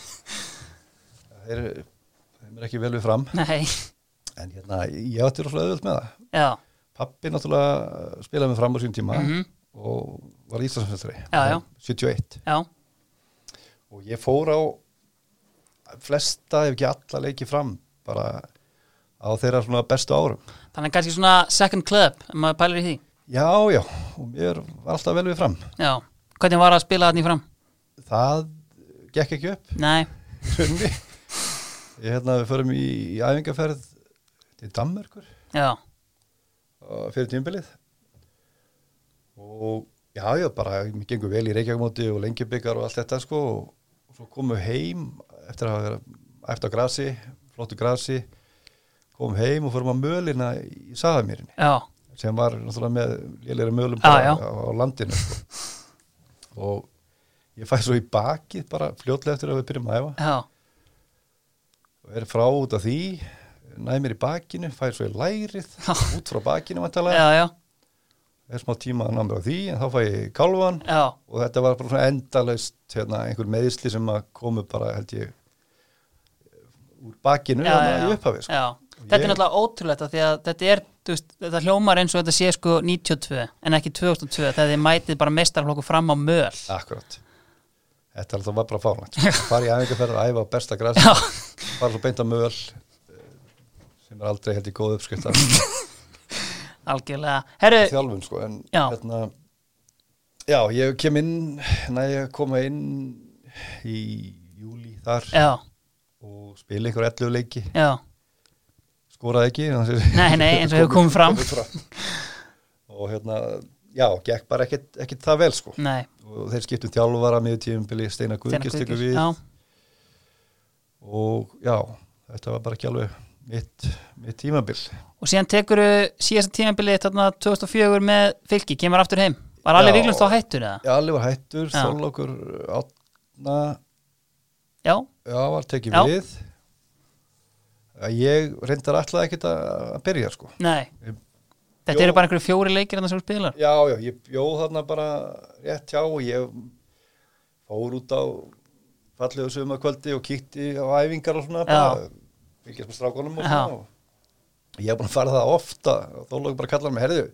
þeir, þeim er ekki vel við fram
nei,
en hérna, ég átti rosalega auðvöld með það
já,
pappi náttúrulega eh, spilaði með fram á sín tíma
Mhm.
og var Íslandsmyndari
Já, já.
71
já,
og ég fór á flesta, ef ekki alla leiki fram bara á þeirra svona bestu árum
þannig kannski svona second club, ef maður pælir í því
já, já, og mér var alltaf vel við fram
Já, hvernig var að spila þarna í fram?
það gekk ekki upp
Nei,
sunni ég hérna, við förum í, í æfingarferð til Danmörkur
já,
uh, fyrir tímbilið og já, já, bara mér gengur vel í Reykjavíkmóti og lengjubikar og allt þetta sko og, og svo komum við heim eftir að hafa verið eftir á grasi, flottu grasi komum heim og fórum að mölina í Saðamýrinni
já,
sem var náttúrulega með lélæri mölum
Já,
bara
Ah, já.
Á, á landinu sko. og ég fæ svo í bakið bara fljótlega eftir að við byrjum að æfa
já,
og er frá út af því næði mér í bakinu, fæ svo í lærið
Já.
út frá bakinu vantalega
já, já,
er smá tíma að ná mér á því en þá fæ ég kálfan
já,
og þetta var bara svona endalaust hérna, einhver meðisli sem að komu bara held ég úr bakinu
já,
hérna,
já,
í upphafi sko.
já, Þetta er
Ég-
náttúrulega ótrúlegt af því að þetta er, þú veist, þetta hljómar eins og þetta sé sko 92 en ekki 2002 þegar þið mætið bara mestarflokku fram á möl.
Akkurat Þetta er alltaf bara fárnætt Far í æfingarferð að æfa á besta græs
Já.
Far svo beint á möl eh, sem er aldrei held í góð uppskrift af
Algjörlega. Herru,
þjálfun sko en
Já.
hérna Já, ég kem inn næ ég að koma inn í júli þar
já,
og spila ykkur 11 leiki
já,
skoraði ekki þannig að-
Nei, nei, eins og hefur komið fram.
og hérna, já, gekk bara ekkit, ekkit það vel sko
nei,
og þeir skiptu þjálfara miður tíumbili Steina
Steinar
Guðgist ykkur
Guðgeirs,
við
já,
og já, þetta var bara ekki alveg mitt, mitt tímabil
og síðan tekur síðasta tímabilið þarna 2004 með fylki, kemur aftur heim. Var alveg
Já.
viklust á hættur eða?
Já, allir var hættur,
Já.
Þorlókur átna,
Já,
já, var tekið
Já.
við Að ég reyndar alltaf ekkit að að byrja sko
nei.
Ég-
Þetta
Jó.
eru bara einhverju fjóri leikir en það sem þú spilar.
Já, já, ég bjóð þarna bara rétt hjá og ég fór út á fallegu sumakvöldi og kíkti á æfingar og svona
Já.
bara, fylgjast með strákunum og
Já.
svona og ég hef búin að fara það ofta og Þorlókur bara kallar mig, herðu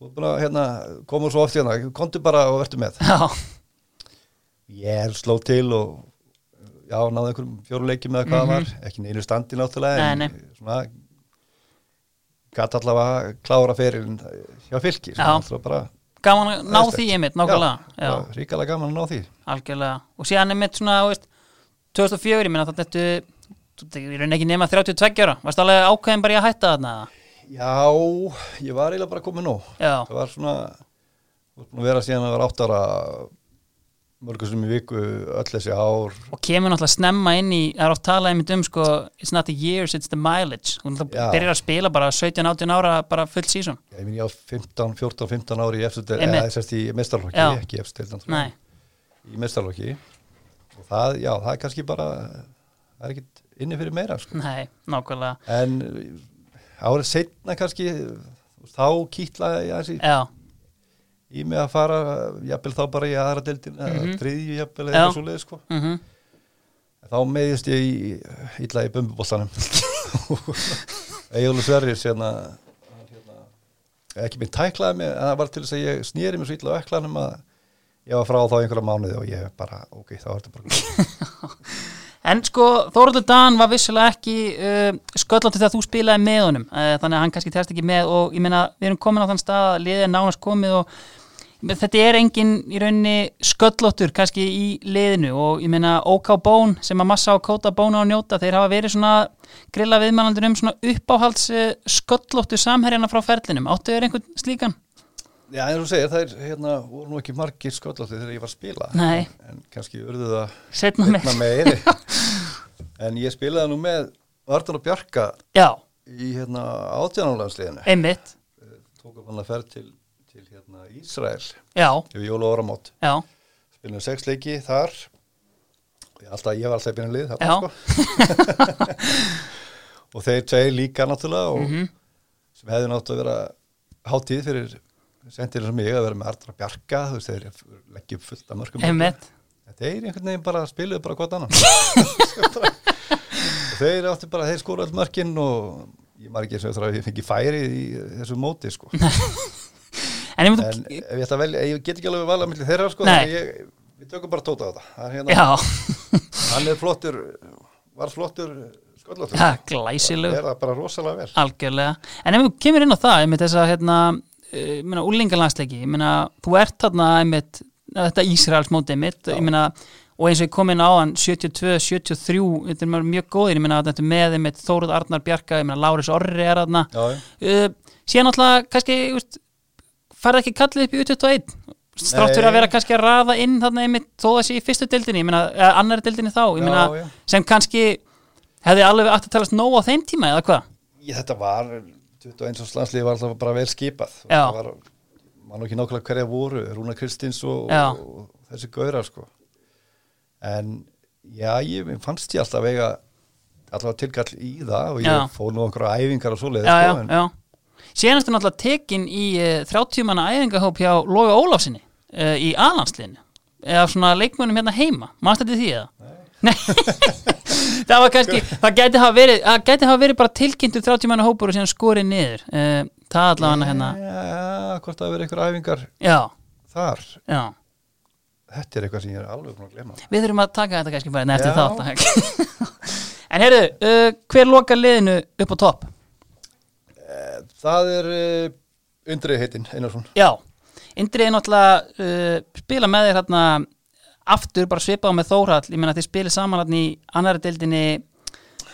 þú er búin að hérna, koma svo oft hérna komdu bara og vertu með
Já,
ég sló til og já, náði einhverjum fjóruleikjum eða hvað það var, ekki neinu standi náttúrulega
Mhm. Nei,
en svona gæti allavega klára ferilin hjá fylki
Já.
svona, náttúrulega bara,
gaman að ná
Æðislegt.
því einmitt, nákvæmlega. Já,
bara ríkala gaman að ná því
algjörlega og síðan er mitt svona þú veist, 2004, ég minna þetta þetta ég raun ekki nema 32 ára varst alveg ákveðin bara í að hætta þarna eða?
já, ég var eiginlega bara komið nóg
já,
það var svona þú ert búin að vera síðan að vera átt ára mörgustum í viku öll þessi ár
og kemur náttúrulega snemma inn í það er oft talað einmitt um sko it's not the years, it's the mileage hún náttúrulega
Já.
byrjar að spila bara 17-18 ára bara full season
ég minn ég á 15, 14, 15 ári í eftir,
Einmitt.
eða þessast í mestarlokki
Já.
ekki eftir
nei,
í mestarlokki og það, já, það er kannski bara það er ekkit inni fyrir meira sko.
nei, nákvæmlega
en árið setna kannski þú veist, þá kýtlaði ég aðeins í,
já,
í mig að fara jafnvel þá bara í aðra deildin mm
Mhm.
þriðju jafnvel
Já.
eitthvað svo leið sko.
mhm
þá meðist ég í, illa í bumbuboltanum Egilur Sverris hérna, hann hérna ekki minn tæklaði mig, en það var til þess að ég snýri mér svo illa á eklanum að ég var frá þá í einhverja mánuði og ég bara, ok, þá er þetta bara
En sko, Þóruldur Dan var vissulega ekki uh, sköllandi þegar þú spilaði með honum uh, þannig að hann kannski telst ekki með og ég meina, við erum komin á þann stað að liðið er nánast komið og ég meina, þetta er engin í rauninni sköllóttur kannski í liðinu og ég meina OK Bón sem að massa og kóta Bóna og njóta þeir hafa verið svona grilla viðmælandur um svona uppáhalds uh, sköllóttu samherjana frá ferlinum áttu er einhvern slíkan?
Já, eins og þú segir, það er, hérna, voru nú ekki margir sköllóttir þegar ég var að spila.
Nei.
En kannski urðu það
Setna
einna
með?
með einu. en ég spilaði nú með Vartan og Bjarka
Já,
í, hérna, átjánulandsliðinu.
einmitt
Tók upp hann að ferð til, til, hérna, Ísrael
Já,
yfir jól og áramót.
já,
Spilaði sex leiki þar. Ég, alltaf, ég var alltaf í byrjun lið,
Já.
þarna, sko. og þeir tvei líka, náttúrulega, og
Mhm.
sem hefði náttúrulega að vera hátíð fyrir sendir sem ég að vera með Artra Bjarka, þú veist, þeir leggja upp fullt af mörgum.
einmitt
En Þeir einhvern veginn bara spiluðu bara hvort annan og þeir áttu bara þeir skóra all mörkin og ég maður ekki eins og það að ég fengi færi í þessu móti sko. en
En ég
ef
myndi,
ég, ætla að velja, ég get ekki alveg valað millir þeirra sko,
Nei.
þannig að ég, við tökum bara tóta á þetta hann, hérna,
já
hann er flottur var flottur sköllóttur
Ha,
er
glæsileg
það bara rosalega vel
Algjörlega. En ef þú kemur inn á það, einmitt þess að hérna, uh, meina, úlingalandsleiki, ég meina, þú ert þarna, einmitt, þetta Ísraels móti, einmitt, ég meina, og eins og ég kom inn á hann, 72, 73, þetta er mjög góðir, ég meina, þetta er með, einmitt, Þóruð Arnar Bjarka, ég meina, Láris Orri er þarna.
Já, já.
Uh, síðan náttúrulega, kannski, þú veist, farið ekki kallið upp í U21, stráttur
Nei.
að vera kannski að raða inn þarna, einmitt, þó þessi í fyrstu deildinni, ég meina, eða annari deildinni þá, ég
Já,
meina,
já.
sem kannski hefði alveg átt að talast nóg á þeim tíma, eða hvað?
ég, þetta var 21. landslið var alltaf bara vel skipað og
Já.
það var, mann og ekki nákvæmlega hverja voru Rúna Kristins og,
Já.
og þessi gaurar sko en já, ég mér fannst ég alltaf eiga alltaf tilkall í það og ég
Já.
fór nú einhverja æfingar og svoleið
já,
sko,
já,
en
já. Síðanast er náttúrulega tekin í uh, 30 manna æfingahóp hjá eh, Loga Ólafsinni uh, í Alanslinni eða svona leikmönum hérna heima, mannst þetta því eða?
Nei.
Nei, það var kannski, það gæti hafa verið, það gæti hafa verið bara tilkynntu 30 manna hópur og síðan skorið niður. Eh, Það allavega hérna,
Já, hvort það verið einhver æfingar
já,
þar
já.
Þetta er eitthvað sem ég er alveg búin að glemma
Við þurfum að taka þetta kannski bara hérna
Já.
eftir þátt. en heyrðu, uh, hver lokar liðinu upp á topp?
Eh, Það er uh, undrið heitin Einarsson
Já, Indriði náttúrulega uh, spila með þér hérna aftur, bara svipað á með Þórhall, ég meina þið spilið saman hérna í annari deildinni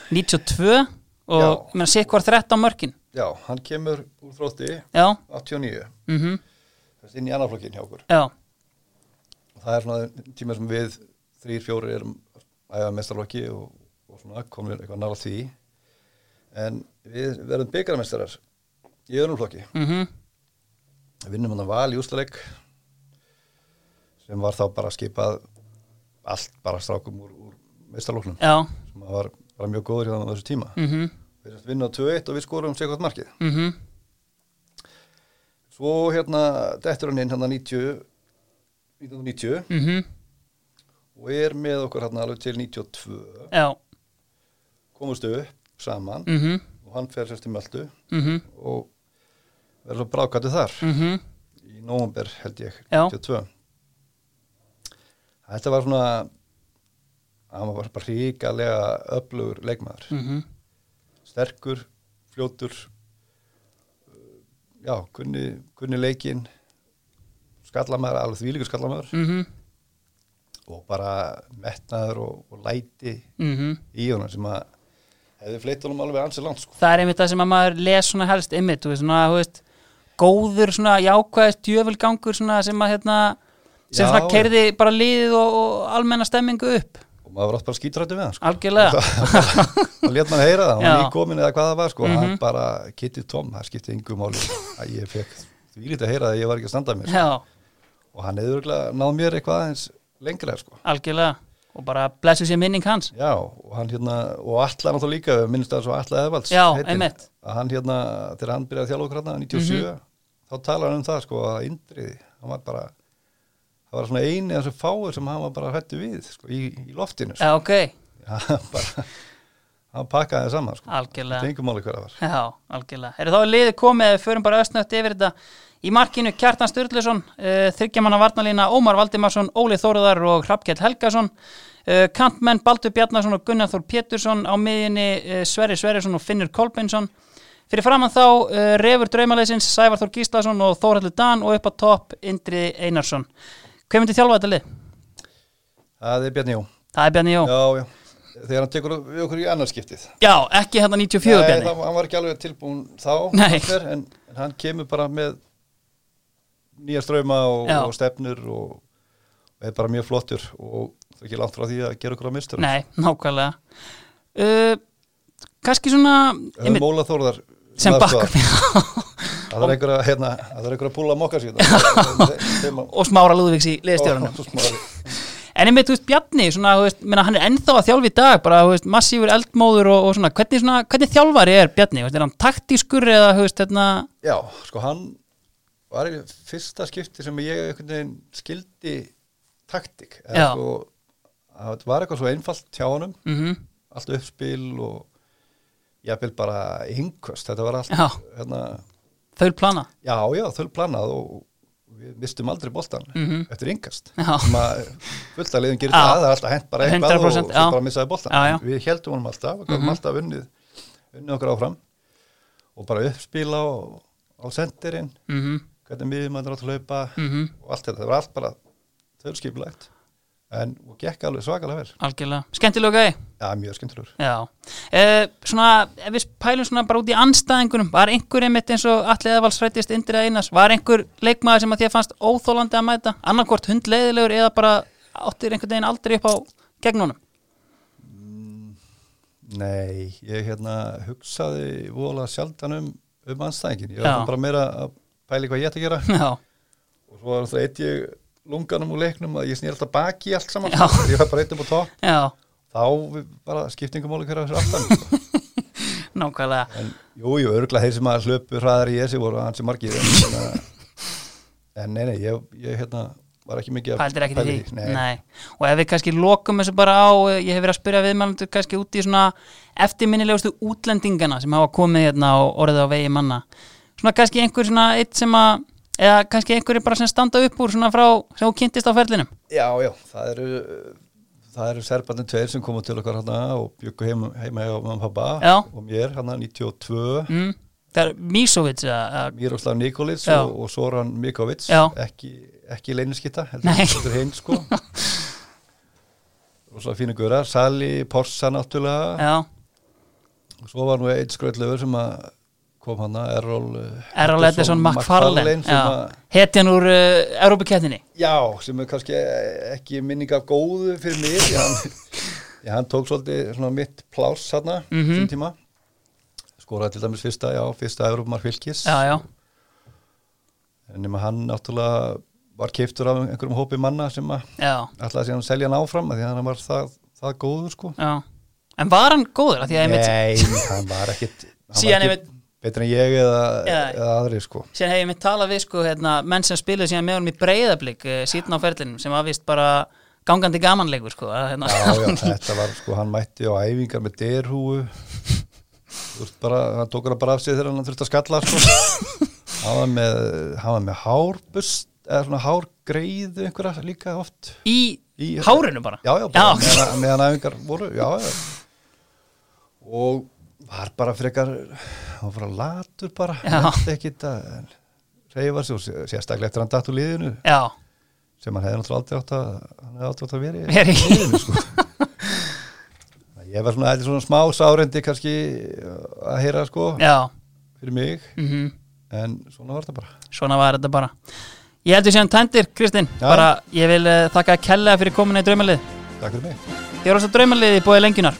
92 og
Já.
ég meina sér hvar 13 mörkin,
Já, hann kemur úr þrótti
já,
89
mhm,
Þessi inn í annarflokkin hjá okkur
já.
Það er svona tíma sem við þrýr, fjórir erum að æfa mestarlokki og, og svona komum við eitthvað nála því En við verðum byggarmestarar í öðrum flokki
Mm
Við vinnum hann að val í ústaleik sem var þá bara skipað allt bara strákum úr, úr mestarloknum
Já,
sem að var bara mjög góður hérna á þessu tíma
mhm, mhm
við erum að vinna á 2-1 og við skorum sér hvort markið svo hérna dettur hann inn hérna 90 1990
mhm,
og er með okkur hérna alveg til 92
Já,
komumst upp saman
mhm,
og hann fer sérst í Möldu
mhm,
og verður svo brákatu þar
mhm
í nóvumber held ég
Já.
92 þetta var svona hann var bara ríkalega öflugur leikmaður
mhm,
sterkur, fljótur uh, já, kunni, kunni leikin skallamæður, alveg þvílíkur skallamæður
mhm,
og bara metnaður og, og læti
mhm
í honum sem að hefði fleitt honum alveg ansið langt sko.
Það er einmitt það sem að maður les svona helst einmitt, þú veist, svona, þú veist góður, svona, jákvæðist, djöfulgangur svona, sem að, hérna sem
Já.
svona kerði bara liðið og, og almenna stemmingu upp,
og maður var oft bara skítrættu við hann sko.
algjörlega
og létt mann heyra það, hann var
Já. Mhm.
nýkomin eða hvað það var sko. hann bara kittið tóm, það skipti yngu máli að ég fekk þvílítið að heyra það að ég var ekki að standa mér sko.
Já,
og hann hefði örugglega náð mér eitthvað aðeins lengra sko.
algjörlega og bara blessu sér minning hans
Já, og hann hérna, og Alla náttúrulega líka, við minnst það svo Alla Eðvalds.
Já,
heitinn,
einmitt. Mhm.
Að hann hérna, þegar hann byrjaði að þjálfa okkur hérna, 97, þá talar hann um það, sko, að Indriði, hann var bara, það var svona eini af þessu fáir sem hann var bara hættu við, sko, í, í loftinu, sko.
Já, ok,
Hann bara, hann pakkaði það saman, sko.
Algjörlega.
Þetta engum máli hver það var.
já, algjörlega Er þá er liðið komið, við förum bara östnögt yfir þetta Í markinu Kjartan Sturluson, uh, þryggjamanna varnalína Ómar Valdimarsson, Óli Þóruðar og Hrafkell Helgason uh, Kantmenn Baldur Bjarnarsson og Gunnar Þór Pétursson á miðjunni uh, Sverri Sverrisson og Finnur Kolbeinsson Fyrir framann þá uh, Refur Draumaleisins, Sævar Þór Gíslason og Þórhaldur Dan og upp á topp Indri Einarsson Hver myndi þjálfa þetta lið?
Það er Bjarni Jó.
Það er Bjarni Jó Já,
Já, já. Þegar hann tekur við okkur í annarskiptið.
ekki hérna 94
Nei,
Bjarni
það, hann var ekki alveg tilbúin þá
Nei.
allir, en, en hann kemur bara með nýja ströma og,
Já.
og stefnur og, og er bara mjög flottur og það er ekki langt frá því að gera okkur á mistur
Nei, nákvæmlega uh, Kanski svona einmitt,
Móla Þórðar
sem
aðstoðar.
bakkum
það er einhver að hérna, það er einhver að púla mokka síðan þeim að
og smára Lúðvíks í liðstjórunum
Ó, smári.
En einmitt, þú veist, Bjarni, svona, þú veist, menna, hann er ennþá að þjálfa í dag, bara, þú veist, massífur eldmóður og, og svona, hvernig, svona, hvernig þjálfari er Bjarni, þú veist, er hann taktískur eða, þú veist, hérna,
Já, sko hann var í fyrsta skipti sem ég einhvern veginn skildi taktik eða
Já.
sko, það var eitthvað svo einfalt hjá honum
mhm,
allt uppspil og jafnvel bara yngvöst, þetta var allt
Já.
hérna,
þaul plana,
já, já, þöl planað og við mistum aldrei boltan
Mhm.
eftir yngast
Já.
fullt að liðum gerir
Já.
það, það er alltaf hent bara eitthvað og
100%,
svo
já.
bara missaði boltan
Já, Mhm. já.
En við heldum honum alltaf, við gafum alltaf unnið unnið okkur áfram og bara uppspila á, á sendirinn
mhm,
hvernig miðum maður átt að hlaupa
mhm,
og allt þetta, það var allt bara þölskipulegt en og gekk alveg svakalega vel
algjörlega, skemmtilega gæði,
já, mjög skemmtilegur
já, uh, svona, ef við pælum svona bara út í anstæðingunum, var einhver einmitt eins og allir eða valsrættist Indriða Einars, var einhver leikmaður sem að þér fannst óþólandi að mæta, annarkvort hundleiðilegur eða bara áttir einhvern veginn aldrei upp á gegnunum?
Nei, ég hérna hugsaði vola sjaldan um, um anstæðingin, ég
Já.
var bara meira að pæli hvað ég ætti að gera
Já,
og svo var það eitt ég lunganum úr leiknum að ég snýr alltaf baki í allt saman
Já.
sko. ég var bara eitt upp á topp,
já,
þá við bara skiptingum áli hverja þessu aftan sko.
nákvæmlega,
en jú, jú, örgulega þeir sem að hlöpu hraðar í þessi voru hansi margir en, en nei, nei, ég, ég hérna var ekki mikið að
Pældir ekki
pæla
því,
í.
nei.
Nei.
Og ef við kannski lokum þessu bara á, eh, ég hef verið að spyrja viðmælendur kannski út í svona eftirminnilegustu útlendingana sem hafa komið hérna og orðið á vegi manna. Svona kannski einhver svona eitt sem að, eða kannski einhverjir bara sem standa upp úr svona frá, sem þú kynntist á ferlinum.
Já, já, það eru það eru serbarnir tveir sem komu til okkar hana og byggu heima, heima hjá mamma og pappa
Já.
og mér hana 92
Mm. Það er Mísovits eða, eða-
Miroslav Nikolic
Mm. Já.
og, og Soran Mikovic
Já.
ekki, ekki leyniskitta heldur,
Nei.
heldur hinn sko og svo fínu guðrar Sali, Porsa náttúrulega
já,
og svo var nú einn skröldlegur sem að kom hana Errol eh,
Errol Edison McFarlane,
sem
já,
að
hetjan úr uh, Európa-kettinni.
Já, sem er kannski eh, ekki minning af góðu fyrir mig því hann, já, hann tók svolítið svona mitt pláss hérna mm
Mhm.
tíma skoraði til dæmis fyrsta, já, fyrsta Evropamar fylgis
Já, já,
en nema hann náttúrulega var keiftur af einhverjum hópi manna sem að
já,
ætlaði síðan að selja hann áfram af því að hann var það, það góður sko
já. En var hann góður? Af Því að einmitt,
Nei, hann var ekkit hann
Síðan
var ekkit betri en ég eða,
Já.
eða aðri sko
Sér hef ég mitt talað við sko hérna, menn sem spiluðu síðan með honum í breyðablík uh, síðan á ferlinum sem var vist bara gangandi gamanleikur sko að, hérna.
Já, já, þetta var sko, hann mætti á æfingar með derhúu Þú veist bara, hann tók hana bara af sig þegar hann þurfti að skalla sko. hann, var með, hann var með hárbust eða svona hárgreiðu einhverja líka oft
í,
Í-
hárinu bara
Já, já, bara
já,
meðan, meðan æfingar voru já, já. og var bara frekar hann var bara latur bara
Já.
nennti ekkit að reyfa sig og sé- sérstaklega eftir að hann datt úr liðinu
já,
sem hann hefði náttúrulega aldrei átt að hann hefði aldrei átt að vera í-
Vera í.
í liðinu, sko. Þannig að ég var svona, þetta er svona smá sárendi kannski uh, að heyra sko
já.
fyrir mig
Mm
en svona var þetta bara
svona var þetta bara ég heldur séðan tændir Kristinn
Já.
bara ég vil uh, þakka að kella eh, fyrir komuna í draumalið
Takk fyrir mig
þér á þess að draumalið í bóði lengjunar